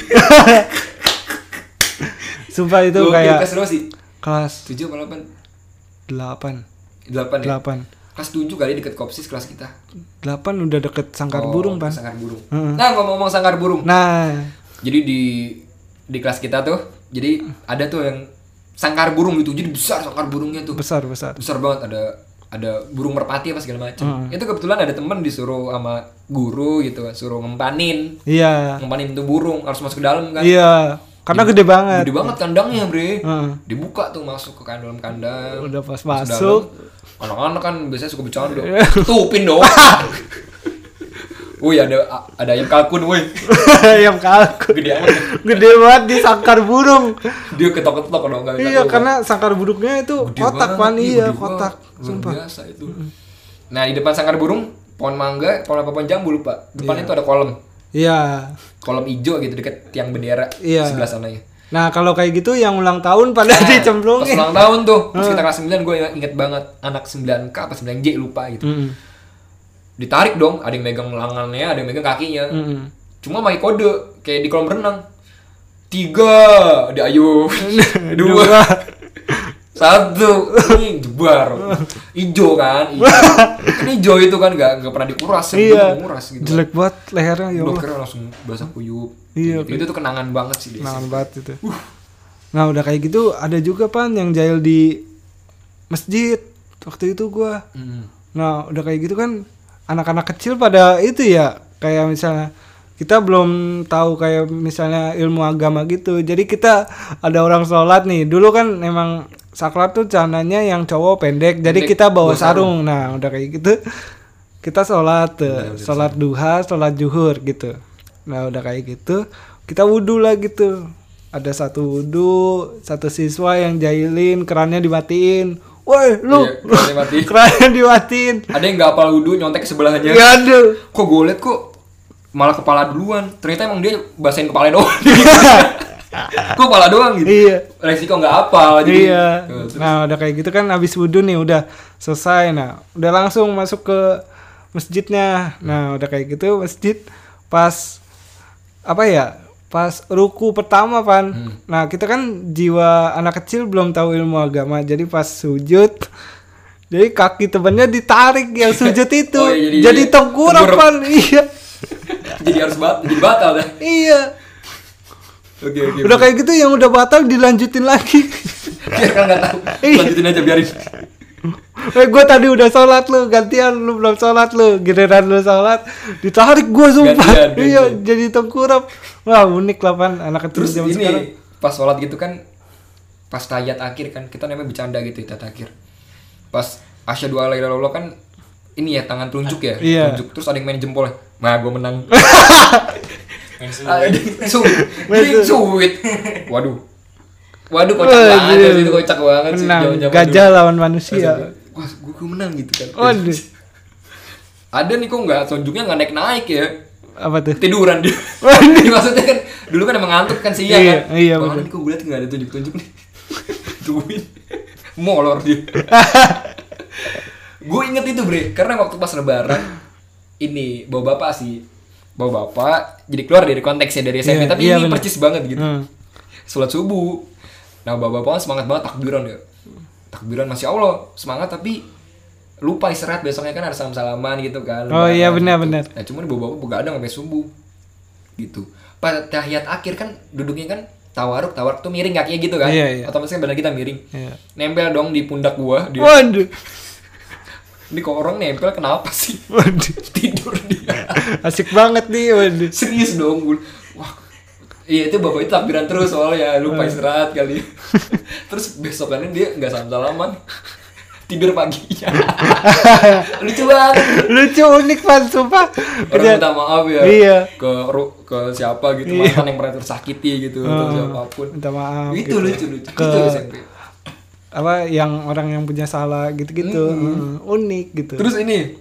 Speaker 2: sumpah itu
Speaker 1: Gua waktu
Speaker 2: kayak
Speaker 1: kelas berapa sih?
Speaker 2: kelas
Speaker 1: 7 apa 8? 8
Speaker 2: 8
Speaker 1: ya?
Speaker 2: 8
Speaker 1: Kelas 7 kali deket kopsis kelas kita.
Speaker 2: 8 udah deket
Speaker 1: Oh,
Speaker 2: sangkar burung pan
Speaker 1: Sangkar burung.
Speaker 2: Heeh.
Speaker 1: Nah, ngomong-ngomong sangkar burung.
Speaker 2: nah
Speaker 1: Jadi di di kelas kita tuh, jadi ada tuh yang sangkar burung gitu. Jadi besar sangkar burungnya tuh.
Speaker 2: besar besar
Speaker 1: besar banget ada ada burung merpati apa segala macam itu kebetulan ada temen disuruh sama guru gitu suruh ngempanin
Speaker 2: iya
Speaker 1: ngempanin tuh burung harus masuk ke dalam kan
Speaker 2: Iya, karena gede banget.
Speaker 1: gede
Speaker 2: (laughs)
Speaker 1: banget kandangnya bre
Speaker 2: Heeh.
Speaker 1: dibuka tuh masuk ke kandang kandang
Speaker 2: Udah pas
Speaker 1: Masuk
Speaker 2: masuk. Iya.
Speaker 1: dalam. anak-anak kan biasanya suka bercanda
Speaker 2: (laughs)
Speaker 1: tutupin dong Woi ada ada ayam kalkun woi
Speaker 2: Ayam kalkun.
Speaker 1: gede amat
Speaker 2: Iya, kan? Gede banget di sangkar burung.
Speaker 1: dia ketok-ketok dong nggak
Speaker 2: iya,
Speaker 1: tahu.
Speaker 2: karena sangkar burungnya itu
Speaker 1: Gede
Speaker 2: kotak
Speaker 1: banget,
Speaker 2: pan
Speaker 1: iya,
Speaker 2: iya,
Speaker 1: gede
Speaker 2: kotak.
Speaker 1: banget. Luar
Speaker 2: Sumpah.
Speaker 1: biasa itu nah di depan sangkar burung pohon mangga pohon apa pohon jambu lupa depannya itu ada kolom
Speaker 2: Iya.
Speaker 1: kolom hijau gitu deket tiang bendera
Speaker 2: Iya.
Speaker 1: sebelah sananya
Speaker 2: Nah, kalau kayak gitu yang ulang tahun pada
Speaker 1: Nah, pas
Speaker 2: dicemplungin.
Speaker 1: ulang tahun tuh pas kita kelas 9 gue inget banget anak 9K apa 9J lupa gitu
Speaker 2: (laughs) Mm-mm.
Speaker 1: ditarik dong ada yang megang lengannya ada yang megang kakinya
Speaker 2: Mm-mm.
Speaker 1: cuma pakai kode kayak di kolam renang tiga ada
Speaker 2: (laughs)
Speaker 1: ayo dua satu ini jebar ijo kan ijo kan ijo itu kan nggak nggak pernah dikuras
Speaker 2: Iya.
Speaker 1: sebelum nguras gitu
Speaker 2: Jelek banget lehernya ya
Speaker 1: Udah
Speaker 2: Allah.
Speaker 1: keren langsung basah kuyup
Speaker 2: Iya,
Speaker 1: Gitu. itu tuh kenangan banget sih dia
Speaker 2: Nah, banget itu.
Speaker 1: Uh.
Speaker 2: Nah, udah kayak gitu ada juga pan yang jahil di masjid. Waktu itu gua
Speaker 1: Mm.
Speaker 2: Nah, udah kayak gitu kan anak-anak kecil pada itu ya kayak misalnya kita belum tahu kayak misalnya ilmu agama gitu. Jadi kita ada orang sholat nih. Dulu kan emang saklar tuh celananya yang cowok pendek.
Speaker 1: Pendek,
Speaker 2: Jadi kita
Speaker 1: bawa
Speaker 2: bawa
Speaker 1: sarung.
Speaker 2: sarung. Nah, udah kayak gitu kita sholat, tuh. sholat duha, sholat juhur gitu. Nah, udah kayak gitu kita wudhu lah gitu. Ada satu wudhu, satu siswa yang jahilin kerannya dimatiin. Woi, lu,
Speaker 1: Iya, kerannya mati.
Speaker 2: (laughs) kerannya dimatiin
Speaker 1: ada yang nggak apal wudhu nyontek ke sebelahnya
Speaker 2: ya aduh
Speaker 1: kok gue liat kok malah kepala duluan ternyata emang dia basahin kepala
Speaker 2: (laughs)
Speaker 1: doang kok kepala doang gitu
Speaker 2: Iya.
Speaker 1: resiko nggak apal jadi
Speaker 2: iya
Speaker 1: Eh,
Speaker 2: nah udah kayak gitu kan abis wudhu nih udah selesai nah udah langsung masuk ke masjidnya nah udah kayak gitu masjid pas apa ya pas ruku pertama pan
Speaker 1: Hmm.
Speaker 2: nah kita kan jiwa anak kecil belum tahu ilmu agama jadi pas sujud jadi kaki temennya ditarik yang sujud
Speaker 1: (laughs)
Speaker 2: itu
Speaker 1: Oh, iya, jadi-
Speaker 2: jadi
Speaker 1: jadi
Speaker 2: tengkurap
Speaker 1: tengkurap.
Speaker 2: pan iya
Speaker 1: jadi harus bat jadi batal dah
Speaker 2: iya
Speaker 1: Oke oke.
Speaker 2: udah kayak gitu yang udah batal dilanjutin lagi (laughs)
Speaker 1: Biar kan nggak tahu.
Speaker 2: Iya.
Speaker 1: Lanjutin aja biarin.
Speaker 2: eh gue tadi udah sholat lu gantian lu belum sholat lu giliran lu sholat ditarik gue
Speaker 1: Gantian,
Speaker 2: sumpah
Speaker 1: gantian.
Speaker 2: iya jadi tengkurap wah unik lah pan anak kecil
Speaker 1: Terus
Speaker 2: zaman
Speaker 1: ini
Speaker 2: sekarang
Speaker 1: pas sholat gitu kan pas tayat akhir kan kita namanya bercanda gitu tayat akhir. Pas asyhadu alla ilaha illallah kan ini ya tangan telunjuk ya,
Speaker 2: Iya.
Speaker 1: telunjuk. Terus ada yang main jempolnya. Nah, gue
Speaker 2: (laughs)
Speaker 1: menang.
Speaker 3: Main seru.
Speaker 1: Ah, Suit. Ini suit. Waduh. Waduh kocak
Speaker 2: Wah,
Speaker 1: banget
Speaker 2: gila.
Speaker 1: itu kocak banget sih
Speaker 2: menang
Speaker 1: zaman-zaman
Speaker 2: gajah
Speaker 1: dulu.
Speaker 2: lawan
Speaker 1: Terus
Speaker 2: manusia
Speaker 1: gua, Wah, gue, menang gitu kan.
Speaker 2: waduh
Speaker 1: Ada nih kok nggak tunjuknya nggak naik-naik ya.
Speaker 2: apa tuh
Speaker 1: Tiduran dia.
Speaker 2: Waduh.
Speaker 1: Jadi (laughs) maksudnya kan dulu kan emang ngantuk kan siang
Speaker 2: Iya,
Speaker 1: kan.
Speaker 2: iya,
Speaker 1: Wah,
Speaker 2: bener.
Speaker 1: ini kok gue liat nggak ada tunjuk-tunjuk nih. (laughs) Duit. Molor dia.
Speaker 2: (laughs)
Speaker 1: gue inget itu bre, karena waktu pas lebaran ini bawa bapak sih bawa bapak jadi keluar dari konteksnya dari SMP
Speaker 2: Iya,
Speaker 1: tapi
Speaker 2: iya,
Speaker 1: ini
Speaker 2: bener.
Speaker 1: percis banget gitu
Speaker 2: Hmm.
Speaker 1: sholat subuh nah bapak-bapak kan semangat banget takbiran ya takbiran masya allah semangat tapi lupa istirahat besoknya kan harus salam salaman gitu kan
Speaker 2: Oh,
Speaker 1: lebaran
Speaker 2: iya, benar,
Speaker 1: gitu.
Speaker 2: benar.
Speaker 1: nah cuman bapak-bapak begadang sampai subuh gitu pada tahiyat akhir kan duduknya kan tawaruk tawaruk tuh miring kakinya gitu kan
Speaker 2: Iya, iya.
Speaker 1: otomatis kan badan kita miring
Speaker 2: Iya.
Speaker 1: nempel dong di pundak gua dia
Speaker 2: waduh
Speaker 1: ini kok orang nempel kenapa sih
Speaker 2: waduh
Speaker 1: (laughs) tidur dia
Speaker 2: asik banget nih waduh
Speaker 1: serius dong gue wah iya itu bapak itu takbiran terus soalnya lupa istirahat
Speaker 2: (laughs)
Speaker 1: kali terus besokannya dia nggak salam salaman tidur
Speaker 2: (laughs)
Speaker 1: paginya (laughs) lucu banget
Speaker 2: lucu unik pan sumpah
Speaker 1: orang minta maaf ya
Speaker 2: Iya.
Speaker 1: ke ru- ke siapa gitu mantan yang pernah tersakiti gitu atau siapapun
Speaker 2: Hmm. minta maaf
Speaker 1: itu
Speaker 2: gitu.
Speaker 1: lucu lucu
Speaker 2: Ke-
Speaker 1: itu SMP
Speaker 2: apa yang orang yang punya salah gitu-gitu Hmm, unik gitu
Speaker 1: terus ini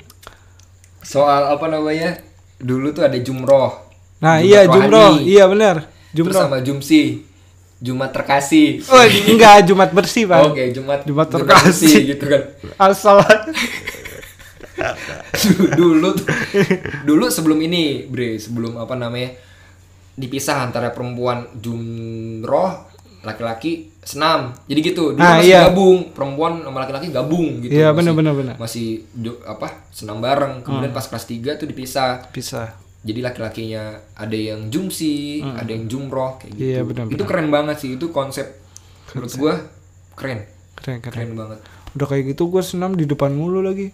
Speaker 1: soal apa namanya dulu tuh ada jumroh
Speaker 2: nah iya jumroh
Speaker 1: rohani.
Speaker 2: iya benar
Speaker 1: terus
Speaker 2: jumroh
Speaker 1: sama jumsi jumat terkasih
Speaker 2: (laughs) oh enggak jumat bersih pak
Speaker 1: Oke, Jumat
Speaker 2: Jumat
Speaker 1: Bekasi
Speaker 2: terkasih.
Speaker 1: gitu kan.
Speaker 2: asal
Speaker 1: (laughs) dulu tuh- dulu sebelum ini, Bre, sebelum apa namanya? dipisah antara perempuan jumroh, laki-laki senam. Jadi gitu, dulu
Speaker 2: Ah,
Speaker 1: masih
Speaker 2: iya.
Speaker 1: gabung, perempuan sama laki-laki gabung gitu.
Speaker 2: (laughs)
Speaker 1: Masih-
Speaker 2: Iya, bener, bener, bener. Hmm.
Speaker 1: Masih ju- apa? senam bareng. Kemudian pas kelas 3 tuh dipisah.
Speaker 2: bisa
Speaker 1: Jadi laki-lakinya ada yang jumsi, ada yang jumroh kayak gitu.
Speaker 2: Hmm. Iya, bener,
Speaker 1: Itu keren banget sih, itu konsep, menurut gua keren.
Speaker 2: keren keren
Speaker 1: Keren banget.
Speaker 2: udah kayak gitu gue senam di depan mulu lagi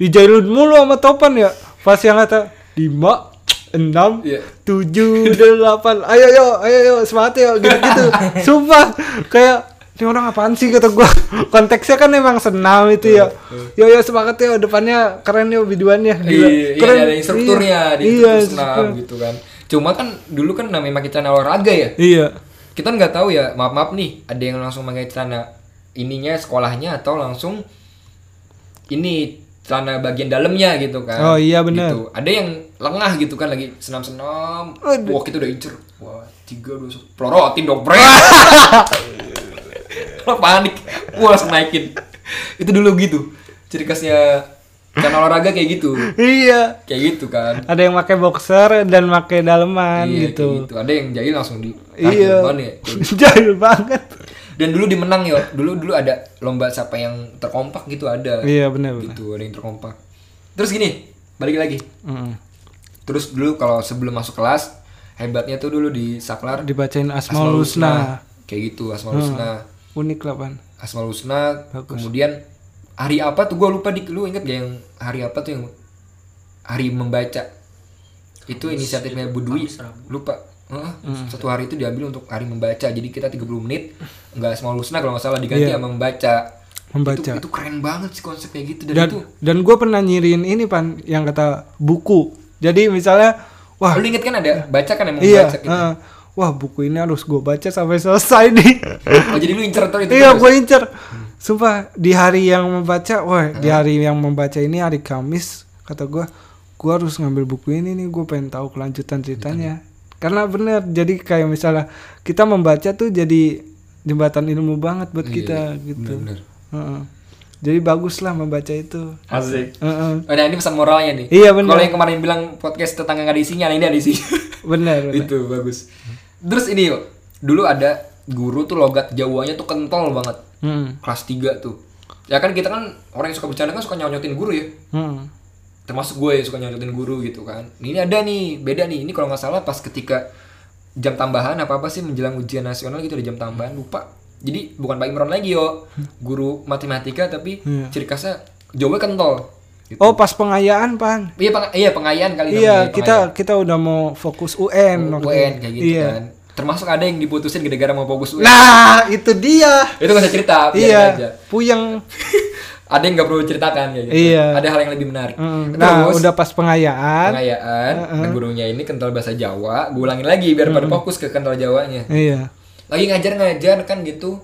Speaker 2: dijailin mulu sama topan ya pas yang kata lima enam
Speaker 1: Iya.
Speaker 2: tujuh delapan ayo yo ayo yo semangat yo gitu
Speaker 1: (laughs)
Speaker 2: gitu sumpah kayak ini orang apaan sih kata gua konteksnya kan emang senam itu ya yo yo semangat yo depannya keren yo biduannya Gila.
Speaker 1: Iya, iya,
Speaker 2: keren
Speaker 1: ada instrukturnya
Speaker 2: iya,
Speaker 1: di
Speaker 2: iya,
Speaker 1: instruktur senam
Speaker 2: instruktur.
Speaker 1: gitu kan. Cuma kan dulu kan namanya pakai celana olahraga ya.
Speaker 2: iya
Speaker 1: Kita nggak tahu ya, maaf maaf nih, ada yang langsung pakai celana ininya sekolahnya atau langsung ini celana bagian dalamnya gitu kan.
Speaker 2: Oh, iya, benar.
Speaker 1: Gitu. Ada yang lengah gitu kan lagi senam-senam.
Speaker 2: Aduh.
Speaker 1: Wah, kita udah incer. Wah, tiga dua satu. Pelorotin dong,
Speaker 2: (laughs)
Speaker 1: bre. Lo panik. Gua langsung naikin. Itu dulu gitu. Ciri khasnya celana olahraga kayak gitu
Speaker 2: iya
Speaker 1: kayak gitu kan
Speaker 2: ada yang pakai boxer dan pakai daleman
Speaker 1: iya kayak
Speaker 2: gitu
Speaker 1: gitu ada yang jahil langsung di tarik
Speaker 2: iya
Speaker 1: depan ya.
Speaker 2: (laughs) jahil banget
Speaker 1: dan dulu dimenang ya dulu dulu ada lomba siapa yang terkompak gitu ada
Speaker 2: iya benar benar
Speaker 1: gitu ada yang terkompak terus gini balik lagi
Speaker 2: Mm-mm.
Speaker 1: terus dulu kalau sebelum masuk kelas hebatnya tuh dulu di saklar
Speaker 2: dibacain Asmaul Husna. Hmm.
Speaker 1: kayak gitu asmaul husna
Speaker 2: Unik lah, Pan.
Speaker 1: asmaul husna kemudian hari apa tuh gue lupa di lu inget gak yang hari apa tuh yang hari membaca itu inisiatifnya Bu Dwi lupa Heeh,
Speaker 2: Hmm.
Speaker 1: satu hari itu diambil untuk hari membaca jadi kita 30 menit nggak asmaul husna kalau nggak salah diganti
Speaker 2: Iya.
Speaker 1: sama membaca
Speaker 2: Membaca.
Speaker 1: itu, itu keren banget sih konsep kayak gitu dan,
Speaker 2: Dan
Speaker 1: itu
Speaker 2: dan gue pernah nyiriin ini, Pan, yang kata buku. Jadi misalnya, wah,
Speaker 1: lu inget kan ada baca kan emang
Speaker 2: iya,
Speaker 1: baca gitu.
Speaker 2: eh, wah buku ini harus gue baca sampai selesai nih. (laughs)
Speaker 1: Oh, jadi lu incer terus itu
Speaker 2: iya,
Speaker 1: terus?
Speaker 2: gue incer. Sumpah, di hari yang membaca, wah, di hari yang membaca ini hari Kamis, kata gue, gue harus ngambil buku ini nih, gue pengen tahu kelanjutan ceritanya. Karena bener, jadi kayak misalnya kita membaca tuh jadi jembatan ilmu banget buat kita gitu.
Speaker 1: Iya, Bener.
Speaker 2: Heeh. Jadi baguslah membaca itu.
Speaker 3: Asik.
Speaker 2: Heeh.
Speaker 1: Oh, nah ini pesan moralnya nih
Speaker 2: Iya, bener.
Speaker 1: kalau yang kemarin bilang podcast tetangga nggak ada isinya nah ini ada isinya (laughs)
Speaker 2: Benar. benar.
Speaker 1: itu bagus terus ini yuk, dulu ada guru tuh logat jawanya tuh kental banget
Speaker 2: Heeh.
Speaker 1: kelas 3 tuh ya kan kita kan orang yang suka bercanda kan suka nyonyotin guru ya
Speaker 2: Heeh.
Speaker 1: termasuk gue yang suka nyonyotin guru gitu kan ini ada nih beda nih ini kalau nggak salah pas ketika jam tambahan apa apa sih menjelang ujian nasional gitu ada jam tambahan lupa jadi bukan Pak Imron lagi yo guru matematika tapi
Speaker 2: Iya.
Speaker 1: ciri khasnya jawabnya kentol gitu.
Speaker 2: Oh pas pengayaan pan.
Speaker 1: iya peng iya pengayaan kali
Speaker 2: Iya
Speaker 1: namanya,
Speaker 2: kita kita udah mau fokus UN.
Speaker 1: pengayaan.
Speaker 2: waktu
Speaker 1: UN
Speaker 2: itu.
Speaker 1: kayak gitu
Speaker 2: Iya.
Speaker 1: kan termasuk ada yang diputusin gara-gara mau fokus UN
Speaker 2: Nah itu dia.
Speaker 1: itu gak usah cerita biarin
Speaker 2: iya
Speaker 1: aja (laughs)
Speaker 2: puyeng.
Speaker 1: ada yang nggak perlu ceritakan kayak gitu
Speaker 2: Iya.
Speaker 1: ada hal yang lebih menarik
Speaker 2: Mm, nah
Speaker 1: Terus,
Speaker 2: udah pas pengayaan.
Speaker 1: pengayaan nah, gurunya ini kental bahasa Jawa gue ulangin lagi biar pada fokus ke kental Jawanya
Speaker 2: Iya.
Speaker 1: lagi ngajar-ngajar kan gitu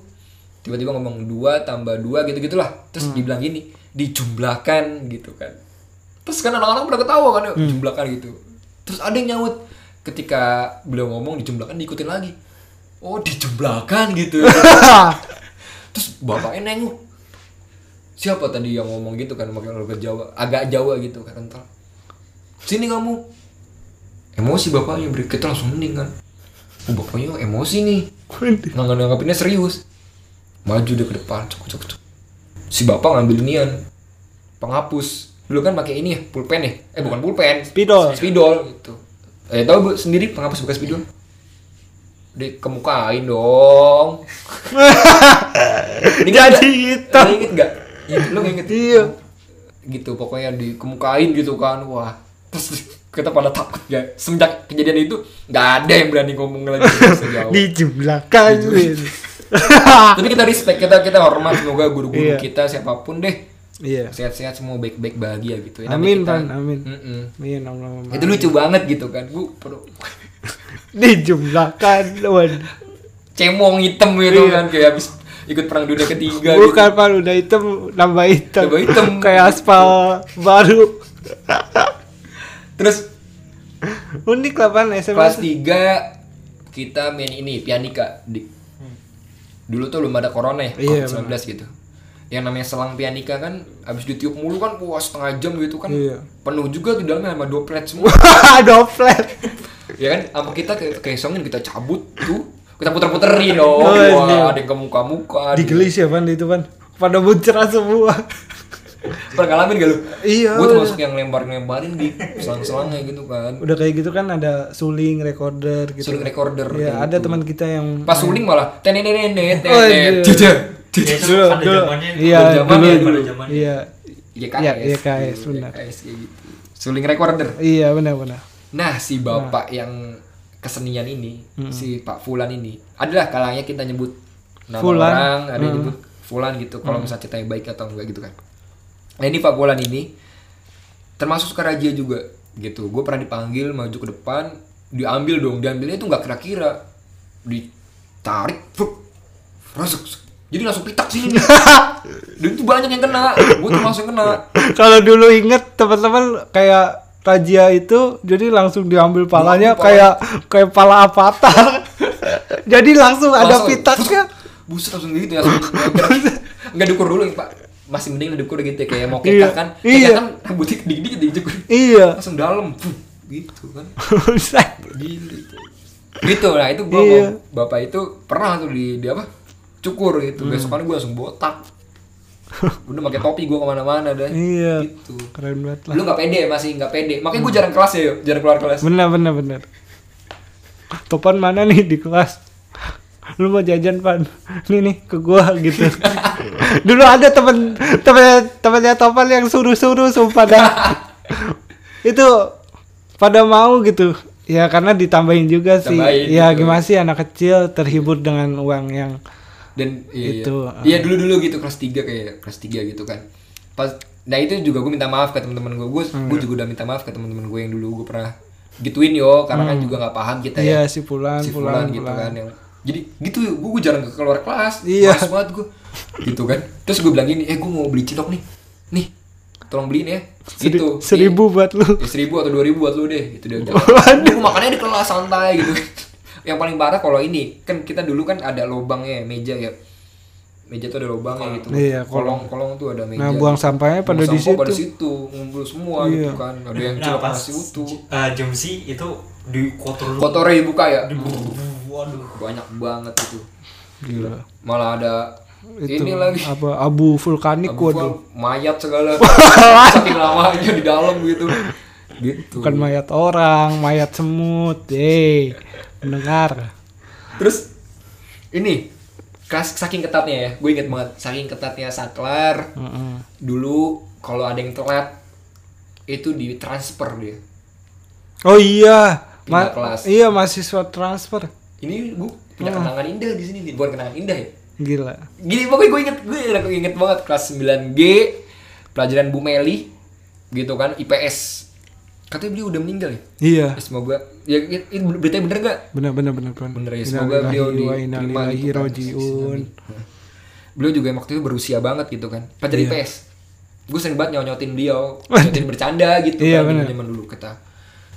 Speaker 1: tiba-tiba ngomong dua tambah dua gitu gitulah terus dibilang gini dijumlahkan gitu kan terus kan anak-anak pada ketawa kan jumlahkan gitu terus ada yang nyaut ketika beliau ngomong dijumlahkan diikutin lagi oh dijumlahkan gitu terus bapaknya nengok siapa tadi yang ngomong gitu kan pakai logat Jawa agak Jawa gitu kan kental sini kamu emosi bapaknya beri kita langsung mending kan oh, bapaknya emosi nih nggak nganggapinnya serius maju dia ke depan cuk cuk cuk si bapak ngambil inian penghapus dulu kan pakai ini ya pulpen ya eh bukan pulpen
Speaker 2: Spidol.
Speaker 1: spidol gitu eh tahu bu sendiri penghapus bekas spidol dikemukain dong Ini kan nggak?
Speaker 2: Jadi itu.
Speaker 1: Lo inget nggak? Iya, Lo inget?
Speaker 2: Iya.
Speaker 1: Gitu pokoknya dikemukain gitu kan. Wah. Terus kita pada takut ya. Semenjak kejadian itu nggak ada yang berani ngomong lagi sejauh.
Speaker 2: Dijumlahkan.
Speaker 1: Tapi kita respect, kita kita hormat semoga guru-guru
Speaker 2: Iya.
Speaker 1: kita siapapun deh
Speaker 2: Iya.
Speaker 1: sehat-sehat semua baik-baik bahagia gitu. ya. Nanti
Speaker 2: Amin
Speaker 1: kita-
Speaker 2: pan. Amin.
Speaker 1: Mm-mm.
Speaker 2: Amin Allahumma.
Speaker 1: Itu lucu banget gitu kan. Gue perlu
Speaker 2: Dijumlahkan. Waduh.
Speaker 1: cemong hitam gitu
Speaker 2: Iya.
Speaker 1: kan kayak habis ikut perang dunia ketiga gitu.
Speaker 2: Bukan pan udah hitam nambah hitam.
Speaker 1: Nambah hitam.
Speaker 2: Kayak aspal baru.
Speaker 1: Terus
Speaker 2: Unik lah pan
Speaker 1: kelas
Speaker 2: (laughs) SMS.
Speaker 1: 3 kita main ini pianika Dik. dulu tuh belum ada corona ya
Speaker 2: Iya,
Speaker 1: COVID-19 gitu yang namanya selang pianika kan abis ditiup mulu kan wah setengah jam gitu kan
Speaker 2: Iya.
Speaker 1: penuh juga di dalamnya sama doplet semua
Speaker 2: Doplet.
Speaker 1: ya kan sama kita ke keesongin kita cabut tuh kita puter-puterin dong
Speaker 2: Oh, iya.
Speaker 1: wah ada yang ke muka-muka
Speaker 2: Digelis ya pan itu pan. Pada muncrat semua.
Speaker 1: pernah ngalamin gak lu? gue
Speaker 2: Iya, udah.
Speaker 1: termasuk yang lempar-lemparin di selang-selangnya gitu kan
Speaker 2: Udah kayak gitu kan ada suling recorder gitu.
Speaker 1: Suling recorder,
Speaker 2: Iya,
Speaker 1: kayak
Speaker 2: ada
Speaker 1: gitu.
Speaker 2: teman kita yang
Speaker 1: pas suling malah tenenenenet
Speaker 2: Oh, iya.
Speaker 1: tenenet jujur
Speaker 3: Iya, itu
Speaker 2: dulu
Speaker 3: ada
Speaker 2: dulu
Speaker 3: zamannya.
Speaker 2: iya
Speaker 1: Ada
Speaker 2: dulu
Speaker 1: zamannya,
Speaker 2: dulu
Speaker 1: ada
Speaker 3: zamannya.
Speaker 2: iya
Speaker 1: YKS
Speaker 2: Iya, YKS,
Speaker 1: Dulu
Speaker 2: benar.
Speaker 1: YKS kayak gitu suling recorder
Speaker 2: iya benar benar (laughs)
Speaker 1: nah si bapak yang kesenian ini si Pak Fulan ini adalah kalanya kita nyebut nama
Speaker 2: Fulan.
Speaker 1: orang ada yang nyebut Fulan gitu kalau misalnya ceritanya baik atau enggak gitu kan nah ini Pak Fulan ini termasuk sukarajia juga gitu gue pernah dipanggil maju ke depan diambil dong diambilnya itu nggak kira-kira ditarik fruk, rasuk jadi langsung pitak sini nih. Dan itu banyak yang kena gue termasuk yang kena
Speaker 2: kalau dulu inget teman-teman kayak Rajia itu jadi langsung diambil palanya
Speaker 1: Diambil
Speaker 2: kayak kayak pala avatar (laughs) jadi langsung ada kan?
Speaker 1: Langsung,
Speaker 2: pitaknya
Speaker 1: buset langsung gitu ya langsung gerak. nggak diukur dulu ya, pak masih mending diukur gitu ya kayak mau kita
Speaker 2: Iya,
Speaker 1: kan
Speaker 2: iya.
Speaker 1: kita kan rambutnya dikit dikit dicukur
Speaker 2: iya (laughs)
Speaker 1: langsung dalam Fuh, gitu kan
Speaker 2: Buset.
Speaker 1: gitu gitu nah itu gua
Speaker 2: Iya.
Speaker 1: sama bapak itu pernah tuh di, di apa cukur gitu
Speaker 2: Hmm.
Speaker 1: besokan gua langsung botak udah pakai topi gua kemana-mana dah
Speaker 2: iya
Speaker 1: gitu
Speaker 2: keren banget lah
Speaker 1: lu nggak pede masih nggak pede makanya gua jarang kelas ya yuk jarang keluar kelas
Speaker 2: benar benar benar topan mana nih di kelas lu mau jajan pan nih nih ke gua gitu dulu ada temen temen temennya topan yang suruh suruh sumpah dah itu pada mau gitu ya karena ditambahin juga sih
Speaker 1: Tambahin,
Speaker 2: ya
Speaker 1: gitu.
Speaker 2: gimana sih anak kecil terhibur dengan uang yang
Speaker 1: dan iya, iya.
Speaker 2: Itu, ah.
Speaker 1: iya dulu dulu gitu kelas 3 kayak kelas 3 gitu kan pas nah itu juga gue minta maaf ke teman-teman gue gue
Speaker 2: Hmm.
Speaker 1: gue juga udah minta maaf ke teman-teman gue yang dulu gue pernah gituin yo karena kan juga nggak paham kita
Speaker 2: Iya,
Speaker 1: ya
Speaker 2: si Fulan,
Speaker 1: si
Speaker 2: Fulan,
Speaker 1: Fulan gitu
Speaker 2: Fulan.
Speaker 1: kan yang jadi gitu gue, gue jarang ke- keluar kelas
Speaker 2: Iya.
Speaker 1: males banget gue gitu kan terus gue bilang gini eh gue mau beli cilok nih nih tolong beliin ya
Speaker 2: seri-
Speaker 1: gitu Nih,
Speaker 2: seribu buat lu
Speaker 1: Ya, seribu atau dua ribu buat lu deh gitu dia bilang. Aduh, makannya di kelas santai gitu (laughs) yang paling parah kalau ini kan kita dulu kan ada lobangnya meja ya meja tuh ada
Speaker 3: Ah,
Speaker 1: lobangnya gitu
Speaker 2: Iya, kolong.
Speaker 1: kolong kolong tuh ada meja
Speaker 2: nah buang sampahnya pada
Speaker 1: Buang
Speaker 2: di
Speaker 1: sampah pada
Speaker 2: situ
Speaker 1: situ ngumpul semua
Speaker 2: Iya.
Speaker 1: gitu kan ada yang
Speaker 3: Nah,
Speaker 1: cilok
Speaker 3: pas
Speaker 1: masih utuh
Speaker 3: eh, jam Z itu di kotor
Speaker 1: kotornya dibuka ya
Speaker 3: di- Waduh.
Speaker 1: banyak banget itu
Speaker 2: Gila.
Speaker 1: malah ada
Speaker 2: itu
Speaker 1: ini lagi
Speaker 2: apa abu vulkanik
Speaker 1: Abu
Speaker 2: waduh
Speaker 1: Fuad, mayat
Speaker 2: (laughs)
Speaker 1: segala saking lamanya di dalam gitu gitu
Speaker 2: bukan mayat orang, mayat semut, yeay. mendengar
Speaker 1: Terus ini kas saking ketatnya ya, gue inget banget saking ketatnya saklar. Dulu kalau ada yang telat itu ditransfer dia.
Speaker 2: oh iya
Speaker 1: Pindah kelas.
Speaker 2: iya mahasiswa transfer
Speaker 1: Ini gue punya kenangan indah di sini, Din. bukan kenangan indah ya.
Speaker 2: gila
Speaker 1: Gini pokoknya gue inget, gue inget, gue inget banget kelas 9G pelajaran Bu Meli gitu kan IPS. Katanya beliau udah meninggal ya.
Speaker 2: iya
Speaker 1: Ya, Semoga ya it, it- beritanya bener gak?
Speaker 2: benar benar benar benar
Speaker 1: Bener ya, semoga beliau
Speaker 2: Innalillahi wa
Speaker 1: diterima
Speaker 2: innalillahi
Speaker 1: gitu kan.
Speaker 2: rajiun.
Speaker 1: (laughs) Beliau juga waktu itu berusia banget gitu kan. Pelajar
Speaker 2: Iya.
Speaker 1: IPS. Gue sering banget nyonyotin
Speaker 2: (laughs)
Speaker 1: beliau, nyonyotin bercanda gitu
Speaker 2: Iya,
Speaker 1: kan
Speaker 2: bener.
Speaker 1: zaman dulu kita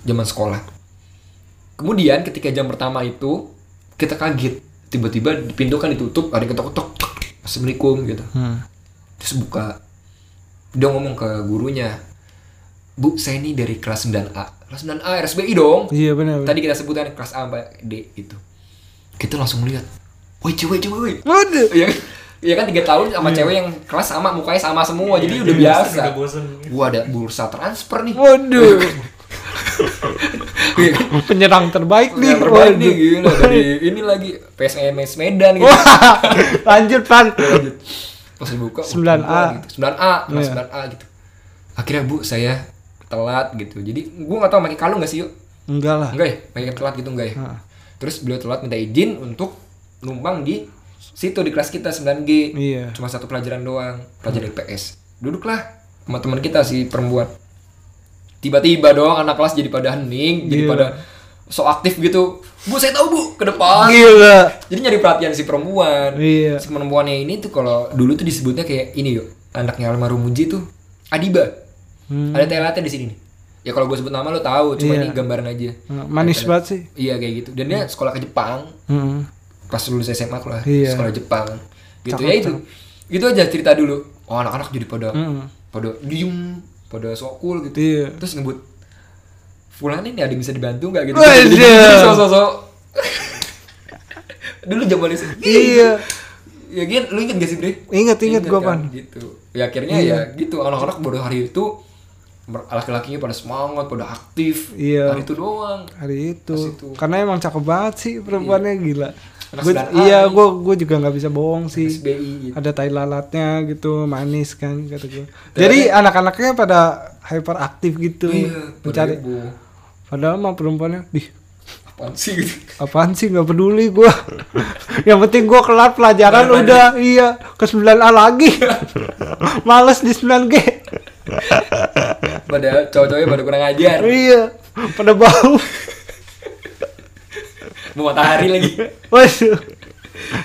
Speaker 1: zaman sekolah. Kemudian ketika jam pertama itu kita kaget. Tiba-tiba di pintu kan ditutup, ada yang ketok-ketok. Assalamualaikum gitu.
Speaker 2: Hmm.
Speaker 1: Terus buka dia ngomong ke gurunya, "Bu, saya ini dari kelas 9A." Kelas 9A RSBI dong.
Speaker 2: iya benar benar.
Speaker 1: Tadi kita sebutan kelas A sampai D gitu. Kita langsung lihat. Woi cewek cewek woi.
Speaker 2: Waduh.
Speaker 1: Iya kan? Iya kan 3 tahun sama cewek yang kelas sama mukanya sama semua. jadi
Speaker 2: Iya,
Speaker 1: udah biasa.
Speaker 3: Iya, Udah bosen.
Speaker 1: Gua ada bursa transfer nih. (laughs)
Speaker 2: waduh
Speaker 1: Iya kan?
Speaker 2: penyerang terbaik nih
Speaker 1: Yang terbaik nih
Speaker 2: waduh.
Speaker 1: gila dari ini lagi PSMS Medan gitu.
Speaker 2: Wah, (laughs) lanjut pan
Speaker 1: lanjut pas dibuka wah,
Speaker 2: 9A.
Speaker 1: gitu. 9A kelas
Speaker 2: Iya.
Speaker 1: 9A gitu akhirnya bu saya telat gitu jadi gua nggak tahu pakai kalung nggak sih yuk
Speaker 2: enggak lah
Speaker 1: enggak ya pakai telat gitu enggak ya
Speaker 2: Ah.
Speaker 1: terus beliau telat minta izin untuk numpang di situ di kelas kita 9G
Speaker 2: Iya.
Speaker 1: cuma satu pelajaran doang pelajaran IPS duduklah sama teman kita si perempuan tiba-tiba dong anak kelas jadi pada hening jadi
Speaker 2: Gila.
Speaker 1: pada so aktif gitu bu saya tahu bu ke depan
Speaker 2: gila
Speaker 1: jadi nyari perhatian si perempuan
Speaker 2: Iya.
Speaker 1: si perempuannya ini tuh kalau dulu tuh disebutnya kayak ini yuk anaknya almarhum Muji tuh Adiba
Speaker 2: Hmm.
Speaker 1: ada telatnya di sini nih ya kalau gue sebut nama lo tahu cuma ini
Speaker 2: Iya.
Speaker 1: gambaran aja
Speaker 2: manis banget sih
Speaker 1: iya kayak gitu dan dia
Speaker 2: Hmm.
Speaker 1: sekolah ke Jepang
Speaker 2: Mm.
Speaker 1: pas lulus SMA aku lah
Speaker 2: Iya.
Speaker 1: sekolah Jepang gitu ya itu itu aja cerita dulu oh anak-anak jadi pada pada diem pada sok cool gitu
Speaker 2: Hmm. Iya.
Speaker 1: terus ngebut Fulan ini ada yang bisa dibantu nggak gitu
Speaker 2: Waduh.
Speaker 1: sosok (laughs) dulu zaman itu
Speaker 2: Iya.
Speaker 1: ya gini lu inget gak sih Bre?
Speaker 2: Ingat ingat gue
Speaker 1: kan?
Speaker 2: pan. Iya.
Speaker 1: gitu ya akhirnya ya gitu anak-anak baru hari itu mer- laki-lakinya pada semangat pada aktif
Speaker 2: Iya.
Speaker 1: hari itu doang
Speaker 2: Hari itu.
Speaker 1: Pas itu. Iya.
Speaker 2: Karena emang cakep banget sih perempuannya gila.
Speaker 1: Anak
Speaker 2: Gua-
Speaker 1: 9A
Speaker 2: iya,
Speaker 1: nih.
Speaker 2: gue gue juga nggak bisa bohong sih.
Speaker 1: SBI gitu.
Speaker 2: Ada tai lalatnya gitu, manis kan kata gue. Jadi anak-anaknya pada hyperaktif gitu,
Speaker 1: iya
Speaker 2: mencari.
Speaker 1: pada heboh.
Speaker 2: Padahal mah perempuannya, dih
Speaker 1: apaan sih gitu
Speaker 2: apaan sih nggak peduli gue. (laughs) Yang penting gue kelar pelajaran udah, iya ke 9A lagi. (laughs) Males di 9G.
Speaker 1: padahal cowok-cowoknya baru kurang
Speaker 2: (laughs)
Speaker 1: ajar
Speaker 2: iya, pada bau. (laughs)
Speaker 1: mau matahari lagi
Speaker 2: Waduh.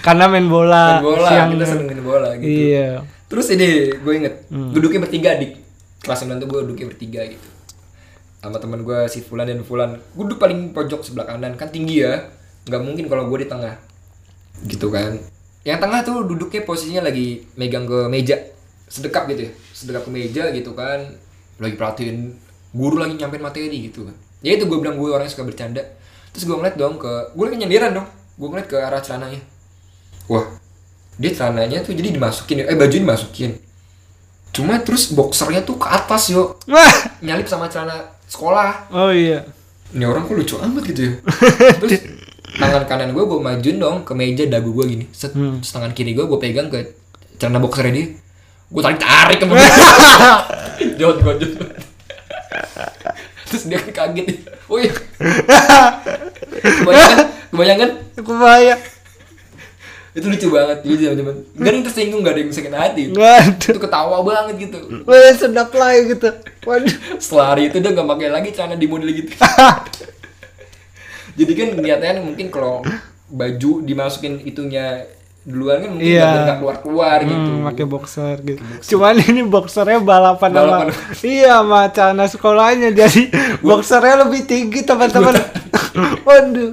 Speaker 2: Karena main bola,
Speaker 1: main bola
Speaker 2: Ah, siang.
Speaker 1: kita seneng main bola gitu
Speaker 2: Iya.
Speaker 1: terus ini gue inget duduknya bertiga di kelas 9 tuh gue duduknya bertiga gitu sama teman gue si Fulan dan Fulan gue duduk paling pojok sebelah kanan kan tinggi ya nggak mungkin kalau gue di tengah gitu kan yang tengah tuh duduknya posisinya lagi megang ke meja sedekap gitu ya sedekap ke meja gitu kan lagi perhatiin guru lagi nyampein materi gitu kan ya itu gue bilang gue orangnya suka bercanda terus gue ngeliat dong ke gue lagi nyendiran dong gue ngeliat ke arah celananya wah dia celananya tuh jadi dimasukin ya. eh baju dimasukin cuma terus boxernya tuh ke atas yo
Speaker 2: Wah.
Speaker 1: nyalip sama celana sekolah
Speaker 2: Oh iya.
Speaker 1: ini orang kok lucu amat gitu ya terus tangan kanan gue gue majuin dong ke meja dagu gue gini set Terus tangan kiri gue gue pegang ke celana boxernya dia gue tarik tarik ke meja jod gue jod terus dia kaget oh iya kebayangkan kebayangkan
Speaker 2: Kebaya.
Speaker 1: itu lucu banget jadi teman-teman gak ada yang tersinggung gak ada yang sakit hati (laughs)
Speaker 2: Waduh.
Speaker 1: itu ketawa banget gitu
Speaker 2: Wah, sedap lah ya gitu. Waduh.
Speaker 1: setelah hari itu dia nggak pakai lagi celana di model
Speaker 2: (laughs)
Speaker 1: gitu jadi kan niatnya mungkin kalau baju dimasukin itunya duluan kan mungkin
Speaker 2: Iya.
Speaker 1: nggak nggak keluar keluar gitu
Speaker 2: Hmm, pakai boxer gitu. Cuman ini boxernya balapan,
Speaker 1: Balapan.
Speaker 2: sama iya sama celana sekolahnya (laughs) jadi boxernya lebih tinggi teman-teman. (laughs) Waduh.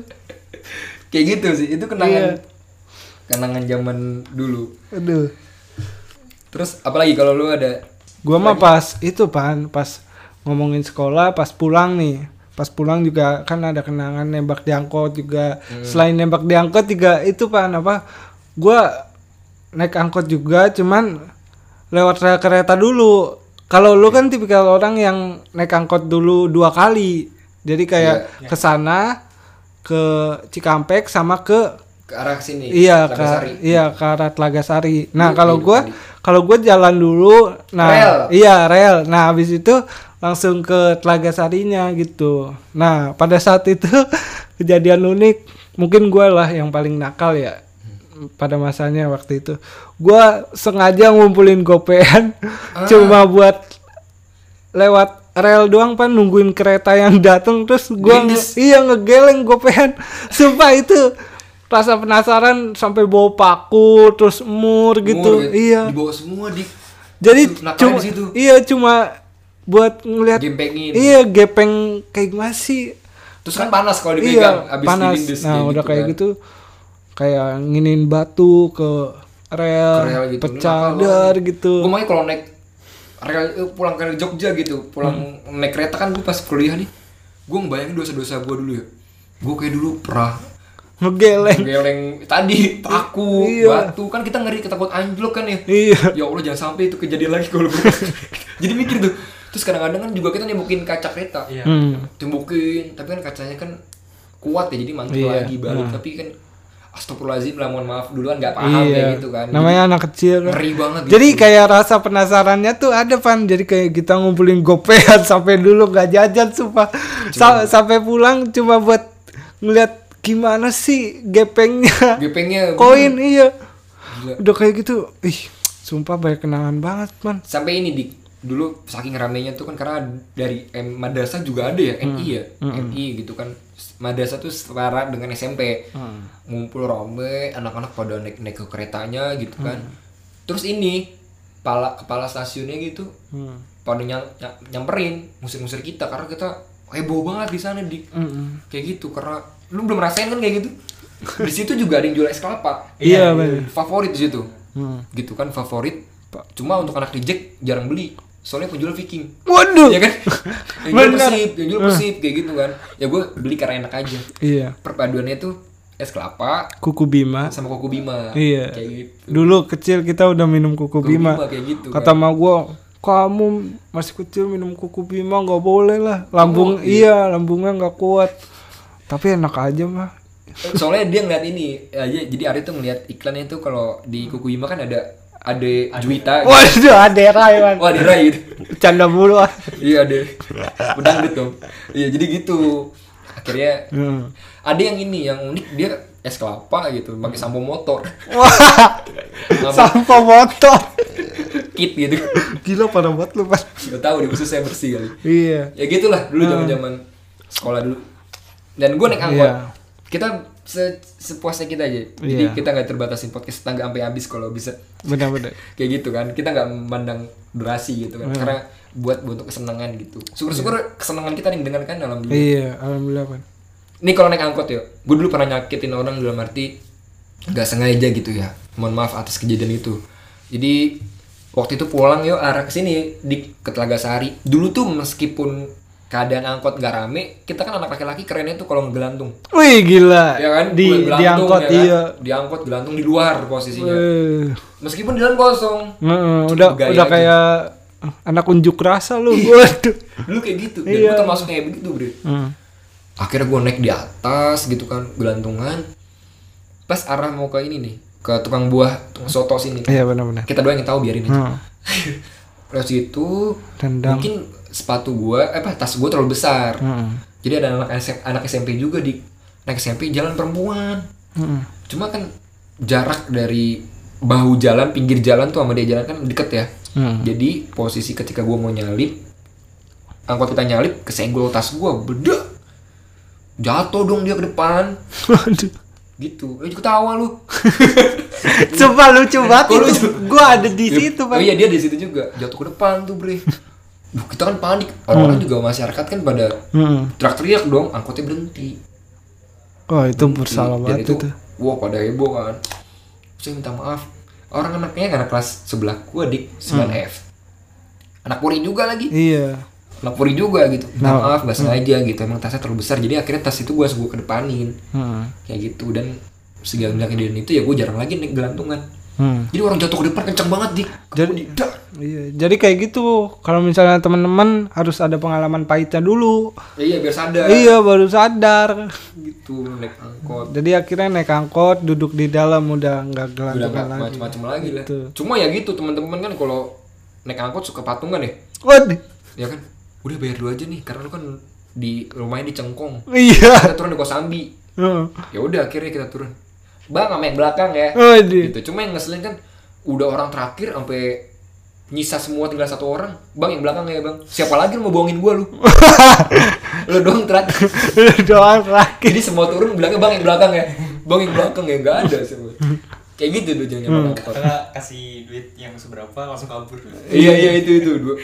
Speaker 1: kayak gitu sih itu kenangan
Speaker 2: Iya.
Speaker 1: kenangan zaman dulu
Speaker 2: Aduh.
Speaker 1: terus apalagi kalau lu ada
Speaker 2: Gua mah pas itu pan, pas ngomongin sekolah, pas pulang nih. Pas pulang juga kan ada kenangan nembak di angkot juga. Selain nembak di angkot juga itu pan apa? Gua naik angkot juga cuman lewat rel kereta dulu. Kalau lu kan tipikal orang yang naik angkot dulu dua kali. Jadi kayak ke sana ke Cikampek sama ke
Speaker 1: ke arah sini
Speaker 2: iya ke
Speaker 1: Telaga Sari.
Speaker 2: iya ke arah Telaga Sari. Nah
Speaker 1: Iya,
Speaker 2: kalau
Speaker 1: iya,
Speaker 2: gua kalau gua jalan dulu, nah
Speaker 1: Rel.
Speaker 2: iya rel. Nah habis itu langsung ke Telaga Sarinya gitu. Nah pada saat itu (laughs) kejadian unik mungkin gua lah yang paling nakal ya pada masanya waktu itu. Gua sengaja ngumpulin gopean (laughs)
Speaker 1: Ah.
Speaker 2: cuma buat lewat rel doang pan nungguin kereta yang datang terus gua nge- iya ngegeleng gopean (laughs) sumpah itu rasa penasaran sampai bawa paku terus mur gitu
Speaker 1: Umur,
Speaker 2: iya
Speaker 1: dibawa semua ya. di
Speaker 2: jadi
Speaker 1: Nakalnya
Speaker 2: cuma
Speaker 1: di situ.
Speaker 2: iya cuma buat ngelihat
Speaker 1: gempengin
Speaker 2: iya gepeng kayak gimana sih
Speaker 1: terus kan panas kalau
Speaker 2: iya
Speaker 1: dipegang abis
Speaker 2: panas
Speaker 1: dilindis,
Speaker 2: nah udah kayak
Speaker 1: kan.
Speaker 2: gitu kayak nginin batu ke rel,
Speaker 1: Ke rel gitu.
Speaker 2: Ah, pecah
Speaker 1: Nakal
Speaker 2: dar gitu
Speaker 1: Gue makanya kalau naik rel eh, pulang ke Jogja gitu, pulang
Speaker 2: Hmm.
Speaker 1: naik kereta kan gue pas kuliah nih, gue ngebayangin dosa-dosa gue dulu ya. Gue kayak dulu pernah
Speaker 2: ngegeleng (laughs)
Speaker 1: geleng tadi paku,
Speaker 2: Iya.
Speaker 1: batu kan kita ngeri ketakut anjlok kan ya.
Speaker 2: iya
Speaker 1: Ya Allah jangan sampai itu kejadian lagi kalau gue. (laughs) Jadi mikir tuh. Terus kadang-kadang kan juga kita nembokin kaca kereta.
Speaker 3: Iya.
Speaker 2: Hmm.
Speaker 1: Tembokin, tapi kan kacanya kan kuat ya jadi mantul
Speaker 2: Iya.
Speaker 1: lagi balik tapi kan astagfirullahaladzim lah mohon maaf dulu kan nggak paham
Speaker 2: Hmm. iya.
Speaker 1: kayak gitu kan Jadi
Speaker 2: Namanya anak kecil.
Speaker 1: ngeri banget gitu.
Speaker 2: Jadi kayak rasa penasarannya tuh ada pan. Jadi kayak kita ngumpulin gopean (laughs) sampai dulu nggak jajan sumpah. Sa- sampai pulang cuma buat ngeliat gimana sih gepengnya
Speaker 1: gepengnya
Speaker 2: koin iya.
Speaker 1: Gila.
Speaker 2: Udah kayak gitu. Ih, sumpah banyak kenangan banget man.
Speaker 1: sampai ini di dulu saking ramenya tuh kan karena dari M, madrasah juga ada ya MI ya MI gitu kan S- madrasah tuh setara dengan SMP
Speaker 2: Mm.
Speaker 1: ngumpul rame anak-anak pada naik naik ke keretanya gitu kan
Speaker 2: Mm.
Speaker 1: terus ini kepala kepala stasiunnya gitu
Speaker 2: Mm.
Speaker 1: pada nyam- nyam- nyamperin musir-musir kita karena kita heboh banget di sana di kayak gitu karena lu belum rasain kan kayak gitu di situ juga ada yang jual es kelapa
Speaker 2: Iya, bener.
Speaker 1: favorit di situ
Speaker 2: Hmm.
Speaker 1: gitu kan favorit cuma untuk anak reject jarang beli soalnya penjual
Speaker 2: (laughs)
Speaker 1: viking
Speaker 2: Waduh.
Speaker 1: ya kan yang jual
Speaker 2: Bener.
Speaker 1: persib yang
Speaker 2: Hmm.
Speaker 1: jual persib kayak gitu kan ya gue beli karena enak aja
Speaker 2: Iya.
Speaker 1: perpaduannya tuh es kelapa
Speaker 2: Kuku Bima.
Speaker 1: sama koko bima
Speaker 2: Iya.
Speaker 1: kayak gitu
Speaker 2: Dulu kecil kita udah minum kuku,
Speaker 1: Kuku
Speaker 2: Bima.
Speaker 1: Bima kayak gitu,
Speaker 2: Kata mah gua, kamu masih kecil minum kuku Bima nggak boleh lah. Lambung iya, lambungnya nggak kuat. Tapi enak aja mah.
Speaker 1: Eh, soalnya dia ngeliat ini ya, jadi- jadi Ari tuh ngeliat iklannya tuh kalau di kuku bima kan ada ade juwita gitu.
Speaker 2: (laughs) Waduh, adera emang.
Speaker 1: wah ada Rai gitu
Speaker 2: Canda mulu. ah.
Speaker 1: iya ada pedangdut dong iya jadi gitu akhirnya
Speaker 2: Hmm.
Speaker 1: ada yang ini yang unik dia es kelapa gitu pakai sampo motor (laughs)
Speaker 2: (laughs) Wah, sampo motor.
Speaker 1: kit gitu
Speaker 2: Gila parah banget lu, Mas.
Speaker 1: nggak tahu dia khusus saya bersih kali
Speaker 2: Iya.
Speaker 1: ya gitulah dulu zaman zaman sekolah dulu dan gue naik angkot
Speaker 2: Iya.
Speaker 1: kita se sepuasnya kita aja jadi
Speaker 2: Iya.
Speaker 1: kita nggak terbatasin podcast tetangga sampai habis kalau bisa
Speaker 2: Benar-benar.
Speaker 1: kayak gitu kan kita nggak memandang durasi gitu kan
Speaker 2: Iya.
Speaker 1: karena buat untuk kesenangan gitu syukur-syukur kesenangan kita yang dengarkan alhamdulillah
Speaker 2: Iya, alhamdulillah, Pan.
Speaker 1: Ini kalau naik angkot ya, gue dulu pernah nyakitin orang dalam arti nggak sengaja gitu ya. Mohon maaf atas kejadian itu. Jadi waktu itu pulang yuk arah ke sini di ke Telaga Sari. Dulu tuh meskipun keadaan angkot nggak rame, kita kan anak laki-laki kerennya tuh kalau ngegelantung.
Speaker 2: Wih, gila.
Speaker 1: Ya kan?
Speaker 2: Di
Speaker 1: Gelantung,
Speaker 2: diangkot
Speaker 1: ya kan? Iya.
Speaker 2: iya.
Speaker 1: Diangkut gelantung di luar posisinya.
Speaker 2: Eh.
Speaker 1: Meskipun jalan kosong.
Speaker 2: Heeh, udah
Speaker 1: Gaya
Speaker 2: udah
Speaker 1: aja. Iya.
Speaker 2: kayak anak unjuk rasa lu. Waduh.
Speaker 1: Dulu kayak gitu. Dan gue
Speaker 2: Iya.
Speaker 1: termasuk kayak begitu, Bro.
Speaker 2: Hmm.
Speaker 1: akhirnya gue naik di atas gitu kan gelantungan pas arah mau ke ini nih ke tukang buah tukang soto sini
Speaker 2: Iya benar-benar.
Speaker 1: kita doang yang tahu biarin aja gitu,
Speaker 2: Hmm.
Speaker 1: (laughs) terus itu
Speaker 2: Tendang.
Speaker 1: mungkin sepatu gue eh, apa tas gue terlalu besar jadi ada anak SM anak SMP juga di anak SMP jalan perempuan cuma kan jarak dari bahu jalan pinggir jalan tuh sama dia jalan kan deket ya jadi posisi ketika gue mau nyalip angkot kita nyalip kesenggol tas gue bedek jatuh dong dia ke depan
Speaker 2: Waduh.
Speaker 1: gitu eh ketawa lu
Speaker 2: Coba Eh, lucu banget
Speaker 1: Kok
Speaker 2: itu.
Speaker 1: lucu?
Speaker 2: Gua ada (laughs) di situ,
Speaker 1: oh
Speaker 2: Pak.
Speaker 1: iya dia di situ juga jatuh ke depan tuh bre Duh, kita kan panik orang-orang
Speaker 2: Mm.
Speaker 1: juga masyarakat kan pada
Speaker 2: Hmm.
Speaker 1: teriak-teriak dong angkotnya berhenti
Speaker 2: Oh, itu bersalah
Speaker 1: Dan
Speaker 2: banget itu.
Speaker 1: wah pada heboh kan Terus saya minta maaf orang anaknya kan anak kelas sebelah gua dik
Speaker 2: Hmm.
Speaker 1: 9F anak puri juga lagi
Speaker 2: Iya.
Speaker 1: anak puri juga gitu minta
Speaker 2: Nah,
Speaker 1: maaf gak
Speaker 2: hmm.
Speaker 1: sengaja gitu emang tasnya terlalu besar jadi akhirnya tas itu gua gua kedepanin
Speaker 2: Hmm.
Speaker 1: kayak gitu dan segala kejadian itu ya gue jarang lagi naik gelantungan
Speaker 2: Hmm.
Speaker 1: Jadi orang jatuh ke depan kencang banget dik.
Speaker 2: Jadi-
Speaker 1: Kemudian, dah.
Speaker 2: Iya, jadi kayak gitu. Kalau misalnya teman-teman harus ada pengalaman pahitnya dulu.
Speaker 1: Ya, iya biar sadar.
Speaker 2: Iya, baru sadar.
Speaker 1: Gitu naik angkot.
Speaker 2: Jadi akhirnya naik angkot, duduk di dalam udah nggak
Speaker 1: Udah
Speaker 2: gelantungan
Speaker 1: nggak
Speaker 2: lagi.
Speaker 1: macam-macam lagi lah.
Speaker 2: Gitu.
Speaker 1: Cuma ya gitu teman-teman kan kalau naik angkot suka patungan ya.
Speaker 2: Waduh.
Speaker 1: Ya kan. Udah bayar dulu aja nih karena lu kan di rumahnya di Cengkong.
Speaker 2: Iya. (laughs)
Speaker 1: Kita turun di Kosambi. Ya
Speaker 2: Heeh.
Speaker 1: udah akhirnya kita turun. Bang sama yang belakang ya.
Speaker 2: Waduh.
Speaker 1: gitu cuma yang ngeselin kan udah orang terakhir sampai nyisa semua tinggal satu orang bang yang belakang ya bang siapa lagi yang mau bohongin gua lu lu doang terakhir
Speaker 2: Doa terakhir.
Speaker 1: jadi semua turun bilangnya bang yang belakang ya bang yang belakang ya nggak ada semua kayak gitu tuh jangan nyaman angkot.
Speaker 3: Karena kasih duit yang seberapa langsung kabur. Gitu.
Speaker 1: iya iya itu itu dua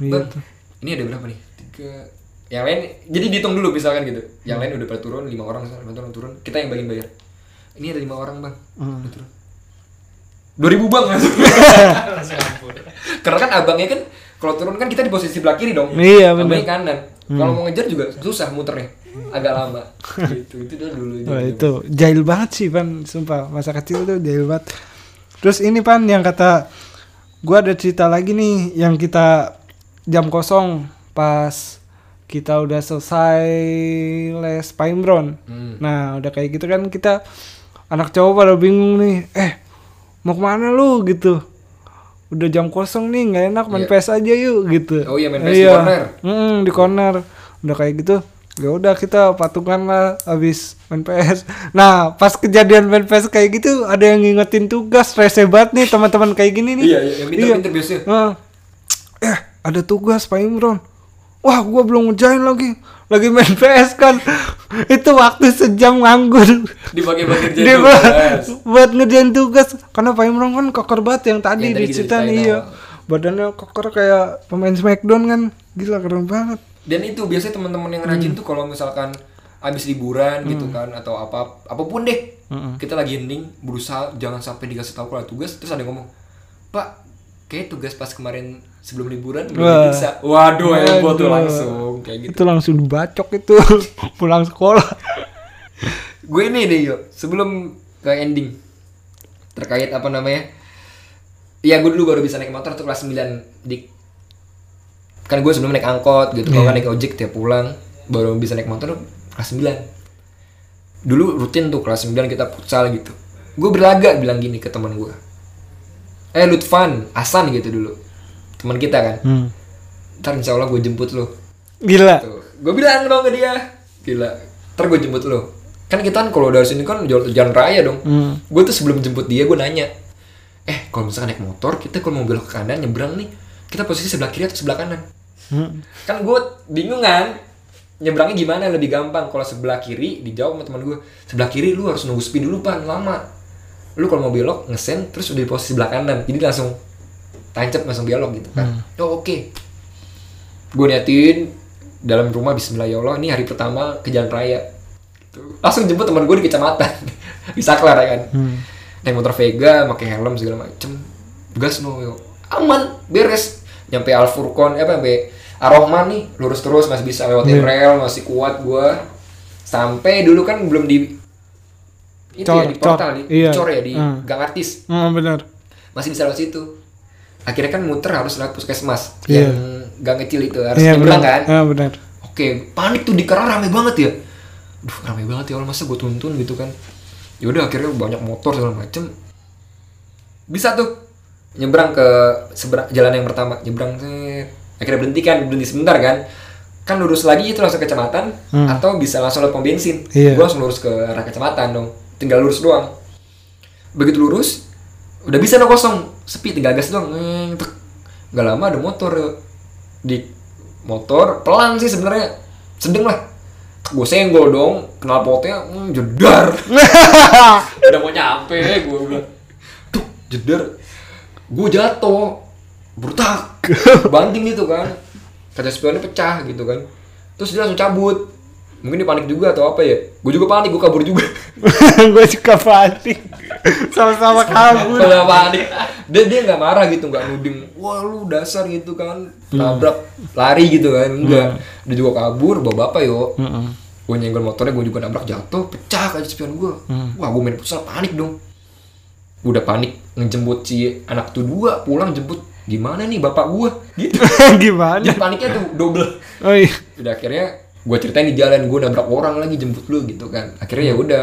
Speaker 1: bang
Speaker 2: Iya.
Speaker 1: ini ada berapa nih tiga yang lain jadi dihitung dulu misalkan gitu yang lain udah pada turun lima orang misalkan lima orang turun kita yang bagian bayar ini ada lima orang bang Udah turun dua ribu bang
Speaker 3: langsung kabur.
Speaker 1: Karena kan abangnya kan kalau turun kan kita di posisi sebelah kiri dong.
Speaker 2: Iya, bener.
Speaker 1: Abangnya kanan. Kalau mau ngejar juga susah muternya. Agak lama. gitu. Itu dulu dulu.
Speaker 2: Wah, itu jahil banget sih Pan, sumpah masa kecil tuh jahil banget. Terus ini Pan yang kata gua ada cerita lagi nih yang kita jam kosong pas kita udah selesai les Brown.
Speaker 1: Hmm.
Speaker 2: Nah, udah kayak gitu kan kita anak cowok pada bingung nih, eh mau kemana lu gitu. Udah jam kosong nih, nggak enak main
Speaker 1: Iya.
Speaker 2: PS aja yuk gitu.
Speaker 1: Oh iya, main PS di corner.
Speaker 2: Mm, di corner. Udah kayak gitu. Ya udah kita patungan lah habis main PS. Nah, pas kejadian main PS kayak gitu ada yang ngingetin tugas rese banget nih teman-teman kayak gini nih.
Speaker 1: Iya, iya, yang pinter-pinter biasanya.
Speaker 2: Nah, eh, ada tugas Pak Imron. Wah, gua belum ngejain lagi. Lagi main PS kan. (laughs) Itu waktu sejam nganggur.
Speaker 1: Dipakai pakai jadi.
Speaker 2: Dia buat,
Speaker 1: Nah,
Speaker 2: buat ngerjain tugas karena Pak Imron kan koker banget yang
Speaker 1: Yang
Speaker 2: tadi
Speaker 1: tadi oh.
Speaker 2: diceritain
Speaker 1: diceritain
Speaker 2: iya. Badannya koker kayak pemain Smackdown kan. Gila keren banget.
Speaker 1: Dan itu biasanya teman-teman yang rajin tuh kalau misalkan abis liburan gitu kan atau apa apapun deh. Kita lagi ending berusaha jangan sampai dikasih tahu kalau ada tugas terus ada yang ngomong, "Pak, kayak tugas pas kemarin sebelum liburan belum
Speaker 2: Wah.
Speaker 1: bisa." Waduh, heboh tuh
Speaker 2: Aduh.
Speaker 1: langsung kayak gitu.
Speaker 2: Itu langsung dibacok itu (laughs) pulang sekolah.
Speaker 1: gue ini deh yuk sebelum ke ending terkait apa namanya ya gue dulu baru bisa naik motor tuh kelas 9 di kan gue sebelum naik angkot gitu kalau kan naik ojek tiap pulang baru bisa naik motor tuh kelas 9 dulu rutin tuh kelas 9 kita futsal gitu gue berlaga bilang gini ke teman gue eh Lutfan Hasan gitu dulu teman kita kan
Speaker 2: Hmm.
Speaker 1: ntar insya Allah gue jemput lo Gitu.
Speaker 2: Gila.
Speaker 1: gue bilang dong ke dia gila ntar gue jemput lo kan kita kan kalau dari sini kan jalan, jalan raya dong
Speaker 2: Hmm.
Speaker 1: gue tuh sebelum jemput dia gue nanya eh kalau misalkan naik motor kita kalau mau belok ke kanan nyebrang nih kita posisi sebelah kiri atau sebelah kanan
Speaker 2: Hmm.
Speaker 1: kan gue bingung kan nyebrangnya gimana lebih gampang kalau sebelah kiri dijawab sama teman gue sebelah kiri lu harus nunggu speed dulu pan lama lu kalau mau belok ngesen terus udah di posisi sebelah kanan jadi langsung tancap langsung belok gitu kan
Speaker 2: Hmm.
Speaker 1: oh oke gue niatin dalam rumah Bismillah ya Allah ini hari pertama ke jalan raya Gitu. langsung jemput teman gue di kecamatan (laughs) di Saklar ya kan
Speaker 2: Hmm.
Speaker 1: naik motor Vega pakai helm segala macem gas no yo. aman beres nyampe Al Furqon eh, apa nyampe Arrohman nih lurus terus masih bisa lewatin
Speaker 2: Hmm.
Speaker 1: rel masih kuat gue sampai dulu kan belum di itu ya
Speaker 2: Cor,
Speaker 1: di portal
Speaker 2: cor,
Speaker 1: di
Speaker 2: iya.
Speaker 1: cor ya di
Speaker 2: Hmm.
Speaker 1: gang artis
Speaker 2: Hmm, benar.
Speaker 1: masih bisa lewat situ akhirnya kan muter harus lewat puskesmas
Speaker 2: Iya.
Speaker 1: yang gang kecil itu harus
Speaker 2: Iya,
Speaker 1: nyebrang
Speaker 2: benar.
Speaker 1: kan
Speaker 2: Iya, benar. (laughs)
Speaker 1: Oke, panik tuh di karena rame banget ya. Duh, rame banget ya Allah masa gue tuntun gitu kan. Ya udah akhirnya banyak motor segala macem. Bisa tuh nyebrang ke seberang jalan yang pertama, nyebrang set. akhirnya berhenti kan, berhenti sebentar kan. Kan lurus lagi itu langsung kecamatan
Speaker 2: Hmm.
Speaker 1: atau bisa langsung lewat pom bensin.
Speaker 2: Iya.
Speaker 1: Gue langsung lurus ke arah kecamatan dong. Tinggal lurus doang. Begitu lurus, udah bisa dong kosong, sepi tinggal gas doang. Neng, tek. Nggak lama ada motor di motor pelan sih sebenarnya sedeng lah gue senggol dong kenal potnya hmm, jedar udah mau nyampe gue bilang tuh jedar gue jatuh bertak banting gitu kan kaca spionnya pecah gitu kan terus dia langsung cabut mungkin dia panik juga atau apa ya gue juga panik gue kabur juga
Speaker 2: gue suka panik sama-sama kabur (laughs)
Speaker 1: Pada panik. Dia dia nggak marah gitu, nggak nuding. Wah lu dasar gitu kan, nabrak, lari gitu kan, enggak. Dia juga kabur, bawa bapak yo. Gue nyenggol motornya, gue juga nabrak jatuh, pecah kaca spion gue. Wah gue main futsal panik dong. udah panik ngejemput si anak tuh dua pulang jemput gimana nih bapak gua gitu
Speaker 2: gimana
Speaker 1: jadi paniknya tuh double
Speaker 2: oh iya
Speaker 1: udah akhirnya gua ceritain di jalan gua nabrak orang lagi jemput lu gitu kan akhirnya ya udah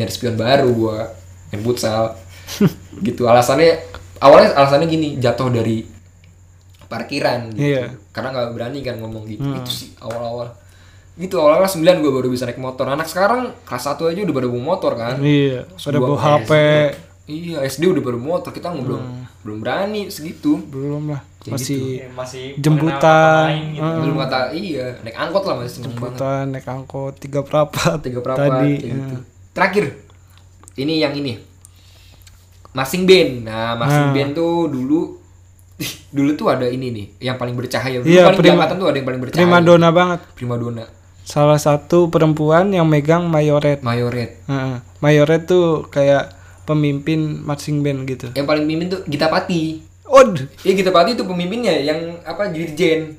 Speaker 1: nyari spion baru gua main futsal
Speaker 2: (laughs)
Speaker 1: gitu alasannya awalnya alasannya gini jatuh dari parkiran gitu
Speaker 2: Iya. Hmm.
Speaker 1: karena nggak berani kan ngomong gitu itu sih awal-awal gitu awal-awal kelas 9 gua baru bisa naik motor anak sekarang kelas 1 aja udah pada bawa motor kan
Speaker 2: iya pada
Speaker 1: Gua
Speaker 2: bawa HP
Speaker 1: Iya, SD udah baru motor, kita nggak belum
Speaker 2: Hmm.
Speaker 1: belum berani segitu.
Speaker 2: belum lah
Speaker 1: Kayak gitu.
Speaker 2: masih
Speaker 3: Ya, masih
Speaker 2: Jemputan.
Speaker 3: mengenal orang lain gitu.
Speaker 2: Hmm.
Speaker 1: Belum kata iya, naik angkot lah masih seneng banget.
Speaker 2: jemputan naik angkot tiga perapat
Speaker 1: Tiga berapa
Speaker 2: tadi iya.
Speaker 1: kayak gitu. Terakhir. Ini yang ini. Masing band. Nah,
Speaker 2: Ah.
Speaker 1: masing band tuh dulu (laughs) dulu tuh ada ini nih, yang paling bercahaya. Dulu
Speaker 2: Iya,
Speaker 1: paling di
Speaker 2: prima-
Speaker 1: angkatan tuh ada yang paling bercahaya.
Speaker 2: primadona banget
Speaker 1: Primadona.
Speaker 2: salah satu perempuan yang megang mayoret
Speaker 1: Mayoret.
Speaker 2: Heeh. mayoret tuh kayak pemimpin marching band gitu
Speaker 1: Yang paling pimpin tuh Gitapati.
Speaker 2: Od
Speaker 1: Iya Gitapati itu pemimpinnya yang apa dirjen.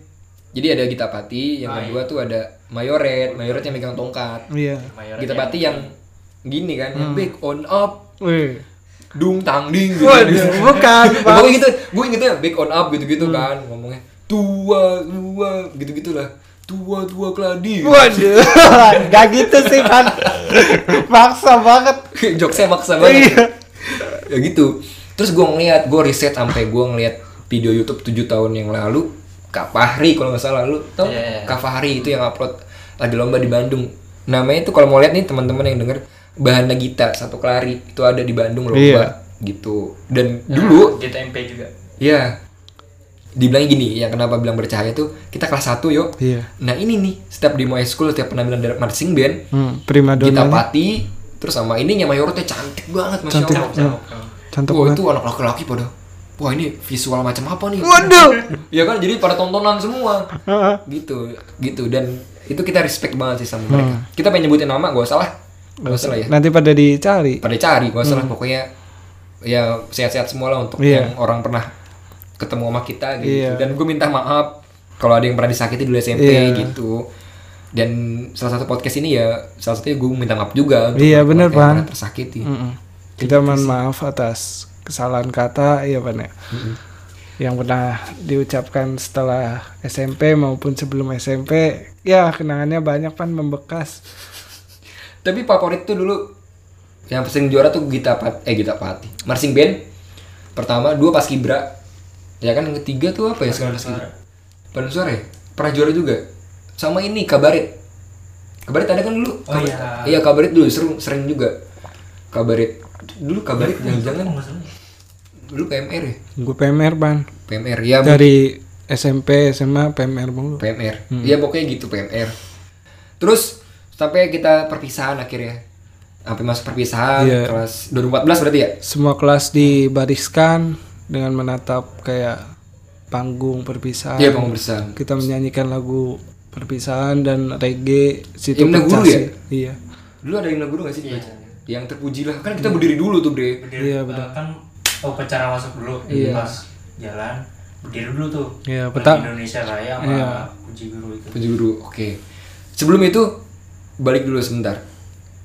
Speaker 1: Jadi ada Gitapati, yang kedua tuh ada Mayoret, Mayoret yang megang tongkat.
Speaker 2: iya
Speaker 3: Mayoran
Speaker 1: Gita Bati yang gini kan, yang
Speaker 2: Hmm.
Speaker 1: big on up,
Speaker 2: Wih.
Speaker 1: dung tang ding gitu.
Speaker 2: Waduh, bukan
Speaker 1: Ya, pokoknya gitu, gue ingetnya big on up gitu-gitu kan ngomongnya tua tua gitu-gitu lah tua tua keladi
Speaker 2: Waduh, (laughs) nggak gitu sih kan, maksa banget.
Speaker 1: (laughs) jokesnya maksa banget ya gitu terus gue ngeliat gue riset sampai gue ngeliat video YouTube 7 tahun yang lalu Kak Fahri kalau nggak salah lu tau
Speaker 3: Iya, iya.
Speaker 1: Kak Fahri itu yang upload lagi lomba di Bandung namanya itu kalau mau lihat nih teman-teman yang denger Bahana Gita satu kelari itu ada di Bandung lomba
Speaker 2: Iya.
Speaker 1: gitu dan
Speaker 3: Nah,
Speaker 1: dulu
Speaker 3: GTMP juga.
Speaker 1: Ya. Dibilang gini, yang kenapa bilang bercahaya tuh kita kelas 1 yuk.
Speaker 2: Iya.
Speaker 1: Nah, ini nih, setiap demo high school, setiap penampilan dari marching band,
Speaker 2: Hmm, prima
Speaker 1: kita pati terus sama ininya mayornya cantik banget Masya
Speaker 2: Cantik,
Speaker 1: Allah.
Speaker 2: iya. Cantik
Speaker 1: Wah,
Speaker 2: banget.
Speaker 1: itu anak laki-laki pada. Wah, ini visual macam apa nih? (laughs)
Speaker 2: Waduh.
Speaker 1: ya kan jadi pada tontonan semua.
Speaker 2: Heeh.
Speaker 1: gitu, gitu dan itu kita respect banget sih sama mereka.
Speaker 2: Nah.
Speaker 1: Kita pengen nyebutin nama, gak salah. Gak salah ya.
Speaker 2: Nanti pada dicari.
Speaker 1: pada cari gak salah pokoknya ya sehat-sehat semua lah untuk
Speaker 2: Hmm. Iya.
Speaker 1: yang orang pernah ketemu sama kita gitu
Speaker 2: Iya.
Speaker 1: dan gue minta maaf kalau ada yang pernah disakiti dulu SMP
Speaker 2: Iya.
Speaker 1: gitu dan salah satu podcast ini ya salah satunya gue minta maaf juga untuk
Speaker 2: Iya,
Speaker 1: orang-orang
Speaker 2: bener,
Speaker 1: yang
Speaker 2: Pan.
Speaker 1: pernah tersakiti
Speaker 2: Mm-mm. Kita mohon maaf atas kesalahan kata, ya Pan ya. Yang pernah diucapkan setelah SMP maupun sebelum SMP, ya kenangannya banyak pan membekas.
Speaker 1: tapi favorit tuh dulu yang sering juara tuh Gita Pat eh Gita Pati marching band pertama dua pas Kibra ya kan yang ketiga tuh apa ya sekarang pas Kibra Bandung Suara ya pernah juara juga sama ini Kabaret Kabaret ada kan dulu
Speaker 3: Oh,
Speaker 1: Kabaret.
Speaker 3: iya.
Speaker 1: iya Kabaret dulu seru sering juga Kabaret dulu Kabaret jangan-jangan dulu PMR ya
Speaker 2: Gue PMR pan
Speaker 1: PMR ya
Speaker 2: dari SMP SMA PMR mulu.
Speaker 1: PMR. Iya pokoknya gitu PMR. Terus sampai kita perpisahan akhirnya. Sampai masuk perpisahan
Speaker 2: Iya.
Speaker 1: kelas 2014 berarti ya?
Speaker 2: semua kelas dibariskan dengan menatap kayak panggung perpisahan.
Speaker 1: Iya, panggung perpisahan.
Speaker 2: Kita menyanyikan lagu perpisahan dan reggae situ
Speaker 1: Himne
Speaker 2: pecah
Speaker 1: guru ya?
Speaker 2: sih. Iya.
Speaker 1: Dulu ada yang guru gak
Speaker 3: Iya.
Speaker 1: sih? Yang terpujilah. Kan kita berdiri dulu tuh, Bre.
Speaker 3: Berdiri,
Speaker 2: Iya,
Speaker 3: eh,
Speaker 2: benar.
Speaker 3: Kan upacara masuk dulu
Speaker 2: Iya.
Speaker 3: pas jalan berdiri dulu tuh.
Speaker 2: Iya,
Speaker 3: Lagi
Speaker 2: peta-
Speaker 3: Indonesia Raya sama
Speaker 2: Iya.
Speaker 3: Puji Guru itu.
Speaker 1: Puji guru. Oke. Sebelum itu balik dulu sebentar.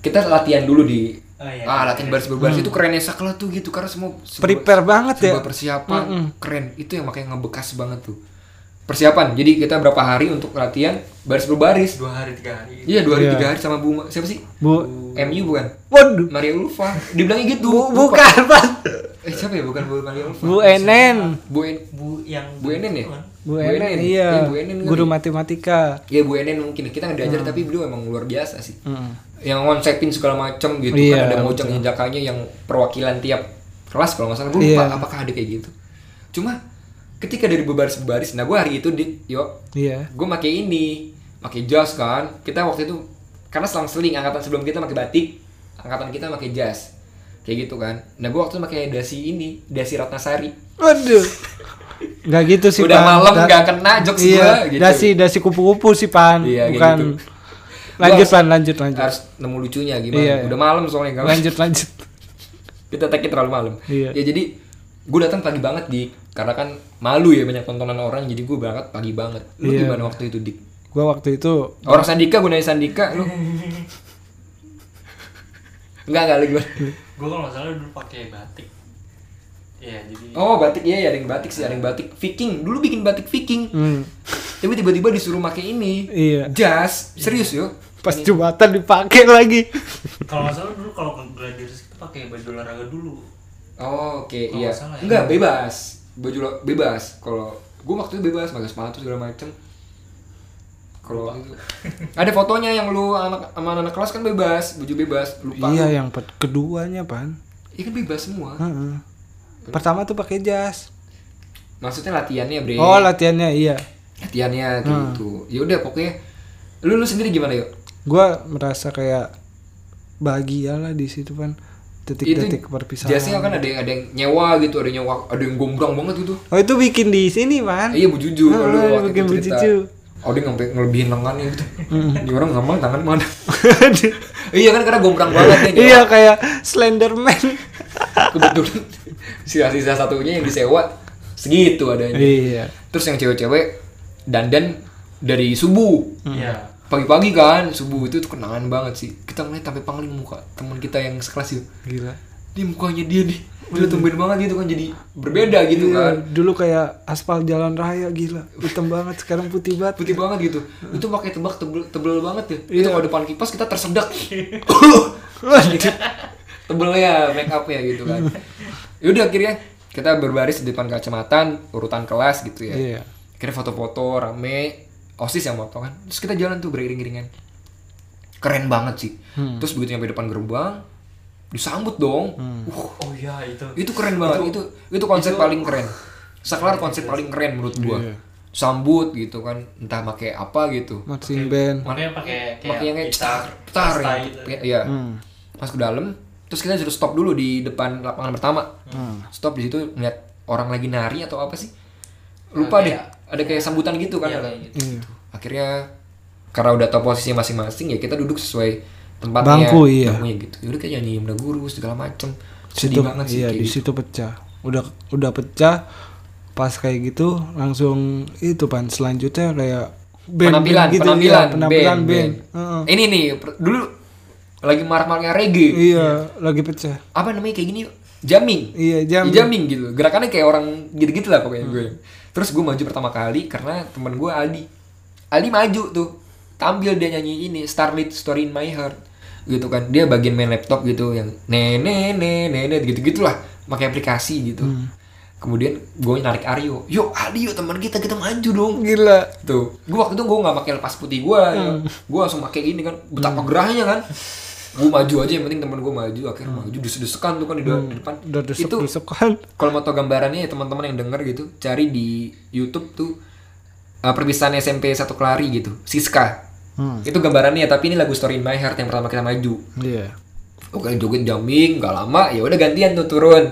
Speaker 1: Kita latihan dulu di
Speaker 3: Oh, iya.
Speaker 1: Ah, latihan baris berbaris itu kerennya sakla tuh gitu karena semua sebuah-
Speaker 2: Hmm. Prepare banget ya.
Speaker 1: sebuah persiapan keren. Itu yang makanya ngebekas banget tuh. Persiapan. Jadi kita berapa hari untuk latihan baris berbaris.
Speaker 3: Dua hari tiga hari.
Speaker 1: Iya dua hari
Speaker 2: Iya.
Speaker 1: tiga hari sama Buma siapa sih?
Speaker 2: Bu,
Speaker 1: MU bukan?
Speaker 2: waduh.
Speaker 1: Maria Ulfa dibilangnya gitu.
Speaker 2: Bu,
Speaker 1: Lupa.
Speaker 2: bukan Pak.
Speaker 1: Eh siapa ya bukan Bu Maria Ulfa?
Speaker 2: Bu Enen.
Speaker 1: Bu En-
Speaker 3: Bu yang
Speaker 1: Bu Enen ya?
Speaker 2: Bu Enen, iya.
Speaker 1: Bu Enen kan?
Speaker 2: Guru Hmm. matematika.
Speaker 1: Iya Bu Enen mungkin kita nggak diajar tapi beliau emang luar biasa sih.
Speaker 2: Mm.
Speaker 1: Yang konsepin segala macam gitu kan
Speaker 2: Iya,
Speaker 1: ada mojang jejakannya yang perwakilan tiap kelas kalau nggak salah gue
Speaker 2: Iya.
Speaker 1: lupa apakah ada kayak gitu. Cuma ketika dari berbaris berbaris, nah gue hari itu di yuk
Speaker 2: Iya.
Speaker 1: gue pakai ini pakai jas kan kita waktu itu karena selang seling angkatan sebelum kita pakai batik angkatan kita pakai jas kayak gitu kan nah gue waktu itu pakai dasi ini dasi ratnasari
Speaker 2: Waduh. Gak gitu sih
Speaker 1: udah
Speaker 2: Pan.
Speaker 1: malam
Speaker 2: Da-
Speaker 1: nggak kena jokes
Speaker 2: Iya,
Speaker 1: gue gitu
Speaker 2: dasi dasi kupu-kupu sih Pan,
Speaker 1: Iya, kayak
Speaker 2: bukan.
Speaker 1: gitu.
Speaker 2: Lanjut
Speaker 1: Gua
Speaker 2: Pan, lanjut lanjut.
Speaker 1: harus nemu lucunya gimana
Speaker 2: Iya, iya.
Speaker 1: udah malam soalnya kan
Speaker 2: Lanjut lanjut.
Speaker 1: kita take terlalu malam
Speaker 2: Iya.
Speaker 1: ya jadi gue datang pagi banget di karena kan malu ya banyak tontonan orang jadi gue berangkat pagi banget lu
Speaker 2: Iya.
Speaker 1: gimana waktu itu dik
Speaker 2: Gua waktu itu
Speaker 1: orang sandika gue nanya sandika lu enggak enggak lu gimana
Speaker 3: Gue kalau nggak salah dulu pakai batik. Iya, jadi
Speaker 1: Oh batik ya, ada yang batik sih, ada yang batik Viking. Dulu bikin batik Viking,
Speaker 2: Hmm.
Speaker 1: tapi tiba-tiba disuruh pakai ini.
Speaker 2: Iya.
Speaker 1: Jas, serius yo.
Speaker 2: Pas jumatan dipakai lagi.
Speaker 3: kalau nggak salah dulu kalau ke gladiators itu pakai baju olahraga dulu.
Speaker 1: Oh, Oke,
Speaker 3: Kalau
Speaker 1: iya.
Speaker 3: nggak salah ya.
Speaker 1: Enggak bebas, baju lo- bebas. Kalau gue waktu itu bebas, pakai sepatu segala macem. Kalau waktu itu ada fotonya yang lu anak sama anak kelas kan bebas, baju bebas, lupa.
Speaker 2: Iya yang pet- keduanya pan.
Speaker 1: Iya kan bebas semua.
Speaker 2: Heeh. Pertama tuh pakai jas.
Speaker 1: Maksudnya latihannya bre.
Speaker 2: Oh Hmm. latihannya iya.
Speaker 1: latihannya kayak gitu. Ya udah pokoknya lu lu sendiri gimana yuk?
Speaker 2: Gua merasa kayak bahagia lah di situ pan. Detik-detik perpisahan.
Speaker 1: Jasnya kan ada yang ada yang nyewa gitu, ada yang nyewa, ada yang gombrang banget gitu.
Speaker 2: Oh itu bikin di sini pan.
Speaker 1: Eh, iya Bu Juju
Speaker 2: Ah,
Speaker 1: kalau waktu
Speaker 2: bikin
Speaker 1: itu
Speaker 2: Bu
Speaker 1: cerita.
Speaker 2: Juju.
Speaker 1: Oh dia ngampe ngelebihin lengannya gitu. Ini orang ngambang tangan mana? iya kan karena gombrang banget ya. nyewa.
Speaker 2: iya kayak Slenderman.
Speaker 1: Kebetulan sisa-sisa satunya yang disewa segitu adanya.
Speaker 2: iya.
Speaker 1: Terus yang cewek-cewek dandan dari subuh.
Speaker 2: Hmm.
Speaker 3: Iya.
Speaker 1: Pagi-pagi kan subuh itu tuh kenangan banget sih. Kita ngeliat sampai pangling muka teman kita yang sekelas itu.
Speaker 2: Gila.
Speaker 1: Dia mukanya dia nih. Udah tumben banget gitu kan jadi berbeda gitu
Speaker 2: Iya,
Speaker 1: kan.
Speaker 2: dulu kayak aspal jalan raya gila hitam banget sekarang putih banget
Speaker 1: putih banget gitu itu pakai tebak tebel tebel banget ya itu
Speaker 2: Iya. gitu.
Speaker 1: kalau depan kipas kita
Speaker 2: (laughs)
Speaker 1: tersedak (laughs) tebel ya make up ya gitu kan yaudah akhirnya kita berbaris di depan kacamatan urutan kelas gitu ya
Speaker 2: iya
Speaker 1: akhirnya foto-foto rame osis yang moto kan terus kita jalan tuh beriring-iringan keren banget sih
Speaker 2: Hmm.
Speaker 1: terus begitu nyampe depan gerbang disambut dong
Speaker 2: Hmm.
Speaker 1: uh
Speaker 3: Oh iya itu.
Speaker 1: itu keren banget itu itu, konsep paling keren saklar konsep paling keren menurut gua
Speaker 2: Iya.
Speaker 1: sambut gitu kan entah pakai apa gitu
Speaker 2: marching band
Speaker 3: Makanya pakai kayak
Speaker 1: pakai yang kayak
Speaker 3: gitar,
Speaker 1: tar
Speaker 3: pasta
Speaker 1: gitu.
Speaker 3: gitu.
Speaker 1: Iya.
Speaker 2: Hmm.
Speaker 1: Masuk ke dalam, terus kita suruh stop dulu di depan lapangan pertama.
Speaker 2: Hmm.
Speaker 1: Stop di situ ngeliat orang lagi nari atau apa sih? Lupa deh. Ada kayak sambutan gitu kan. ada.
Speaker 2: Iya.
Speaker 1: Akhirnya karena udah tahu posisinya masing-masing ya kita duduk sesuai tempatnya.
Speaker 2: Bangku, iya.
Speaker 1: Bangkunya gitu. Yaudah kayak nyanyi himne guru segala macem. Sedih
Speaker 2: situ
Speaker 1: banget sih
Speaker 2: iya
Speaker 1: kayak
Speaker 2: di
Speaker 1: gitu.
Speaker 2: situ pecah udah udah pecah pas kayak gitu langsung itu pan selanjutnya kayak band,
Speaker 1: penampilan,
Speaker 2: gitu,
Speaker 1: penampilan,
Speaker 2: iya, penampilan band, Heeh.
Speaker 1: Ini nih per- dulu lagi marah-marahnya reggae.
Speaker 2: iya lagi pecah
Speaker 1: apa namanya kayak gini jamming
Speaker 2: Iya, jamming. Hmm.
Speaker 1: Ya, jamming gitu gerakannya kayak orang gitu-gitu lah pokoknya gue terus gue maju pertama kali karena temen gue Aldi Aldi maju tuh tampil dia nyanyi ini Starlit Story in My Heart gitu kan dia bagian main laptop gitu yang nene nene nene gitu gitulah pakai aplikasi gitu
Speaker 2: Hmm.
Speaker 1: kemudian gue narik Aryo yuk Aldi yuk teman kita kita maju dong
Speaker 2: gila
Speaker 1: tuh gue waktu itu gue nggak pakai lepas putih gue
Speaker 2: Hmm.
Speaker 1: gue langsung pakai ini kan betapa gerahnya kan gue maju aja yang penting teman gue maju akhirnya maju desek-desekan tuh kan di, de- di depan
Speaker 2: Hmm. udah desek
Speaker 1: itu
Speaker 2: desek kan
Speaker 1: kalau mau tau gambarannya ya teman-teman yang denger gitu cari di YouTube tuh uh, perpisahan SMP satu kelari gitu Siska
Speaker 2: Hmm.
Speaker 1: itu gambarannya tapi ini lagu Story in My Heart yang pertama kita maju
Speaker 2: iya
Speaker 1: oke joget jamming nggak lama ya udah gantian tuh turun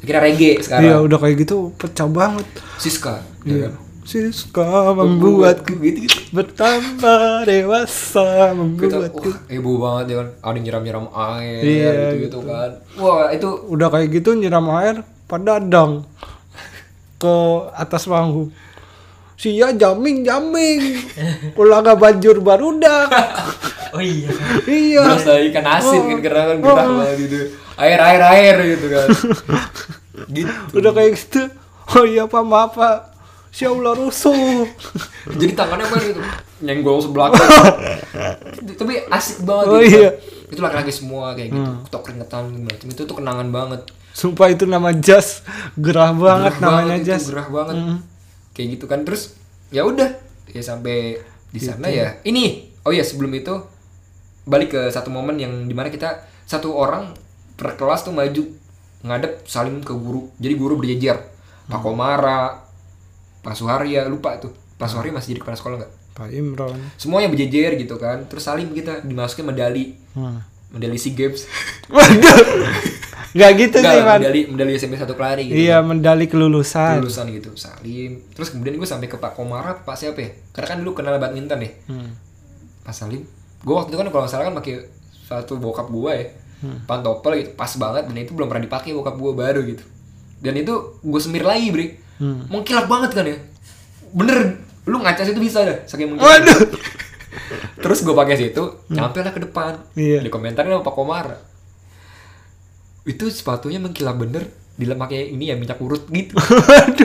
Speaker 1: akhirnya reggae
Speaker 2: iya
Speaker 1: sekarang
Speaker 2: udah kayak gitu pecah banget
Speaker 1: Siska ya kan?
Speaker 2: iya Siska membuatku
Speaker 1: gitu gitu
Speaker 2: bertambah
Speaker 1: kita
Speaker 2: dewasa membuatku
Speaker 1: wah ibu banget ya kan ada yang nyiram-nyiram air
Speaker 2: Iya,
Speaker 1: gitu, gitu kan wah itu
Speaker 2: udah kayak gitu nyiram air padadang ke atas panggung ya sia jamming jamming
Speaker 1: (laughs)
Speaker 2: olahraga banjur barudak
Speaker 3: Oh iya.
Speaker 2: iya Oh.
Speaker 1: berasa ikan asin kan karena kan gerah banget gitu air air air gitu
Speaker 2: (laughs)
Speaker 1: kan gitu
Speaker 2: udah kayak gitu oh iya pak maaf pak si ular rusuh
Speaker 1: jadi tangannya main gitu nyenggol sebelah
Speaker 2: (laughs)
Speaker 1: kan. tapi asik banget
Speaker 2: Oh,
Speaker 1: gitu kan.
Speaker 2: iya. Hmm.
Speaker 1: itu laki-laki semua kayak gitu tok keringetan macam itu tuh kenangan banget
Speaker 2: sumpah itu nama jas gerah banget
Speaker 1: Gerah
Speaker 2: namanya
Speaker 1: itu,
Speaker 2: jas
Speaker 1: gerah banget kayak gitu kan terus ya udah ya sampai di
Speaker 2: Gitu.
Speaker 1: sana ya ini oh ya sebelum itu balik ke satu momen yang dimana kita satu orang per kelas tuh maju ngadep saling ke guru jadi guru berjejer Pak Komara Pak Suharya lupa tuh Pak Suharya masih jadi kepala sekolah nggak
Speaker 2: pak Imron
Speaker 1: semuanya berjejer gitu kan terus saling kita dimasukin medali
Speaker 2: hmm.
Speaker 1: medali sea
Speaker 2: (laughs)
Speaker 1: games
Speaker 2: waduh nggak gitu
Speaker 1: Nggak
Speaker 2: sih
Speaker 1: lah,
Speaker 2: man
Speaker 1: medali medali SMP satu kelari gitu
Speaker 2: iya medali kelulusan
Speaker 1: lulusan gitu Salim terus kemudian gue sampai ke Pak Komara Pak siapa ya karena kan dulu kenal badminton ya
Speaker 2: Hmm.
Speaker 1: Pak Salim gue waktu itu kan kalau nggak salah kan pakai satu bokap gue ya
Speaker 2: Hmm.
Speaker 1: pantopel gitu pas banget dan itu belum pernah dipakai bokap gue baru gitu dan itu gue semir lagi bre
Speaker 2: Hmm.
Speaker 1: mengkilap banget kan ya bener lu ngaca situ bisa dah saking mengkilap
Speaker 2: waduh
Speaker 1: terus gue pakai situ nyampe lah ke depan
Speaker 2: Hmm. Iya.
Speaker 1: di komentarnya sama Pak Komara itu sepatunya mengkilap bener dilem pakai ini ya minyak urut
Speaker 2: (laughs)
Speaker 1: gitu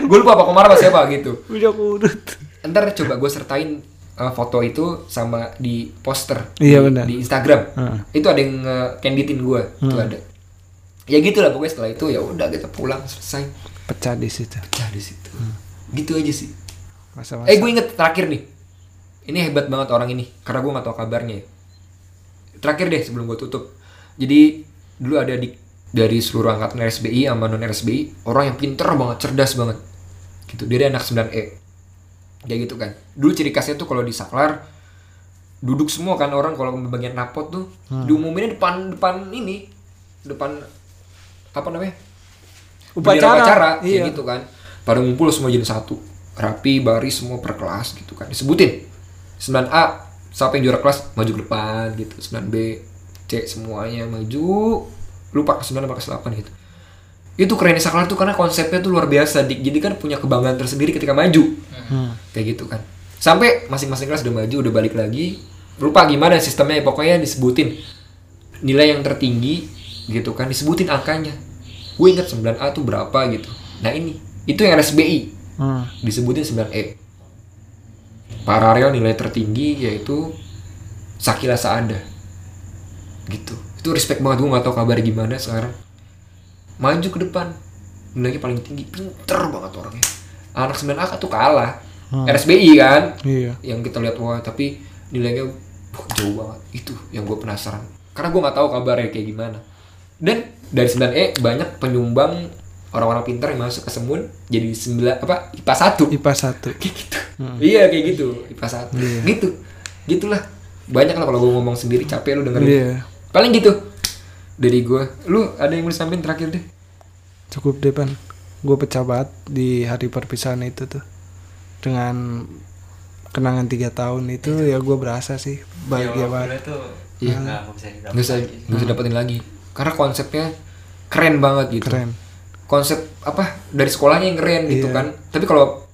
Speaker 1: gue lupa apa komar apa siapa gitu
Speaker 2: Udah kurut.
Speaker 1: ntar coba gue sertain eh, foto itu sama di poster
Speaker 2: Iya,
Speaker 1: di-
Speaker 2: benar.
Speaker 1: di Instagram
Speaker 2: Heeh.
Speaker 1: itu ada yang canditin gue itu ada ya gitulah pokoknya setelah itu ya udah kita pulang selesai
Speaker 2: Pecah di situ.
Speaker 1: pecah di situ gitu aja sih
Speaker 2: Masa-masa.
Speaker 1: eh gue inget terakhir nih ini hebat banget orang ini karena gue gak tahu kabarnya ya. terakhir deh sebelum gue tutup jadi dulu ada di dari seluruh angkatan RSBI sama non RSBI orang yang pinter banget cerdas banget gitu dia dia anak 9E kayak gitu kan dulu ciri khasnya tuh kalau di saklar duduk semua kan orang kalau bagian rapot tuh diumuminnya depan depan ini depan apa namanya
Speaker 2: Upacara.
Speaker 1: upacara, upacara kayak
Speaker 2: Iya.
Speaker 1: gitu kan pada ngumpul semua jadi satu rapi baris semua per kelas gitu kan disebutin 9A siapa yang juara kelas maju ke depan gitu 9B C semuanya maju lupa ke 9 apa ke 8 gitu itu kerennya saklar tuh karena konsepnya tuh luar biasa Dik. jadi kan punya kebanggaan tersendiri ketika maju kayak gitu kan sampai masing-masing kelas udah maju udah balik lagi lupa gimana sistemnya ya, pokoknya disebutin nilai yang tertinggi gitu kan disebutin angkanya gue inget 9A tuh berapa gitu nah ini itu yang RSBI
Speaker 2: Hmm.
Speaker 1: disebutin 9E paralel nilai tertinggi yaitu Sakila Saada gitu itu respect banget gue gak tau kabar gimana sekarang maju ke depan nilainya paling tinggi pinter banget orangnya anak 9A tuh kalah RSBI kan
Speaker 2: Iya.
Speaker 1: yang kita lihat wah tapi nilainya wah, jauh banget itu yang gue penasaran karena gue nggak tahu kabarnya kayak gimana dan dari 9E banyak penyumbang orang-orang pintar yang masuk ke Semun jadi 9 apa IPA 1
Speaker 2: IPA 1.
Speaker 1: (laughs) kayak gitu iya kayak gitu IPA 1 gitu gitulah banyak lah kalau gue ngomong sendiri capek lu dengerin
Speaker 2: Iya.
Speaker 1: paling gitu dari gue lu ada yang mau disampaikan terakhir deh
Speaker 2: Cukup deh, Pan. Gue pecah banget di hari perpisahan itu tuh. Dengan kenangan tiga tahun itu ya gue berasa sih bahagia banget.
Speaker 3: Gila tuh
Speaker 1: Iya.
Speaker 3: nggak nggak bisa didapat
Speaker 1: nggak usah nggak usah dapetin lagi karena konsepnya keren banget gitu
Speaker 2: Keren. Iya.
Speaker 1: konsep apa dari sekolahnya yang keren gitu kan tapi kalau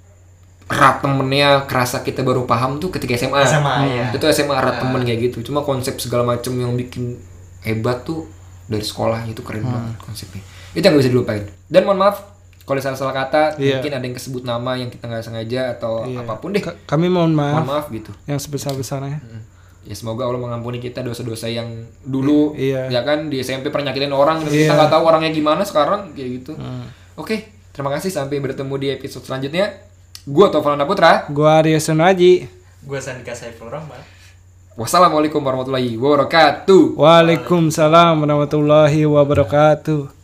Speaker 1: rat temennya kerasa kita baru paham tuh ketika SMA,
Speaker 3: SMA,
Speaker 1: Hmm.
Speaker 3: iya.
Speaker 1: itu SMA rat temen kayak gitu cuma konsep segala macem yang bikin hebat tuh dari sekolahnya itu keren
Speaker 2: Hmm.
Speaker 1: banget konsepnya itu yang gak bisa dilupain dan mohon maaf kalau ada salah-salah kata
Speaker 2: Iya.
Speaker 1: mungkin ada yang kesebut nama yang kita nggak sengaja atau
Speaker 2: Iya.
Speaker 1: apapun deh
Speaker 2: Ka- Kami mohon
Speaker 1: mohon maaf
Speaker 2: maaf
Speaker 1: gitu
Speaker 2: yang sebesar-besarnya.
Speaker 1: ya semoga Allah mengampuni kita dosa-dosa yang dulu
Speaker 2: I- iya.
Speaker 1: ya kan di SMP pernyakitin orang dan
Speaker 2: Iya. Hmm.
Speaker 1: kita nggak tahu orangnya gimana sekarang kayak gitu oke terima kasih sampai bertemu di episode selanjutnya gua Taufan Ana Putra
Speaker 2: Gue Arya Sunaji.
Speaker 3: gue Sandika Saiful Rahman
Speaker 1: wassalamualaikum warahmatullahi wabarakatuh
Speaker 2: Waalaikumsalam warahmatullahi wabarakatuh.